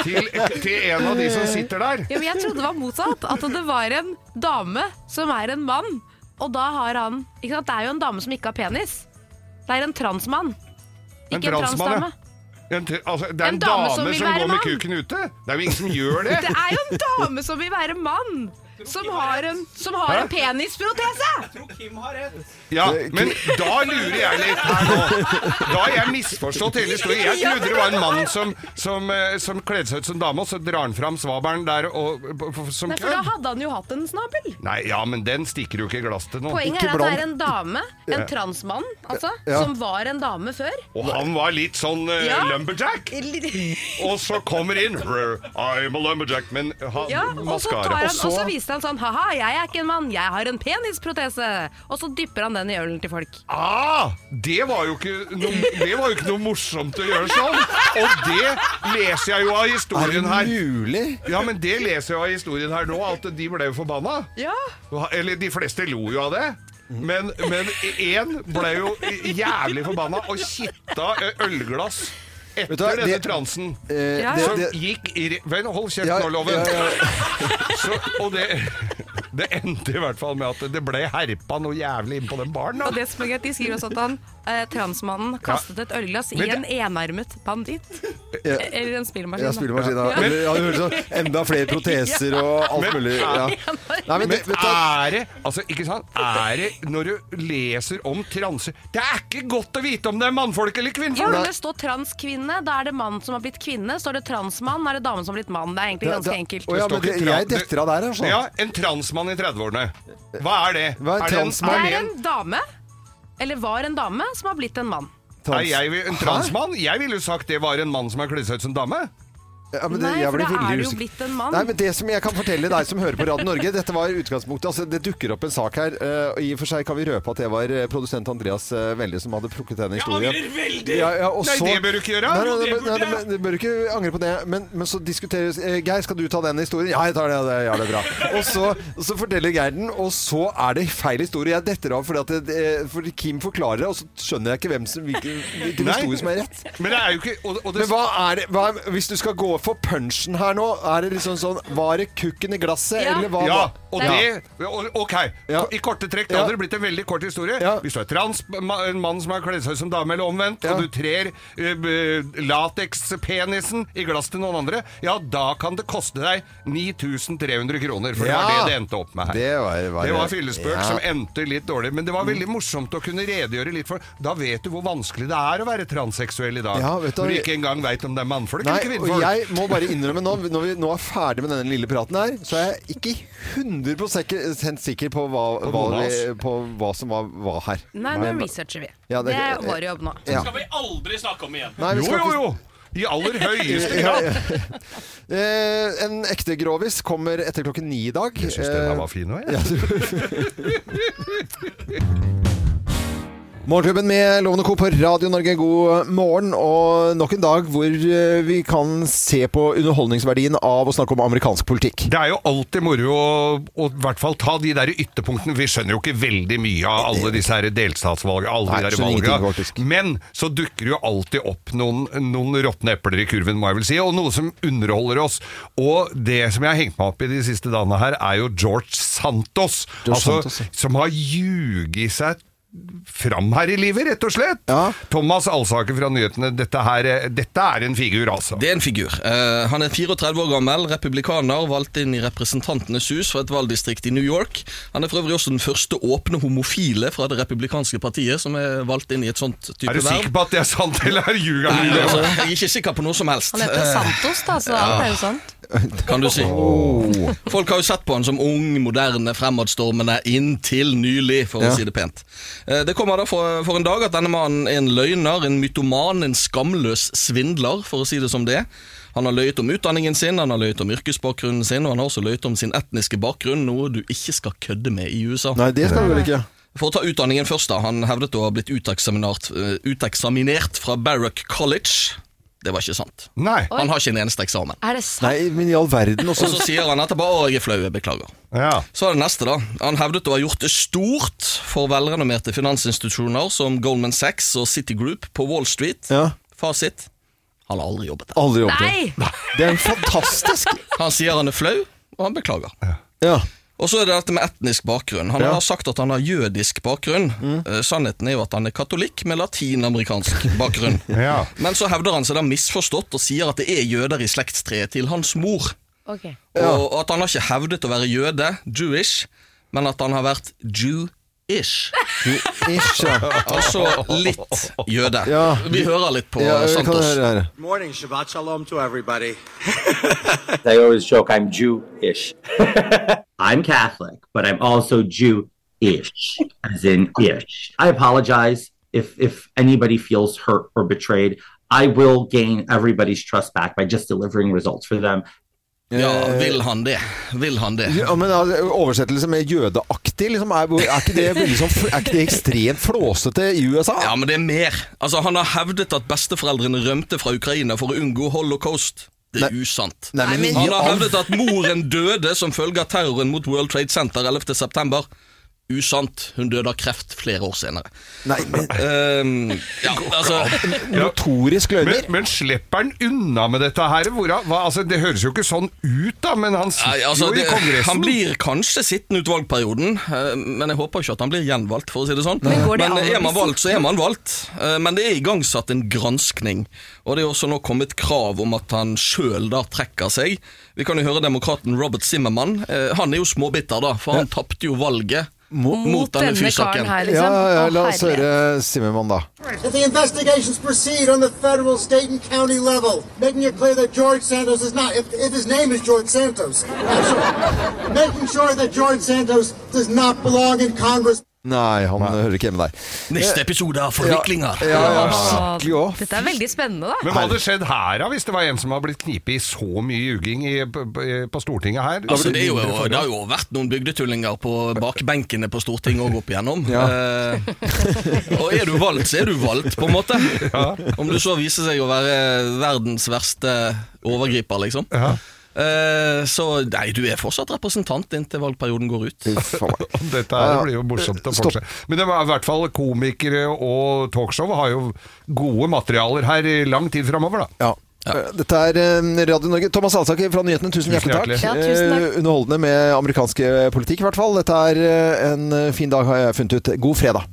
Speaker 3: til, til en av de som sitter der.
Speaker 2: Ja, men jeg trodde det var motsatt. At det var en dame som er en mann. Og da har han ikke sant? Det er jo en dame som ikke har penis. Det er en transmann.
Speaker 3: En
Speaker 2: Ikke en
Speaker 3: transmann, ja.
Speaker 2: transdame.
Speaker 3: En, tr- altså, det er en,
Speaker 2: En
Speaker 3: dame,
Speaker 2: dame som vil
Speaker 3: som,
Speaker 2: være
Speaker 3: går med
Speaker 2: mann.
Speaker 3: kuken ute. Det er jo ingen som gjør det.
Speaker 2: Det er jo en dame som vil være mann! Som har en, som har en
Speaker 3: Hæ?
Speaker 2: penisprotese!
Speaker 3: Ja, men da lurer jeg litt her nå. Da har jeg misforstått hele historien. Jeg trodde det var en mann som, som, eh, som kledde seg ut som dame, og så drar han fram svabelen der og, p- p- som
Speaker 2: Nei, for da
Speaker 3: kødd.
Speaker 2: hadde han jo hatt en snabel.
Speaker 3: Nei, ja, men den stikker jo ikke i glass til noen.
Speaker 2: Poenget er at det er en dame, en
Speaker 3: Ja.
Speaker 2: transmann, altså,
Speaker 3: Ja.
Speaker 2: som var en dame før.
Speaker 3: Og han var litt sånn eh,
Speaker 2: Ja.
Speaker 3: lumberjack. Og så kommer inn "Rrr, I'm a lumberjack, men ha,
Speaker 2: Ja, og så, tar
Speaker 3: maskara.
Speaker 2: han, og så viser han sånn Haha, jeg er ikke en mann, jeg har en penisprotese! Og så dypper han den i ølen til folk.
Speaker 3: Ah, det var, jo ikke noe, det var jo ikke noe morsomt å gjøre sånn! Og det leser jeg jo av historien her. Ja, men det leser jeg av historien her nå, at de ble jo forbanna.
Speaker 2: Ja.
Speaker 3: Eller de fleste lo jo av det. Men men én ble jo jævlig forbanna og kitta ølglass etter
Speaker 1: Vet du hva,
Speaker 3: denne
Speaker 1: det-
Speaker 3: transen.
Speaker 1: Eh, Ja. det-
Speaker 3: Som
Speaker 1: det-
Speaker 3: gikk i re- Vel, hold kjeft
Speaker 1: Ja,
Speaker 3: nå, Loven.
Speaker 1: ja, ja.
Speaker 3: Så, og det, det endte i hvert fall med at det ble herpa noe jævlig inn på den baren. da.
Speaker 2: Og det som er gøy, de skriver også at han, eh, transmannen kastet et ølglass i
Speaker 3: Men det-
Speaker 2: en enarmet banditt.
Speaker 1: Ja.
Speaker 2: Eller en spillemaskin.
Speaker 1: Ja,
Speaker 2: da.
Speaker 1: spillemaskin. Ja.
Speaker 2: Ja.
Speaker 1: Men, ja, det høres sånn, enda flere proteser og alt
Speaker 3: Men-
Speaker 1: mulig. Ja. Nei, men,
Speaker 3: men
Speaker 1: det- vet du hva?
Speaker 3: er det altså, ikke sant? Er det når du leser om transer Det er ikke godt å vite om det er mannfolk eller
Speaker 2: Ja, men
Speaker 3: kvinnfolk!
Speaker 2: det står transkvinne, da er det mann som har blitt kvinne. Står det transmann, er det dame som har blitt mann. Det er egentlig
Speaker 3: Ja,
Speaker 2: ganske
Speaker 3: da-
Speaker 2: enkelt.
Speaker 3: Å ja, men det-
Speaker 1: Jeg detter av der, altså.
Speaker 3: Ja, en transmann i 30-årene. Hva er det?
Speaker 1: Hva er en
Speaker 3: det en-
Speaker 1: transmann?
Speaker 3: er
Speaker 2: Det
Speaker 3: det
Speaker 2: er
Speaker 3: en-
Speaker 2: en dame, eller var en dame, som har blitt en mann.
Speaker 1: Trans-
Speaker 3: Nei, jeg, vil- en
Speaker 1: Hæ?
Speaker 3: transmann? Jeg ville jo sagt det var en mann som har kledd seg ut som dame.
Speaker 1: Ja, men det-
Speaker 2: Nei,
Speaker 1: jeg blir
Speaker 2: for da er
Speaker 1: veldig
Speaker 2: det jo
Speaker 1: usikker.
Speaker 2: blitt en mann.
Speaker 1: Nei, men det som jeg kan fortelle deg som hører på Radio Norge Dette var utgangspunktet. Altså, det dukker opp en sak her. eh, Og I og for seg kan vi røpe at det var eh, produsent Andreas eh, Velle som hadde plukket denne historien.
Speaker 3: veldig!
Speaker 1: Ja, ja, og
Speaker 3: Nei,
Speaker 1: så-
Speaker 3: det bør du ikke gjøre.
Speaker 1: Nei, nei,
Speaker 3: Jo,
Speaker 1: nei,
Speaker 3: det burde
Speaker 1: nei, men Du bør ikke angre på det. Men, men så diskuteres eh, Geir, skal du ta den historien? Ja, jeg tar den. Ja, det, ja, det er bra. Og så, så forteller Geir den, og så er det feil historie. Jeg detter av fordi at det, det- fordi Kim forklarer det, og så skjønner jeg ikke hvem som, hvilken, hvilken
Speaker 3: Nei.
Speaker 1: historie som er rett.
Speaker 3: Men det er jo ikke og, og det,
Speaker 1: Men hva er det, hva, er- hvis du skal gå for punchen her nå, er det liksom sånn Var det kukken i glasset, eller hva? var-
Speaker 3: Ja, og
Speaker 1: Ja.
Speaker 3: det og- Ok, i korte trekk da
Speaker 1: Ja.
Speaker 3: hadde det blitt en veldig kort historie. Hvis du er trans, ma- en mann som har kledd seg ut som dame eller omvendt, og du trer eh, b- latekspenisen i glass til noen andre, ja, da kan det koste deg 9300 kroner, for det
Speaker 1: Ja.
Speaker 3: var det det endte opp med her.
Speaker 1: Det var, var-
Speaker 3: Det var fyllespøk
Speaker 1: Ja. Mm.
Speaker 3: som endte litt dårlig, men det var veldig morsomt å kunne redegjøre litt for Da vet du hvor vanskelig det er å være transseksuell i dag.
Speaker 1: Ja, vet du hva,
Speaker 3: når du
Speaker 1: jeg-
Speaker 3: ikke engang veit om det er mannfolk
Speaker 1: Nei,
Speaker 3: eller
Speaker 1: og
Speaker 3: kvinnfolk.
Speaker 1: jeg må bare innrømme nå, når vi nå er ferdig med denne lille praten her, så er jeg ikke 100 sikker på hva,
Speaker 3: På
Speaker 1: hva,
Speaker 3: noen av
Speaker 1: vi,
Speaker 3: oss.
Speaker 1: på hva som var hva her.
Speaker 2: Nei, nå researcher vi.
Speaker 1: Ja, det-
Speaker 2: det, er vår jobb nå.
Speaker 1: Ja.
Speaker 4: Det skal vi aldri snakke om igjen.
Speaker 1: Nei, vi skal
Speaker 4: jo,
Speaker 1: ikke-
Speaker 4: jo,
Speaker 3: jo! I aller høyeste
Speaker 1: Ja,
Speaker 4: grad.
Speaker 1: ja. Eh, en ekte grovis kommer etter klokken ni i dag. Eh,
Speaker 3: Jeg syns den her var fin òg, jeg.
Speaker 1: Ja, du- Morgenklubben med Lovende Co. på Radio Norge, god morgen. Og nok en dag hvor eh, vi kan se på underholdningsverdien av å snakke om amerikansk politikk.
Speaker 3: Det er jo alltid moro å, å i hvert fall ta de der ytterpunktene. Vi skjønner jo ikke veldig mye av alle disse her delstatsvalgene. Alle
Speaker 1: Nei,
Speaker 3: de der
Speaker 1: skjønner ingenting,
Speaker 3: valgene. Men så dukker det jo alltid opp noen, noen råtne epler i kurven, må jeg vel si. Og noe som underholder oss. Og det som jeg har hengt meg opp i de siste dagene her, er jo George Santos.
Speaker 1: George
Speaker 3: altså,
Speaker 1: Santos, ja.
Speaker 3: Som har ljuget seg fram her i livet, rett og slett. Thomas Alsaker fra Nyhetene, dette, her, eh, dette er en figur, altså.
Speaker 13: Det er en figur. Eh, han er 34 år gammel, republikaner, valgt inn i Representantenes hus fra et valgdistrikt i New York. Han er for øvrig også den første åpne homofile fra det republikanske partiet som er valgt inn i et sånt type
Speaker 3: Er du sikker på at det er sant, eller er det ljuga?
Speaker 13: Nei, altså, jeg er ikke sikker på noe som helst.
Speaker 2: Han heter Santos, da, så alt
Speaker 13: ja.
Speaker 2: er jo sånn. sant.
Speaker 13: kan du si.
Speaker 1: Oh.
Speaker 13: Folk har jo sett på han som ung, moderne, fremadstormende inntil nylig, for
Speaker 14: Ja.
Speaker 13: å si det pent. Eh, Det kommer da for, for en dag at denne mannen er en løgner, en mytoman, en skamløs svindler, for å si det som det. er. Han har løyet om utdanningen sin, han har løyet om yrkesbakgrunnen sin, og han har også løyet om sin etniske bakgrunn, noe du ikke skal kødde med i USA.
Speaker 1: Nei, det skal vi vel ikke.
Speaker 13: For å ta utdanningen først, da. Han hevdet å ha blitt uteksaminert, eh, uteksaminert fra Barrack College. Det var ikke sant.
Speaker 3: Nei.
Speaker 13: Han har ikke en eneste eksamen.
Speaker 2: Er det sant?
Speaker 1: Nei, men i all verden
Speaker 13: Og
Speaker 1: også.
Speaker 13: så sier han etterpå Å, jeg er flau, jeg beklager. Så er det neste, da. Han hevdet å ha gjort det stort for velrenommerte finansinstitusjoner som Goldman Sachs og Citigroup på Wall Street. Fasit han har aldri jobbet der.
Speaker 1: Aldri jobbet der. Nei! Det er fantastisk
Speaker 13: Han sier han er flau, og han beklager. Og så er det dette med etnisk bakgrunn. Han
Speaker 1: Ja. Mm.
Speaker 13: har sagt at han har jødisk bakgrunn. Eh, Sannheten er jo at han er katolikk med latinamerikansk bakgrunn.
Speaker 3: Ja.
Speaker 13: Men så hevder han seg da misforstått og sier at det er jøder i slektstreet til hans mor.
Speaker 2: Ok.
Speaker 13: Og at han har ikke hevdet å være jøde, Jewish, men at han har vært Jew-ish.
Speaker 1: Jew-ish, ja.
Speaker 13: altså litt jøde.
Speaker 1: Ja.
Speaker 13: Vi hører litt på
Speaker 1: Ja, vi kan
Speaker 13: Santos.
Speaker 1: høre her.
Speaker 15: Morning, Shabbat Shalom to everybody.
Speaker 16: They always joke I'm Jew-ish. I'm Catholic, but I'm also Jew-ish, as in ish. I apologize if if anybody feels hurt or betrayed. I will gain everybody's trust back by just delivering results for them.
Speaker 13: Ja, vil han det? Vil han det?
Speaker 1: Eh, Ja, men altså, Oversettelse med jødeaktig, liksom, er, er, ikke det veldig sånn, er ikke det ekstremt flåsete i USA?
Speaker 13: Ja, men det er mer. Altså, han har hevdet at besteforeldrene rømte fra Ukraina for å unngå holocaust. Det er usant.
Speaker 1: Nei, men i
Speaker 13: han har
Speaker 1: all-
Speaker 13: hevdet at moren døde som følge av terroren mot World Trade Center 11. september. Usant. Hun døde av kreft flere år senere.
Speaker 1: Nei, men...
Speaker 13: ja, altså...
Speaker 1: Notorisk løgner.
Speaker 3: Men, men slipper han unna med dette her? Hvor han, hva, altså, det høres jo ikke sånn ut, da, men han sitter
Speaker 13: Nei, altså,
Speaker 3: jo i
Speaker 13: det,
Speaker 3: Kongressen.
Speaker 13: han blir kanskje sittende ut valgperioden, eh, men jeg håper ikke at han blir gjenvalgt, for å si det sånn.
Speaker 14: Men går det
Speaker 13: men
Speaker 14: an å
Speaker 13: er man
Speaker 14: bli
Speaker 13: valgt, så er man valgt. Eh, Men det er igangsatt en granskning, og det er også nå kommet krav om at han sjøl da trekker seg. Vi kan jo høre demokraten Robert Zimmermann. Eh, Han er jo småbitter, da, for han tapte jo valget mot, denne fysaken.
Speaker 14: liksom.
Speaker 1: Ja, ja, la oss høre Simmermann, da.
Speaker 17: That the investigations proceed on the federal, state, and county level, making it clear that George Santos is not, if, if his name is George Santos, making sure that George Santos does not belong in Congress.
Speaker 1: Nei, han hører ikke hjemme der.
Speaker 13: Neste episode av
Speaker 1: Forviklinger. Ja, ja, ja, skikkelig òg.
Speaker 2: Dette er veldig spennende, da.
Speaker 3: Men hva hadde skjedd her da, hvis det var en som har blitt knipet i så mye ljuging i, på, på- på Stortinget her?
Speaker 13: Altså, det, er jo, det har jo vært noen bygdetullinger på bakbenkene på Stortinget òg opp igjennom. Eh, og er du valgt, så er du valgt, på en måte. Om du så viser seg å være verdens verste overgriper, liksom. Eh, så nei, du er fortsatt representant inntil valgperioden går ut.
Speaker 3: Dette her blir jo
Speaker 1: Eh,
Speaker 3: morsomt å fortsette. Men det var i hvert fall komikere og talkshow har jo gode materialer her i lang tid framover, da.
Speaker 1: Eh, Dette er eh, Radio Norge. Thomas Alsaker fra Nyhetene, tusen
Speaker 3: Tusen
Speaker 1: hjertelig takk.
Speaker 3: hjertelig. Ja, tusen takk.
Speaker 1: Eh, Underholdende med amerikansk eh, politikk, i hvert fall. Dette er eh, en eh, fin dag, har jeg funnet ut. God fredag.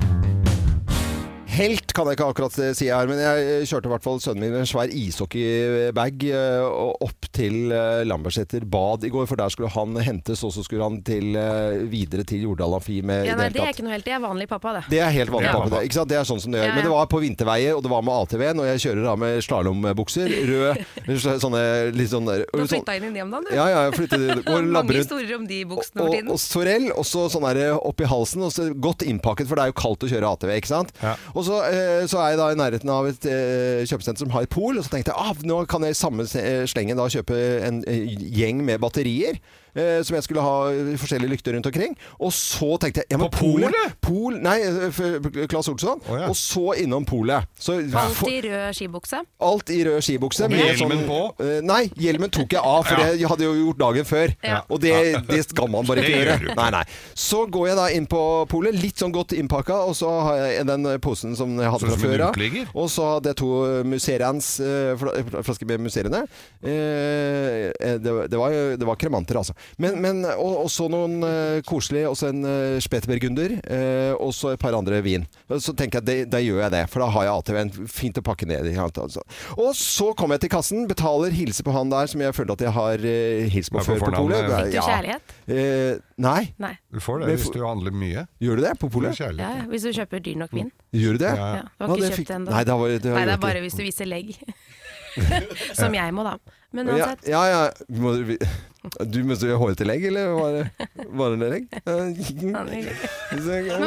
Speaker 1: Helt kan jeg ikke akkurat eh, si her, men jeg eh, kjørte i hvert fall sønnen min med en svær ishockeybag eh, og opp til eh, Lambertseter bad i går, for der skulle han hentes, og så skulle han til, eh, videre til Jordal Amfi med i
Speaker 2: Ja, nei,
Speaker 1: hele
Speaker 2: det er
Speaker 1: tatt.
Speaker 2: ikke noe helt Det er vanlig pappa, det.
Speaker 1: Det er helt vanlig.
Speaker 2: Ja.
Speaker 1: pappa, det, ikke sant? det er sånn som det gjør.
Speaker 2: Ja, ja.
Speaker 1: Men det var på vinterveier, og det var med ATV-en, og jeg kjører da med slalombukser, rød, sånne litt sånn der-
Speaker 2: Du har
Speaker 1: sånn-
Speaker 2: flytta inn i dem, da, du.
Speaker 1: Ja, ja, jeg flyttet inn. Går og labber
Speaker 2: Mange
Speaker 1: rundt.
Speaker 2: historier om de buksene for
Speaker 1: og,
Speaker 2: tiden.
Speaker 1: og sorell, og så sånn der oppi halsen, og så godt innpakket, for det er jo kaldt å kjøre ATV, ikke sant? Og så, eh, så er jeg da i nærheten av et eh, kjøpesenter som har pol, og så tenkte jeg, ah, nå kan jeg i samme se- eh, slengen da kjøpe en eh, gjeng med batterier, eh, som jeg skulle ha forskjellige lykter rundt omkring. Og så tenkte jeg ja, men
Speaker 3: På
Speaker 1: Polet? Pol, nei, eh, Claes Olsson. Og så innom Polet. Så
Speaker 2: Alt i rød skibukse.
Speaker 1: Alt i rød skibukse.
Speaker 2: Med
Speaker 1: med
Speaker 2: hjelmen
Speaker 1: eh, Nei, hjelmen tok jeg av, for
Speaker 3: Ja.
Speaker 1: det hadde jeg jo gjort dagen før.
Speaker 3: Ja.
Speaker 1: Og det, det skal man bare
Speaker 3: Det
Speaker 1: ikke
Speaker 3: gjør
Speaker 1: gjøre.
Speaker 3: du ikke.
Speaker 1: Nei, nei. Så går jeg da inn på polet, litt sånn godt innpakka, og så har jeg den posen som jeg hadde
Speaker 3: Sånn
Speaker 1: fra
Speaker 3: som en
Speaker 1: før av.
Speaker 3: utligger.
Speaker 1: Og så hadde jeg to muserians, eh, fla- flasker med museriene. Eh, eh, Det, var- det, var, jo- det var kremanter, altså. Men, men, og, og så noen eh, koselige, og så en eh, spetebergunder, eh, og så et par andre vin. Så tenker jeg, det- da gjør jeg det, for da har jeg ATV-en fint å pakke ned. i alt, Altså. Og så kommer jeg til kassen, betaler, hilser på han der som jeg føler at jeg har eh, hilst på
Speaker 3: Hva er på
Speaker 1: før på
Speaker 3: fornavnet?
Speaker 1: polet.
Speaker 3: Fikk du
Speaker 2: kjærlighet?
Speaker 1: Eh, nei.
Speaker 2: Nei.
Speaker 3: Du får
Speaker 1: Men
Speaker 3: det hvis
Speaker 1: for-
Speaker 3: du handler mye.
Speaker 1: Gjør du det på polet?
Speaker 3: Ja,
Speaker 2: Ja, ja, hvis du kjøper dyr nok vin.
Speaker 1: Gjør du det?
Speaker 2: Ja, Du har
Speaker 1: Ja,
Speaker 2: ikke
Speaker 1: det fikk-
Speaker 2: kjøpt det ennå.
Speaker 1: Nei, da var, det har
Speaker 2: Nei,
Speaker 1: jeg
Speaker 2: det
Speaker 1: gjort
Speaker 2: er bare hvis du viser legg. Som jeg må, da. Men
Speaker 1: Ja,
Speaker 2: uansett.
Speaker 1: ja, ja. Må du, du måtte jo ha hårete legg, eller var det, var det legg?
Speaker 2: Men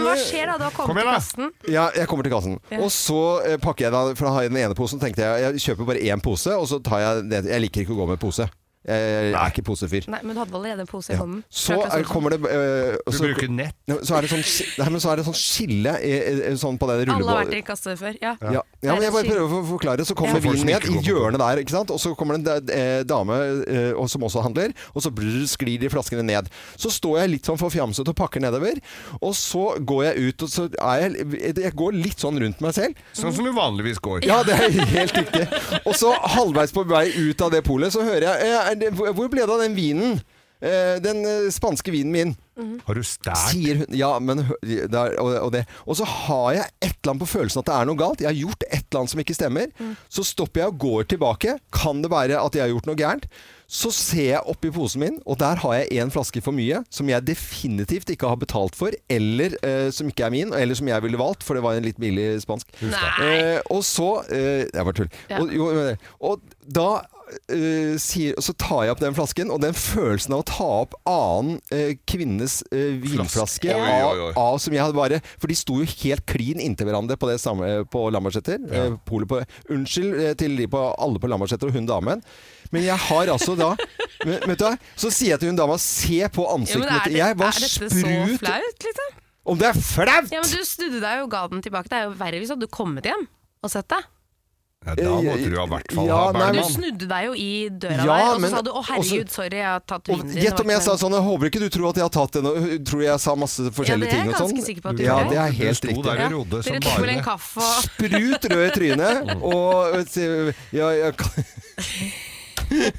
Speaker 2: hva skjer da? Du har kommet til kassen.
Speaker 1: Ja, jeg kommer til kassen.
Speaker 2: Ja.
Speaker 1: Og så eh, pakker jeg da, for da har jeg den ene posen, tenkte jeg, jeg kjøper bare én pose, og så tar jeg den. Jeg liker ikke å gå med pose. Jeg, jeg er ikke posefyr.
Speaker 2: Nei, men du hadde allerede en pose i hånden.
Speaker 1: Så er, kommer det eh,
Speaker 3: Du
Speaker 1: så,
Speaker 3: bruker nett.
Speaker 1: Ja, Så er det sånn, sk- nei, men så er det sånn skille eh, eh, sånn på den
Speaker 2: Alle har vært
Speaker 1: rullebåten.
Speaker 2: i en kasse før. Ja.
Speaker 1: Ja. ja, men jeg bare prøver å forklare. Så kommer
Speaker 2: Ja.
Speaker 1: vinen ned i
Speaker 3: Folk som ikke går
Speaker 1: hjørnet der, ikke sant? og så kommer det en da- eh, dame eh, og som også handler, og så brr, sklir de flaskene ned. Så står jeg litt sånn forfjamset og pakker nedover, og så går jeg ut, og så er jeg Jeg går litt sånn rundt meg selv.
Speaker 3: Sånn som du vanligvis går.
Speaker 1: Ja, det er helt riktig. Og så halvveis på vei ut av det polet, så hører jeg eh, er det, Hvor ble det av den vinen? Eh, Den eh, spanske vinen min.
Speaker 3: Mm-hmm. Har du stært?
Speaker 1: Sier hun, ja, men hø- det er- og, og, det. og så har jeg et eller annet på følelsen at det er noe galt. Jeg har gjort et eller annet som ikke stemmer. Så stopper jeg og går tilbake. Kan det være at jeg har gjort noe gærent? Så ser jeg oppi posen min, og der har jeg en flaske for mye som jeg definitivt ikke har betalt for, eller eh, som ikke er min, eller som jeg ville valgt, for det var en litt billig spansk. Eh, og så eh, Det var tull.
Speaker 3: Ja.
Speaker 1: Og, jo, men- og da eh, sier, så tar jeg opp den flasken, og den følelsen av å ta opp annen eh, kvinnes eh, vinflaske
Speaker 3: Oi, oi, oi.
Speaker 1: Av, av som jeg hadde bare For de sto jo helt klin inntil hverandre på, det samme, eh, på Lambertseter.
Speaker 3: Ja.
Speaker 1: Eh, polet på- unnskyld eh, til de på, alle på Lambertseter og hun damen. Men jeg har altså da men, vet du, hva? Så sier jeg til hun dama Se på
Speaker 2: Ja, men
Speaker 1: ansiktet
Speaker 2: er,
Speaker 1: mitt.
Speaker 2: det,
Speaker 1: Jeg var
Speaker 2: er dette så
Speaker 1: sprut
Speaker 2: flaut, liksom?
Speaker 1: Om det er flaut!
Speaker 2: Ja, men Du snudde deg jo og ga den tilbake. Det er jo verre hvis du hadde kommet hjem og sett deg.
Speaker 3: Ja, da måtte du i hvert fall
Speaker 1: Ja,
Speaker 3: ha
Speaker 1: nei,
Speaker 2: Du
Speaker 3: Bergman.
Speaker 2: snudde deg jo i døra
Speaker 1: Ja,
Speaker 2: der, og så
Speaker 1: men-
Speaker 2: sa du 'Å, herregud, sorry, jeg har tatt
Speaker 1: Og
Speaker 2: vinen din'.
Speaker 1: Gjett om jeg sa sånn Jeg håper ikke du tror at jeg har tatt den og øh, tror jeg sa masse forskjellige
Speaker 2: Ja, det er
Speaker 1: ting
Speaker 2: jeg
Speaker 1: og sånn.
Speaker 2: ganske sikker på at du
Speaker 1: ja,
Speaker 2: gjorde.
Speaker 1: det er
Speaker 2: Du
Speaker 1: helt
Speaker 2: sto
Speaker 1: riktig.
Speaker 2: der og Ja, rodde dere som tok bare vel en det. kaffe og-
Speaker 1: Sprut rød i trynet og vet du, ja, jeg kan-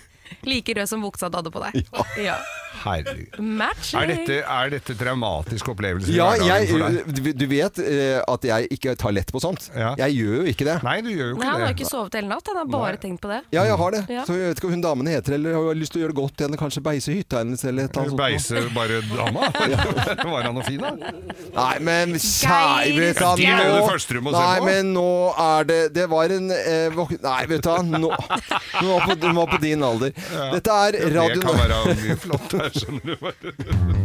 Speaker 2: Like rød som buksa du hadde på deg. Ja.
Speaker 3: Herregud.
Speaker 2: Matching!
Speaker 3: Er dette, er dette traumatisk opplevelse i
Speaker 1: ja,
Speaker 3: hverdagen for deg?
Speaker 1: jeg, du du vet eh, at jeg ikke tar lett på sånt. Jeg gjør jo ikke det.
Speaker 3: Nei, du gjør jo
Speaker 2: Nei, han har jo ikke sovet hele natt, han har bare tenkt på det.
Speaker 1: Ja, jeg har det.
Speaker 2: Ja.
Speaker 1: Så jeg vet ikke hva hun damen heter, eller har lyst til å gjøre det godt til henne. Kanskje beise hytta hennes, eller et eller annet
Speaker 3: Beise bare dama? Var han noe fin, da?
Speaker 1: Nei, men kjære vet du, hva,
Speaker 3: De er jo det første du
Speaker 1: nå,
Speaker 3: må se
Speaker 1: Nei,
Speaker 3: på.
Speaker 1: men nå er det Det var en eh, våk- Nei, vet du hva Nå Hun var på, hun var på din alder. Dette er
Speaker 3: Ja,
Speaker 1: Radio
Speaker 3: Det kan være mye flott her, skjønner du.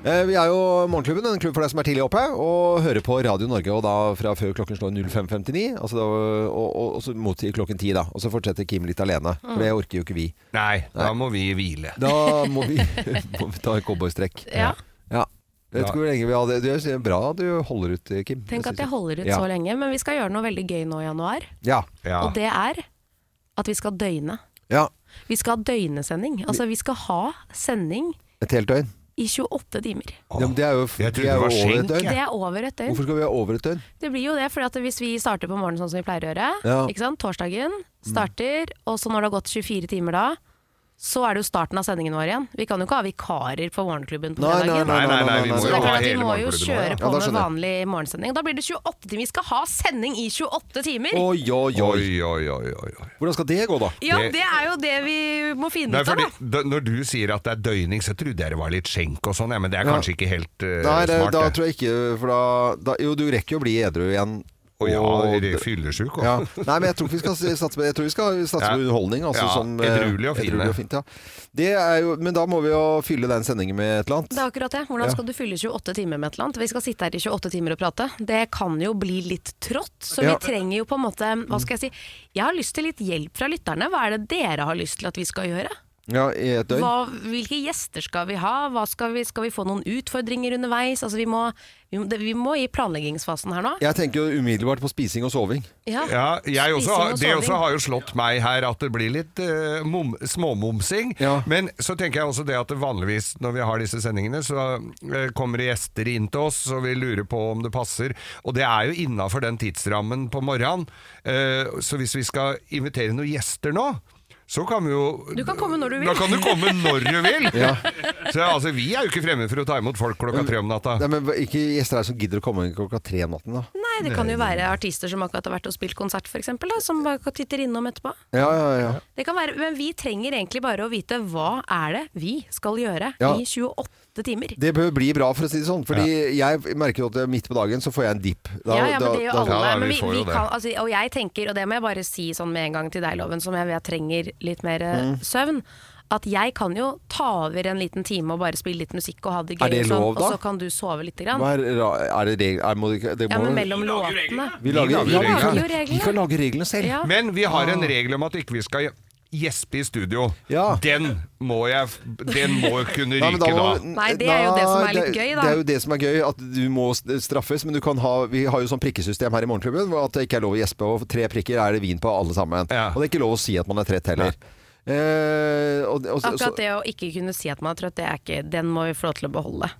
Speaker 1: Eh, Vi er jo Morgenklubben, en klubb for deg som er tidlig oppe, og hører på Radio Norge og da fra før klokken slår 05.59, altså da, og, og, og så mot i klokken 10, da. Og så fortsetter Kim litt alene, for det orker jo ikke vi.
Speaker 3: Mm. Nei, da må vi hvile.
Speaker 1: Da må vi, må vi ta en cowboystrekk.
Speaker 2: Ja.
Speaker 1: ja. Jeg vet ikke hvor lenge vi hadde Det er bra du holder ut, Kim.
Speaker 2: Tenk at jeg holder ut
Speaker 1: Ja.
Speaker 2: så lenge, men vi skal gjøre noe veldig gøy nå i januar.
Speaker 1: Ja.
Speaker 2: Og det er at vi skal døgne.
Speaker 1: Ja.
Speaker 2: Vi skal ha døgnesending. Altså, vi skal ha sending
Speaker 1: Et helt døgn.
Speaker 2: i 28 timer.
Speaker 1: Ja, men det er jo,
Speaker 3: Jeg
Speaker 1: det er
Speaker 3: trodde det
Speaker 1: jo
Speaker 3: var
Speaker 1: over
Speaker 3: skjenk,
Speaker 1: et døgn.
Speaker 2: Det er over et døgn.
Speaker 1: Hvorfor skal vi ha over et døgn?
Speaker 2: Det blir jo det, for hvis vi starter på morgenen sånn som vi pleier å gjøre,
Speaker 1: Ja. Mm.
Speaker 2: ikke sant? torsdagen starter, og så når det har gått 24 timer da, så er det jo starten av sendingen vår igjen. Vi kan jo ikke ha vikarer på morgenklubben på
Speaker 1: Nei, nei,
Speaker 2: fredagen.
Speaker 1: nei, nei, nei, nei, vi må jo
Speaker 2: Så det er
Speaker 1: ha
Speaker 2: klart at vi
Speaker 1: hele
Speaker 2: må jo
Speaker 1: morgenklubben vår, ja.
Speaker 2: kjøre
Speaker 1: Ja,
Speaker 2: på
Speaker 1: da
Speaker 2: med
Speaker 1: skjønner
Speaker 2: vanlig morgensending. Og da blir det 28 timer. Vi skal ha sending i 28 timer!
Speaker 1: Oi, oi, oi.
Speaker 3: Oi, oi, oi, oi, oi.
Speaker 1: Hvordan skal det gå, da?
Speaker 2: Ja, det er jo det vi må finne
Speaker 3: Nei,
Speaker 2: ut av,
Speaker 3: fordi,
Speaker 2: da.
Speaker 3: da, når du sier at det er døgning, så trodde jeg det var litt skjenk og sånn, ja, men det er
Speaker 1: Ja.
Speaker 3: kanskje ikke helt eh,
Speaker 1: Nei, det,
Speaker 3: smart.
Speaker 1: da
Speaker 3: det.
Speaker 1: tror jeg ikke For da, da Jo, du rekker jo å bli edru igjen.
Speaker 3: Å ja,
Speaker 1: Og-
Speaker 3: de er fyllesyk også.
Speaker 1: ja. Nei, men jeg tror ikke vi skal satse på, jeg tror vi skal satse
Speaker 3: Ja.
Speaker 1: på underholdning. Altså,
Speaker 3: Ja,
Speaker 1: som, eh,
Speaker 3: edruelig og fine.
Speaker 1: edruelig fint, ja. det er jo, men da må vi jo fylle den sendingen med et eller annet.
Speaker 2: Det er akkurat det. Hvordan
Speaker 1: Ja.
Speaker 2: skal du fylle 28 timer med et eller annet? Vi skal sitte her i 28 timer og prate. Det kan jo bli litt trått, så
Speaker 1: Ja.
Speaker 2: vi trenger jo på en måte Hva skal jeg si? Jeg har lyst til litt hjelp fra lytterne. Hva er det dere har lyst til at vi skal gjøre?
Speaker 1: Ja, i et døgn.
Speaker 2: Hva, hvilke gjester skal vi ha? Hva skal, vi, skal vi få noen utfordringer underveis? Altså, vi, må, vi, må, det- vi må i planleggingsfasen her nå.
Speaker 1: Jeg tenker jo umiddelbart på spising og soving.
Speaker 2: Ja.
Speaker 3: Ja, jeg også,
Speaker 2: Spising og
Speaker 3: det
Speaker 2: soving.
Speaker 3: også har jo slått meg her at det blir litt eh, mom, småmomsing. Men så tenker jeg også det at det vanligvis når vi har disse sendingene, så eh, kommer det gjester inn til oss, og vi lurer på om det passer. Og det er jo innafor den tidsrammen på morgenen. Eh, så hvis vi skal invitere noen gjester nå, så kan vi jo
Speaker 2: Du kan komme når du vil.
Speaker 3: Da kan du komme når du vil!
Speaker 1: Ja.
Speaker 3: Så altså, vi er jo ikke fremme for å ta imot folk klokka tre om natta.
Speaker 1: Nei, men Ikke gjester her som gidder å komme inn klokka tre om natten, da.
Speaker 2: Nei, det kan jo være artister som akkurat har vært og spilt konsert, for eksempel, da, som bare titter innom etterpå.
Speaker 1: Ja, ja, ja.
Speaker 2: Det kan være, men vi trenger egentlig bare å vite hva er det vi skal gjøre
Speaker 1: Ja.
Speaker 2: i 28 timer.
Speaker 1: Det bør bli bra, for å si det sånn. Fordi jeg merker jo at midt på dagen så får jeg en dipp. Da-
Speaker 2: ja, ja, men
Speaker 1: da-
Speaker 2: det gjør
Speaker 1: da-
Speaker 2: alle. men vi, vi kan, altså, og jeg tenker, og det må jeg bare si sånn med en gang til deg, Loven, som jeg vet trenger litt mer eh,
Speaker 1: Mm.
Speaker 2: søvn, at jeg kan jo ta over en liten time og bare spille litt musikk og ha det gøy,
Speaker 1: Er det
Speaker 2: og, sånn,
Speaker 1: lov, da?
Speaker 2: og så kan du sove litt. Grann.
Speaker 1: Hva er, ra- er det regel... Er, må det, ikke- det
Speaker 2: Ja,
Speaker 1: må,
Speaker 2: men mellom låtene.
Speaker 1: Vi lager,
Speaker 3: Vi lager
Speaker 1: ja,
Speaker 3: reglene.
Speaker 2: Vi lager jo
Speaker 1: Vi kan lage reglene selv.
Speaker 2: Ja.
Speaker 3: Men vi har
Speaker 1: Ah.
Speaker 3: en regel om at ikke vi skal gjespe i studio. Den må jeg Den må kunne
Speaker 1: Nei, men
Speaker 3: ryke da.
Speaker 1: må-
Speaker 2: Nei, det er jo det som er litt
Speaker 1: det-
Speaker 2: gøy, da.
Speaker 1: Det er jo det som er gøy, at du må s- straffes, men du kan ha Vi har jo sånn prikkesystem her i Morgenklubben, hvor at det ikke er lov å gjespe, og tre prikker er det vin på alle sammen. Og det er ikke lov å si at man er trett heller. Eh, og, og, så-
Speaker 2: Akkurat det å ikke kunne si at man er trøtt, det er ikke, den må vi få lov til å beholde.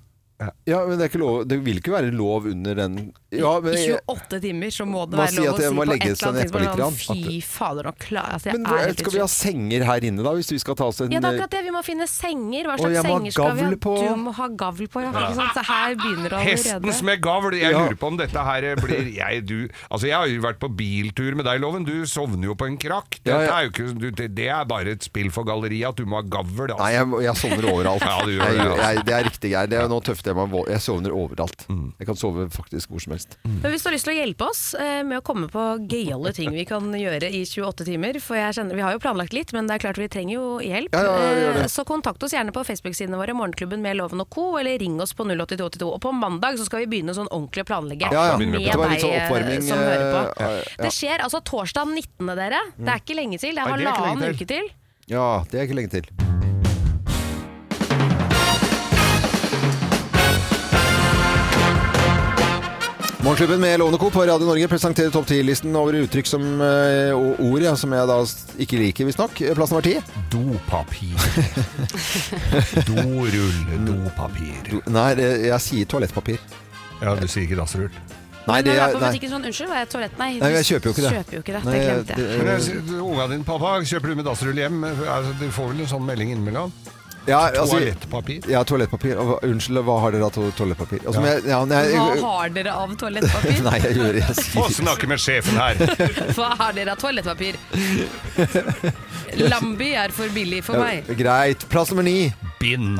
Speaker 1: Ja, men det, er ikke lov, det vil ikke være lov under den ja, men,
Speaker 2: I 28 timer så må det
Speaker 1: Man
Speaker 2: være
Speaker 1: sier
Speaker 2: lov
Speaker 1: at
Speaker 2: å
Speaker 1: jeg
Speaker 2: si
Speaker 1: må
Speaker 2: på et
Speaker 1: legge
Speaker 2: eller
Speaker 1: seg nedpå
Speaker 2: annet
Speaker 1: litt
Speaker 2: tidspunkt
Speaker 1: grann,
Speaker 2: sånn, Fy fader, nå klarer altså, jeg
Speaker 1: men
Speaker 2: er
Speaker 1: hva-
Speaker 2: helt
Speaker 1: skal vi ha senger her inne, da? Hvis vi skal ta oss en
Speaker 2: Ja, det er akkurat det. Vi må finne senger. Hva
Speaker 1: Å,
Speaker 2: slags
Speaker 1: jeg må ha
Speaker 2: senger skal vi ha?
Speaker 1: gavl på.
Speaker 2: Du må ha gavl på, ja. Ikke sant? Så her begynner det allerede.
Speaker 3: Hestens med gavl. Jeg lurer på om dette her blir jeg, du, altså jeg har jo vært på biltur med deg, Loven. Du sovner jo på en krakk. Dette
Speaker 1: Ja, ja.
Speaker 3: Er jo ikke, du, det, det er bare et spill for galleriet at du må ha gavl. Altså.
Speaker 1: Nei, jeg, jeg sovner overalt.
Speaker 3: Ja, du gjør
Speaker 1: jeg,
Speaker 3: det, altså.
Speaker 1: jeg, det er riktig. Jeg, det er noe tøft. Jeg, må, vo- jeg sovner overalt. Jeg kan sove faktisk hvor som helst.
Speaker 2: Men hvis du har lyst til å hjelpe oss eh, med å komme på gøyale ting vi kan gjøre i 28 timer, for jeg kjenner, vi har jo planlagt litt, men det er klart vi trenger jo hjelp,
Speaker 1: Ja, ja, ja, gjør det.
Speaker 2: Eh, så kontakt oss gjerne på Facebook-sidene våre, Morgenklubben med Loven og Co, eller ring oss på 08282. Og på mandag så skal vi begynne sånn ordentlig å planlegge
Speaker 1: Ja, ja.
Speaker 2: med
Speaker 1: Det var litt
Speaker 2: deg
Speaker 1: sånn
Speaker 2: eh,
Speaker 1: oppvarming,
Speaker 2: som hører på.
Speaker 1: eh, ja, ja.
Speaker 2: Det skjer altså torsdag 19. dere, det er ikke lenge til, det er
Speaker 1: Nei, det er ikke lenge
Speaker 2: halvannen
Speaker 1: til.
Speaker 2: uke til.
Speaker 1: Ja, det er ikke lenge til. Morgenklubben med Lovende Co. på Radio Norge presenterer topp 10-listen over uttrykk som, eh, og ord ja, som jeg da s- ikke liker, visstnok. Plass nummer ti.
Speaker 3: Dopapir. Dorull, dopapir.
Speaker 1: Nei, det, jeg sier toalettpapir.
Speaker 3: Ja, du sier ikke dasserull?
Speaker 1: Nei,
Speaker 2: Men
Speaker 1: det
Speaker 2: jeg var
Speaker 1: er
Speaker 2: på
Speaker 1: nei.
Speaker 2: butikken sånn, unnskyld, var jeg toalett? Nei,
Speaker 1: Nei,
Speaker 2: du
Speaker 1: jeg kjøper jo ikke det.
Speaker 2: Kjøper jo ikke det,
Speaker 1: Nei,
Speaker 2: det
Speaker 1: jeg-
Speaker 2: glemte jeg.
Speaker 3: Men jeg sier, Unga dine, pappa, kjøper du med dasserull hjem? Altså, du får vel en sånn melding innimellom?
Speaker 1: Ja, altså-
Speaker 3: Toalettpapir?
Speaker 1: Ja, toalettpapir. Og hva- Unnskyld, hva har dere av to- toalettpapir? Altså,
Speaker 3: Ja.
Speaker 1: men jeg, ja, nei, jeg,
Speaker 2: Hva har dere av toalettpapir?
Speaker 1: Nei, jeg gjør det. Jeg
Speaker 3: Få snakke med sjefen her.
Speaker 2: Hva har dere av toalettpapir? Lambi er for billig for meg.
Speaker 1: Ja, greit. Plass nummer ni.
Speaker 3: Bind.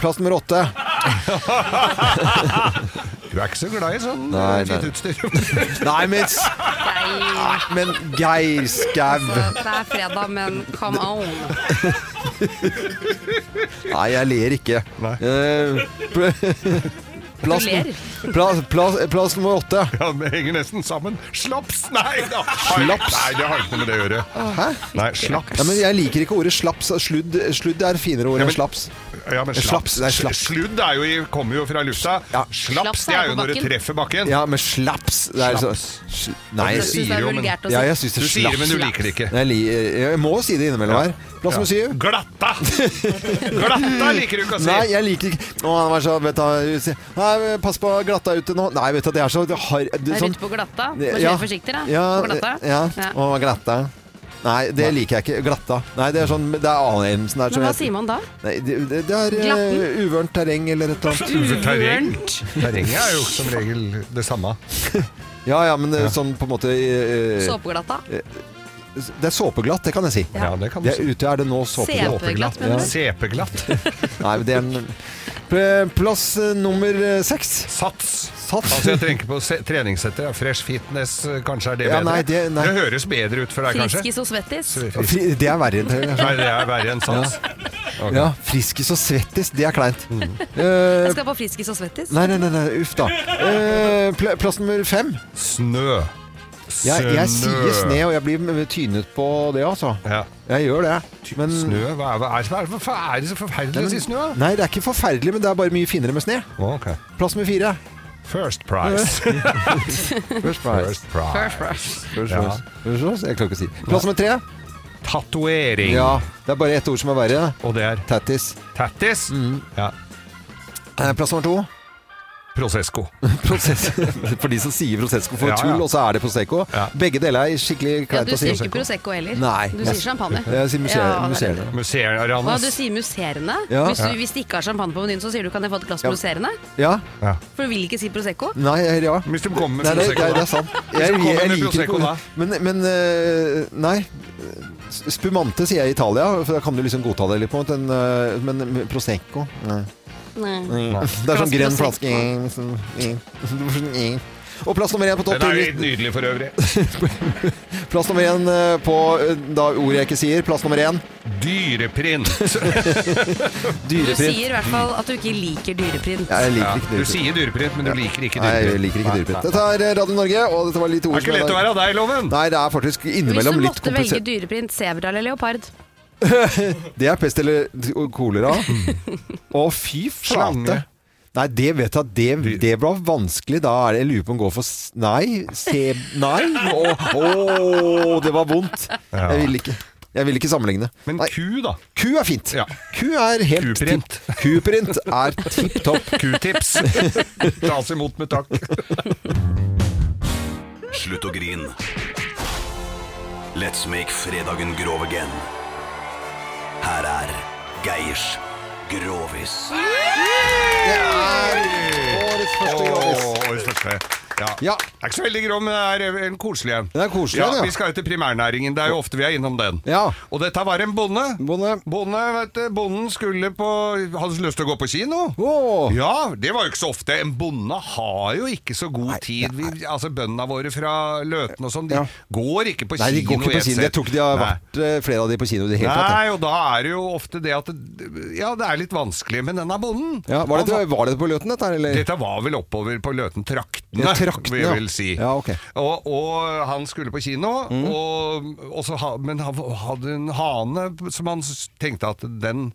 Speaker 1: Plass nummer åtte.
Speaker 3: Du er ikke så glad i sånn
Speaker 1: Nei,
Speaker 3: eh,
Speaker 1: nei.
Speaker 3: fint utstyr.
Speaker 1: Nei, men s- Nei, Men Geir Skau
Speaker 2: Det er fredag, men come on.
Speaker 1: Nei, jeg ler ikke. Eh, pl- plass,
Speaker 3: Du ler.
Speaker 1: Plass, plass, plass nummer åtte.
Speaker 3: Ja, det henger nesten sammen. Slaps! Nei da!
Speaker 1: Slaps?
Speaker 3: Nei, det har ikke noe med det å gjøre.
Speaker 1: Hæ?
Speaker 3: Nei, slaps.
Speaker 1: Ja, men jeg liker ikke ordet slaps. Sludd, sludd er finere ord enn slaps. Eh,
Speaker 3: Ja, men slaps,
Speaker 1: slaps, nei, slaps.
Speaker 3: Sludd er jo i, kommer jo fra lufta. Slaps, det er jo når det treffer bakken.
Speaker 1: Ja, men slaps det er så- sl- Nei,
Speaker 3: Du synes det er vulgært å si.
Speaker 1: ja, jeg synes det er
Speaker 3: Du sier det, men du
Speaker 1: slaps.
Speaker 3: liker det ikke.
Speaker 1: Nei, Jeg, li- jeg må si det innimellom her. Plass nummer syv.
Speaker 3: Glatta! Glatta liker du ikke å si.
Speaker 1: Nei, jeg liker ikke Å, han var så vet du, Nei, pass på glatta ute nå. Nei, vet du, det er så det har, det,
Speaker 2: Er
Speaker 1: sånn-
Speaker 2: Rundt på glatta. Må kjøre
Speaker 1: Ja.
Speaker 2: forsiktig, da.
Speaker 1: Ja,
Speaker 2: på glatta.
Speaker 1: ja. Å, glatta. Nei, det liker jeg ikke. Glatta. Nei, det er sånn Det er anerkjennelsen der.
Speaker 2: Men hva sier man da?
Speaker 1: Nei, det, det, det er eh, uvørent terreng eller et eller annet.
Speaker 3: Uvørent terreng? Terrenget er jo som regel det samme.
Speaker 1: Ja ja, men det er sånn på en måte eh,
Speaker 2: Såpeglatta.
Speaker 1: eh, Det er såpeglatt, det kan jeg si.
Speaker 3: Ja, det kan du
Speaker 1: er,
Speaker 3: si.
Speaker 1: Ute er det nå såpeglatt.
Speaker 2: Såpeglatt, mener du?
Speaker 3: Sepeglatt.
Speaker 1: Nei, men det er en P- Plass eh, nummer eh, seks.
Speaker 3: Sats.
Speaker 1: Sats.
Speaker 3: Altså, jeg tenker på se- treningssetter. ja. Fresh fitness, eh, kanskje er det
Speaker 1: Ja,
Speaker 3: bedre?
Speaker 1: nei, det- nei.
Speaker 3: høres bedre ut for deg, kanskje?
Speaker 2: Friskis og svettis.
Speaker 1: Fri- Det er verre enn terreng. altså.
Speaker 3: Nei, det er verre enn sats. Ok. Mm.
Speaker 1: Ja, friskis og svettis, det er kleint.
Speaker 2: Jeg
Speaker 1: Eh,
Speaker 2: skal på Friskis og svettis.
Speaker 1: nei, nei, nei, nei, uff da. Eh, pl- plass nummer fem.
Speaker 3: Snø.
Speaker 1: Jeg, jeg sier sne, og jeg blir tynet på det, altså. Jeg gjør det. Men,
Speaker 3: Snø? Hva er, hva er, hva er, hva er det så forferdelig å si snø? da?
Speaker 1: Nei, det er ikke forferdelig, men det er bare mye finere med sne.
Speaker 3: Ok.
Speaker 1: Plass med fire.
Speaker 3: First prize.
Speaker 1: First prize.
Speaker 3: First prize.
Speaker 1: First prize. First
Speaker 3: Ja.
Speaker 1: prize. First prize. Jeg klarer ikke å si. Plass med tre.
Speaker 3: Tatovering.
Speaker 1: Ja, det er bare ett ord som er verre.
Speaker 3: Og det er?
Speaker 1: Tattis. Mm.
Speaker 3: Tattis? Ja.
Speaker 1: Eh, Plass nummer to.
Speaker 3: Prosesco.
Speaker 1: Prosess. For de som sier Prosecco for
Speaker 3: Ja, ja.
Speaker 1: tull, og så er det Prosecco. Begge deler er skikkelig
Speaker 10: Ja,
Speaker 1: kleint
Speaker 10: du
Speaker 1: å si.
Speaker 10: sier ikke Prosecco heller.
Speaker 1: Nei.
Speaker 10: Du sier champagne.
Speaker 1: Jeg sier museer,
Speaker 10: Ja, det er
Speaker 1: museer.
Speaker 10: det. Hva,
Speaker 3: Museernes.
Speaker 10: du sier musserende?
Speaker 1: Ja.
Speaker 10: Hvis,
Speaker 1: Ja.
Speaker 10: du, hvis det ikke har champagne på menyen, så sier du kan jeg få et glass
Speaker 1: Ja.
Speaker 10: musserende?
Speaker 1: Ja.
Speaker 10: For du vil ikke si Prosecco?
Speaker 1: Nei, ja.
Speaker 3: Hvis du kommer med
Speaker 1: nei, nei,
Speaker 3: Prosecco,
Speaker 1: nei,
Speaker 3: da.
Speaker 1: det er sant.
Speaker 3: Hvis du kommer med
Speaker 1: liker
Speaker 3: Prosecco,
Speaker 1: ikke-
Speaker 3: da.
Speaker 1: Men, men eh, nei. Spumante sier jeg i Italia, for da kan du liksom godta det litt på en måte. en, eh, Men Prosecco nei. Nei. Det er sånn grønn
Speaker 3: Glass
Speaker 1: flaske Sånn, Og plass nummer én på topp
Speaker 3: Den er jo
Speaker 1: ti.
Speaker 3: helt nydelig for øvrig.
Speaker 1: Plass nummer én eh, på eh, da ordet jeg ikke sier. Plass nummer én.
Speaker 3: Dyreprint.
Speaker 10: Du
Speaker 1: Dyreprint.
Speaker 10: sier i hvert fall at du ikke liker dyreprint.
Speaker 1: Ja, jeg liker ikke
Speaker 3: Du
Speaker 1: dyreprint.
Speaker 3: sier dyreprint, men du liker ikke
Speaker 1: Nei,
Speaker 3: dyreprint.
Speaker 1: jeg liker ikke dyreprint.
Speaker 3: Nei,
Speaker 1: Dette er Radio Norge, og dette var litt ord
Speaker 3: Det er ikke lett å være deg, Loven!
Speaker 1: Nei, det er faktisk
Speaker 10: Hvis du
Speaker 1: innimellom litt
Speaker 10: måtte velge
Speaker 1: komplisert.
Speaker 10: dyreprint, sebra eller leopard?
Speaker 1: Det er pest eller kolera. Å, fy flate!
Speaker 3: Slange.
Speaker 1: Nei, det vet jeg at det, det ble vanskelig. Da er det jeg lurer på om går for s- Nei. Se, nei. Å, å, det var vondt. Jeg ville ikke. Jeg vil ikke sammenligne.
Speaker 3: Men ku, da?
Speaker 1: Ku er fint. Ku er helt Kuprint. Tipp, kuprint er tipp topp.
Speaker 3: Q-tips. Tas imot med takk.
Speaker 14: Slutt å grin. Let's make fredagen grov again. Her er Geirs Grovis.
Speaker 3: Oh,
Speaker 1: Årets første
Speaker 3: Grovis. Årets første. Ja. Det er ikke så veldig grov, men det er eh, en koselig en.
Speaker 1: Det er koselig, ja.
Speaker 3: Vi skal jo til primærnæringen. Det er jo ofte vi er innom den. Og dette var en bonde.
Speaker 1: Bonde,
Speaker 3: vet du, Bonden skulle på Hadde så lyst til å gå på kino. Ja, det var jo ikke så ofte. En bonde har jo ikke så god tid. Vi, altså Bøndene våre fra Løten og sånn, de går ikke på
Speaker 1: Nei, de
Speaker 3: kino.
Speaker 1: går ikke på
Speaker 3: et
Speaker 1: kino. Jeg
Speaker 3: sett.
Speaker 1: tror ikke de har
Speaker 3: Nei.
Speaker 1: vært eh, flere av de på kino i det hele tatt. jeg.
Speaker 3: Nei, og da er det jo ofte det at det, Ja, det er litt vanskelig, men den er bonden.
Speaker 1: Ja, var, det,
Speaker 3: Han-
Speaker 1: var det på Løten, dette her, eller?
Speaker 3: Dette var vel oppover på Løten-traktene,
Speaker 1: Ja, traktene,
Speaker 3: vil
Speaker 1: ja.
Speaker 3: jeg vel si.
Speaker 1: Ja, ok.
Speaker 3: og, og han skulle på kino,
Speaker 1: Mm.
Speaker 3: og, og så, ha- men han hadde en hane som han s- tenkte at den,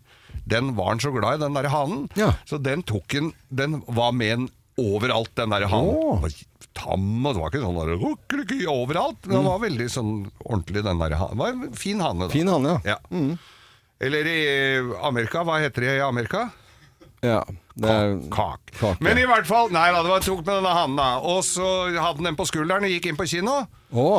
Speaker 3: den var han så glad i, den der hanen. Så den tok han Den var med en overalt, den der hanen. Den var Tam, og det var ikke sånn der, "Rukkelykke", overalt. Men
Speaker 1: Mm.
Speaker 3: Den var veldig sånn ordentlig, den der hanen. Det var en fin hane, da.
Speaker 1: Fin hane, Mm.
Speaker 3: ja. Eller i Amerika, hva heter det i Amerika?
Speaker 1: Ja, det er
Speaker 3: kak.
Speaker 1: Men
Speaker 3: Men i hvert fall, nei da, det var tok med denne hanen da Og så hadde han den på skulderen og gikk inn på kino
Speaker 1: Å!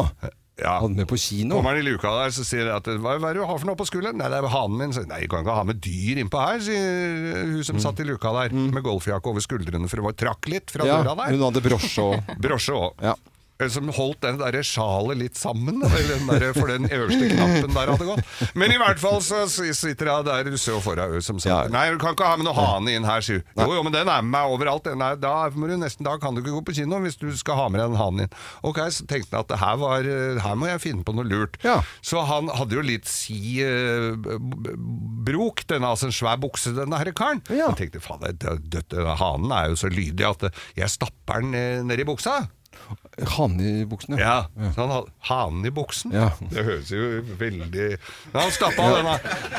Speaker 3: Ja.
Speaker 1: Hadde med på kino?
Speaker 3: Kommer han i luka der, så sier han at Hva hva er det du har for noe på skulderen? Nei, det er hanen min Så, Nei, du kan ikke ha med dyr innpå her Sier eh, hun
Speaker 1: Mm.
Speaker 3: som satt i luka der Med golfjakke over skuldrene For hun var trakk litt fra
Speaker 1: Ja,
Speaker 3: døra der
Speaker 1: hun hadde brosje og
Speaker 3: Brosje også Eh, Som holdt den der sjalet litt sammen eller den der, For den øverste knappen der hadde gått Men i hvert fall så s- sitter jeg der Russe og forhau som sagt Nei, du kan ikke ha med noe hane inn her, sier hun. Jo, jo, men den er med meg overalt den er, da, må du nesten, da kan du ikke gå på kino Hvis du skal ha med deg den hanen inn Ok, så tenkte jeg at det her, var, eh, her må jeg finne på noe lurt Så han hadde jo litt si eh, b- b- Brok, denne altså en svær bukse Denne her karen Jeg tenkte, faen, det er dødt, denne hanen er jo så lydig At eh, jeg stapper den eh, ned i buksa
Speaker 1: Hane i buksene?
Speaker 3: ja, så han hadde hanen i buksen.
Speaker 1: Ja.
Speaker 3: Det høres jo veldig Men han stappa denne.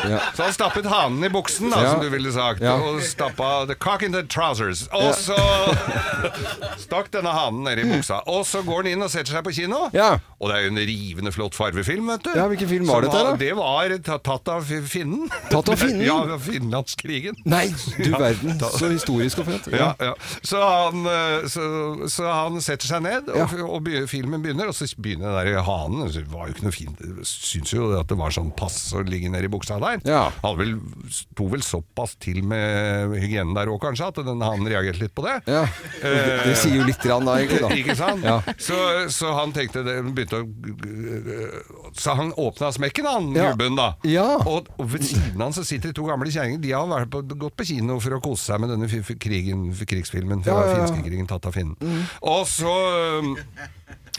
Speaker 1: Ja.
Speaker 3: Så han stappet hanen i buksen, da,
Speaker 1: Ja.
Speaker 3: som du ville sagt.
Speaker 1: Ja.
Speaker 3: Og stappa the cock in the trousers.
Speaker 1: Ja.
Speaker 3: Og så stakk denne hanen ned i buksa. Og så går han inn og setter seg på kino. Og det er jo en rivende flott farvefilm, vet du.
Speaker 1: Ja, hvilken film var
Speaker 3: Som
Speaker 1: dette, da?
Speaker 3: Det var ta- tatt av finnen.
Speaker 1: Tatt av finnen?
Speaker 3: Ja, Finlandskrigen.
Speaker 1: Nei, du
Speaker 3: Ja.
Speaker 1: verden.
Speaker 3: Ta-
Speaker 1: Så historisk og fett.
Speaker 3: ja, ja. Så, han, eh, så, så han setter seg ned, og, og be- filmen begynner, og så begynner den der hanen. Det var jo ikke noe fint. Jeg Syns jo at det var sånn pass å ligge nedi buksa der. Han vel, sto vel såpass til med hygienen der òg, kanskje, at den hanen reagerte litt på det.
Speaker 1: Det, det sier jo litt grann da, egentlig. Da.
Speaker 3: Ikke sant?
Speaker 1: Ja.
Speaker 3: Så, så han tenkte det, begynte å Så han åpna smekken, han
Speaker 1: Ja.
Speaker 3: gubben, da. Og, og ved siden av han så sitter det to gamle kjerringer. De har vært på, gått på kino for å kose seg med denne fi- fi- krigen, krigsfilmen fra
Speaker 1: Ja, ja, ja.
Speaker 3: finskekrigen tatt av finnen. Og så um, øhm,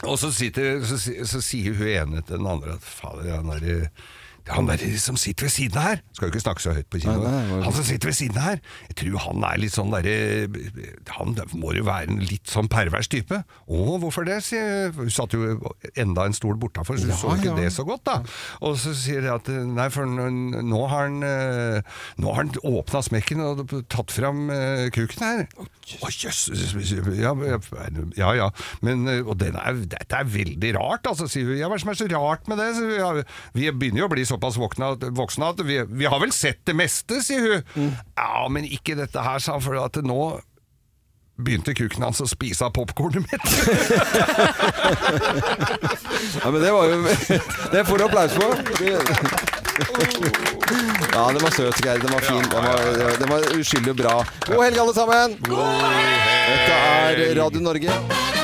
Speaker 3: og så, sitter, så, si- så sier hun ene til den andre at fader, han der, Han der som sitter ved siden her Skal jo ikke snakke så høyt på kino. Han som sitter ved siden her, jeg tror han er litt sånn derre Han må jo være en litt sånn pervers type. Å, hvorfor det? sier jeg. Hun satt jo enda en stol bortafor, så hun
Speaker 18: Ja,
Speaker 3: så ikke
Speaker 18: ja.
Speaker 3: det så godt, da. Og så sier de at nei, for nå nå har han eh, Nå har han åpna smekken og tatt fram eh, kuken her. Å, jøss! Ja, ja, ja. Men, eh, og den er, dette er veldig rart, altså, sier hun. Ja, hva er det som er så rart med det? sier hun. Ja, vi begynner jo å bli såpass våkna, voksne at vi, vi har vel sett det meste, sier hun. Ja, men ikke dette her, sa han, for at nå begynte kuken hans å spise av popkornet mitt.
Speaker 1: Ja, men det var jo Det får du applaus for. Ja, den var søt, Geir. Den var fin. Den var, den var uskyldig bra. God helg, alle sammen! Dette er Radio Norge.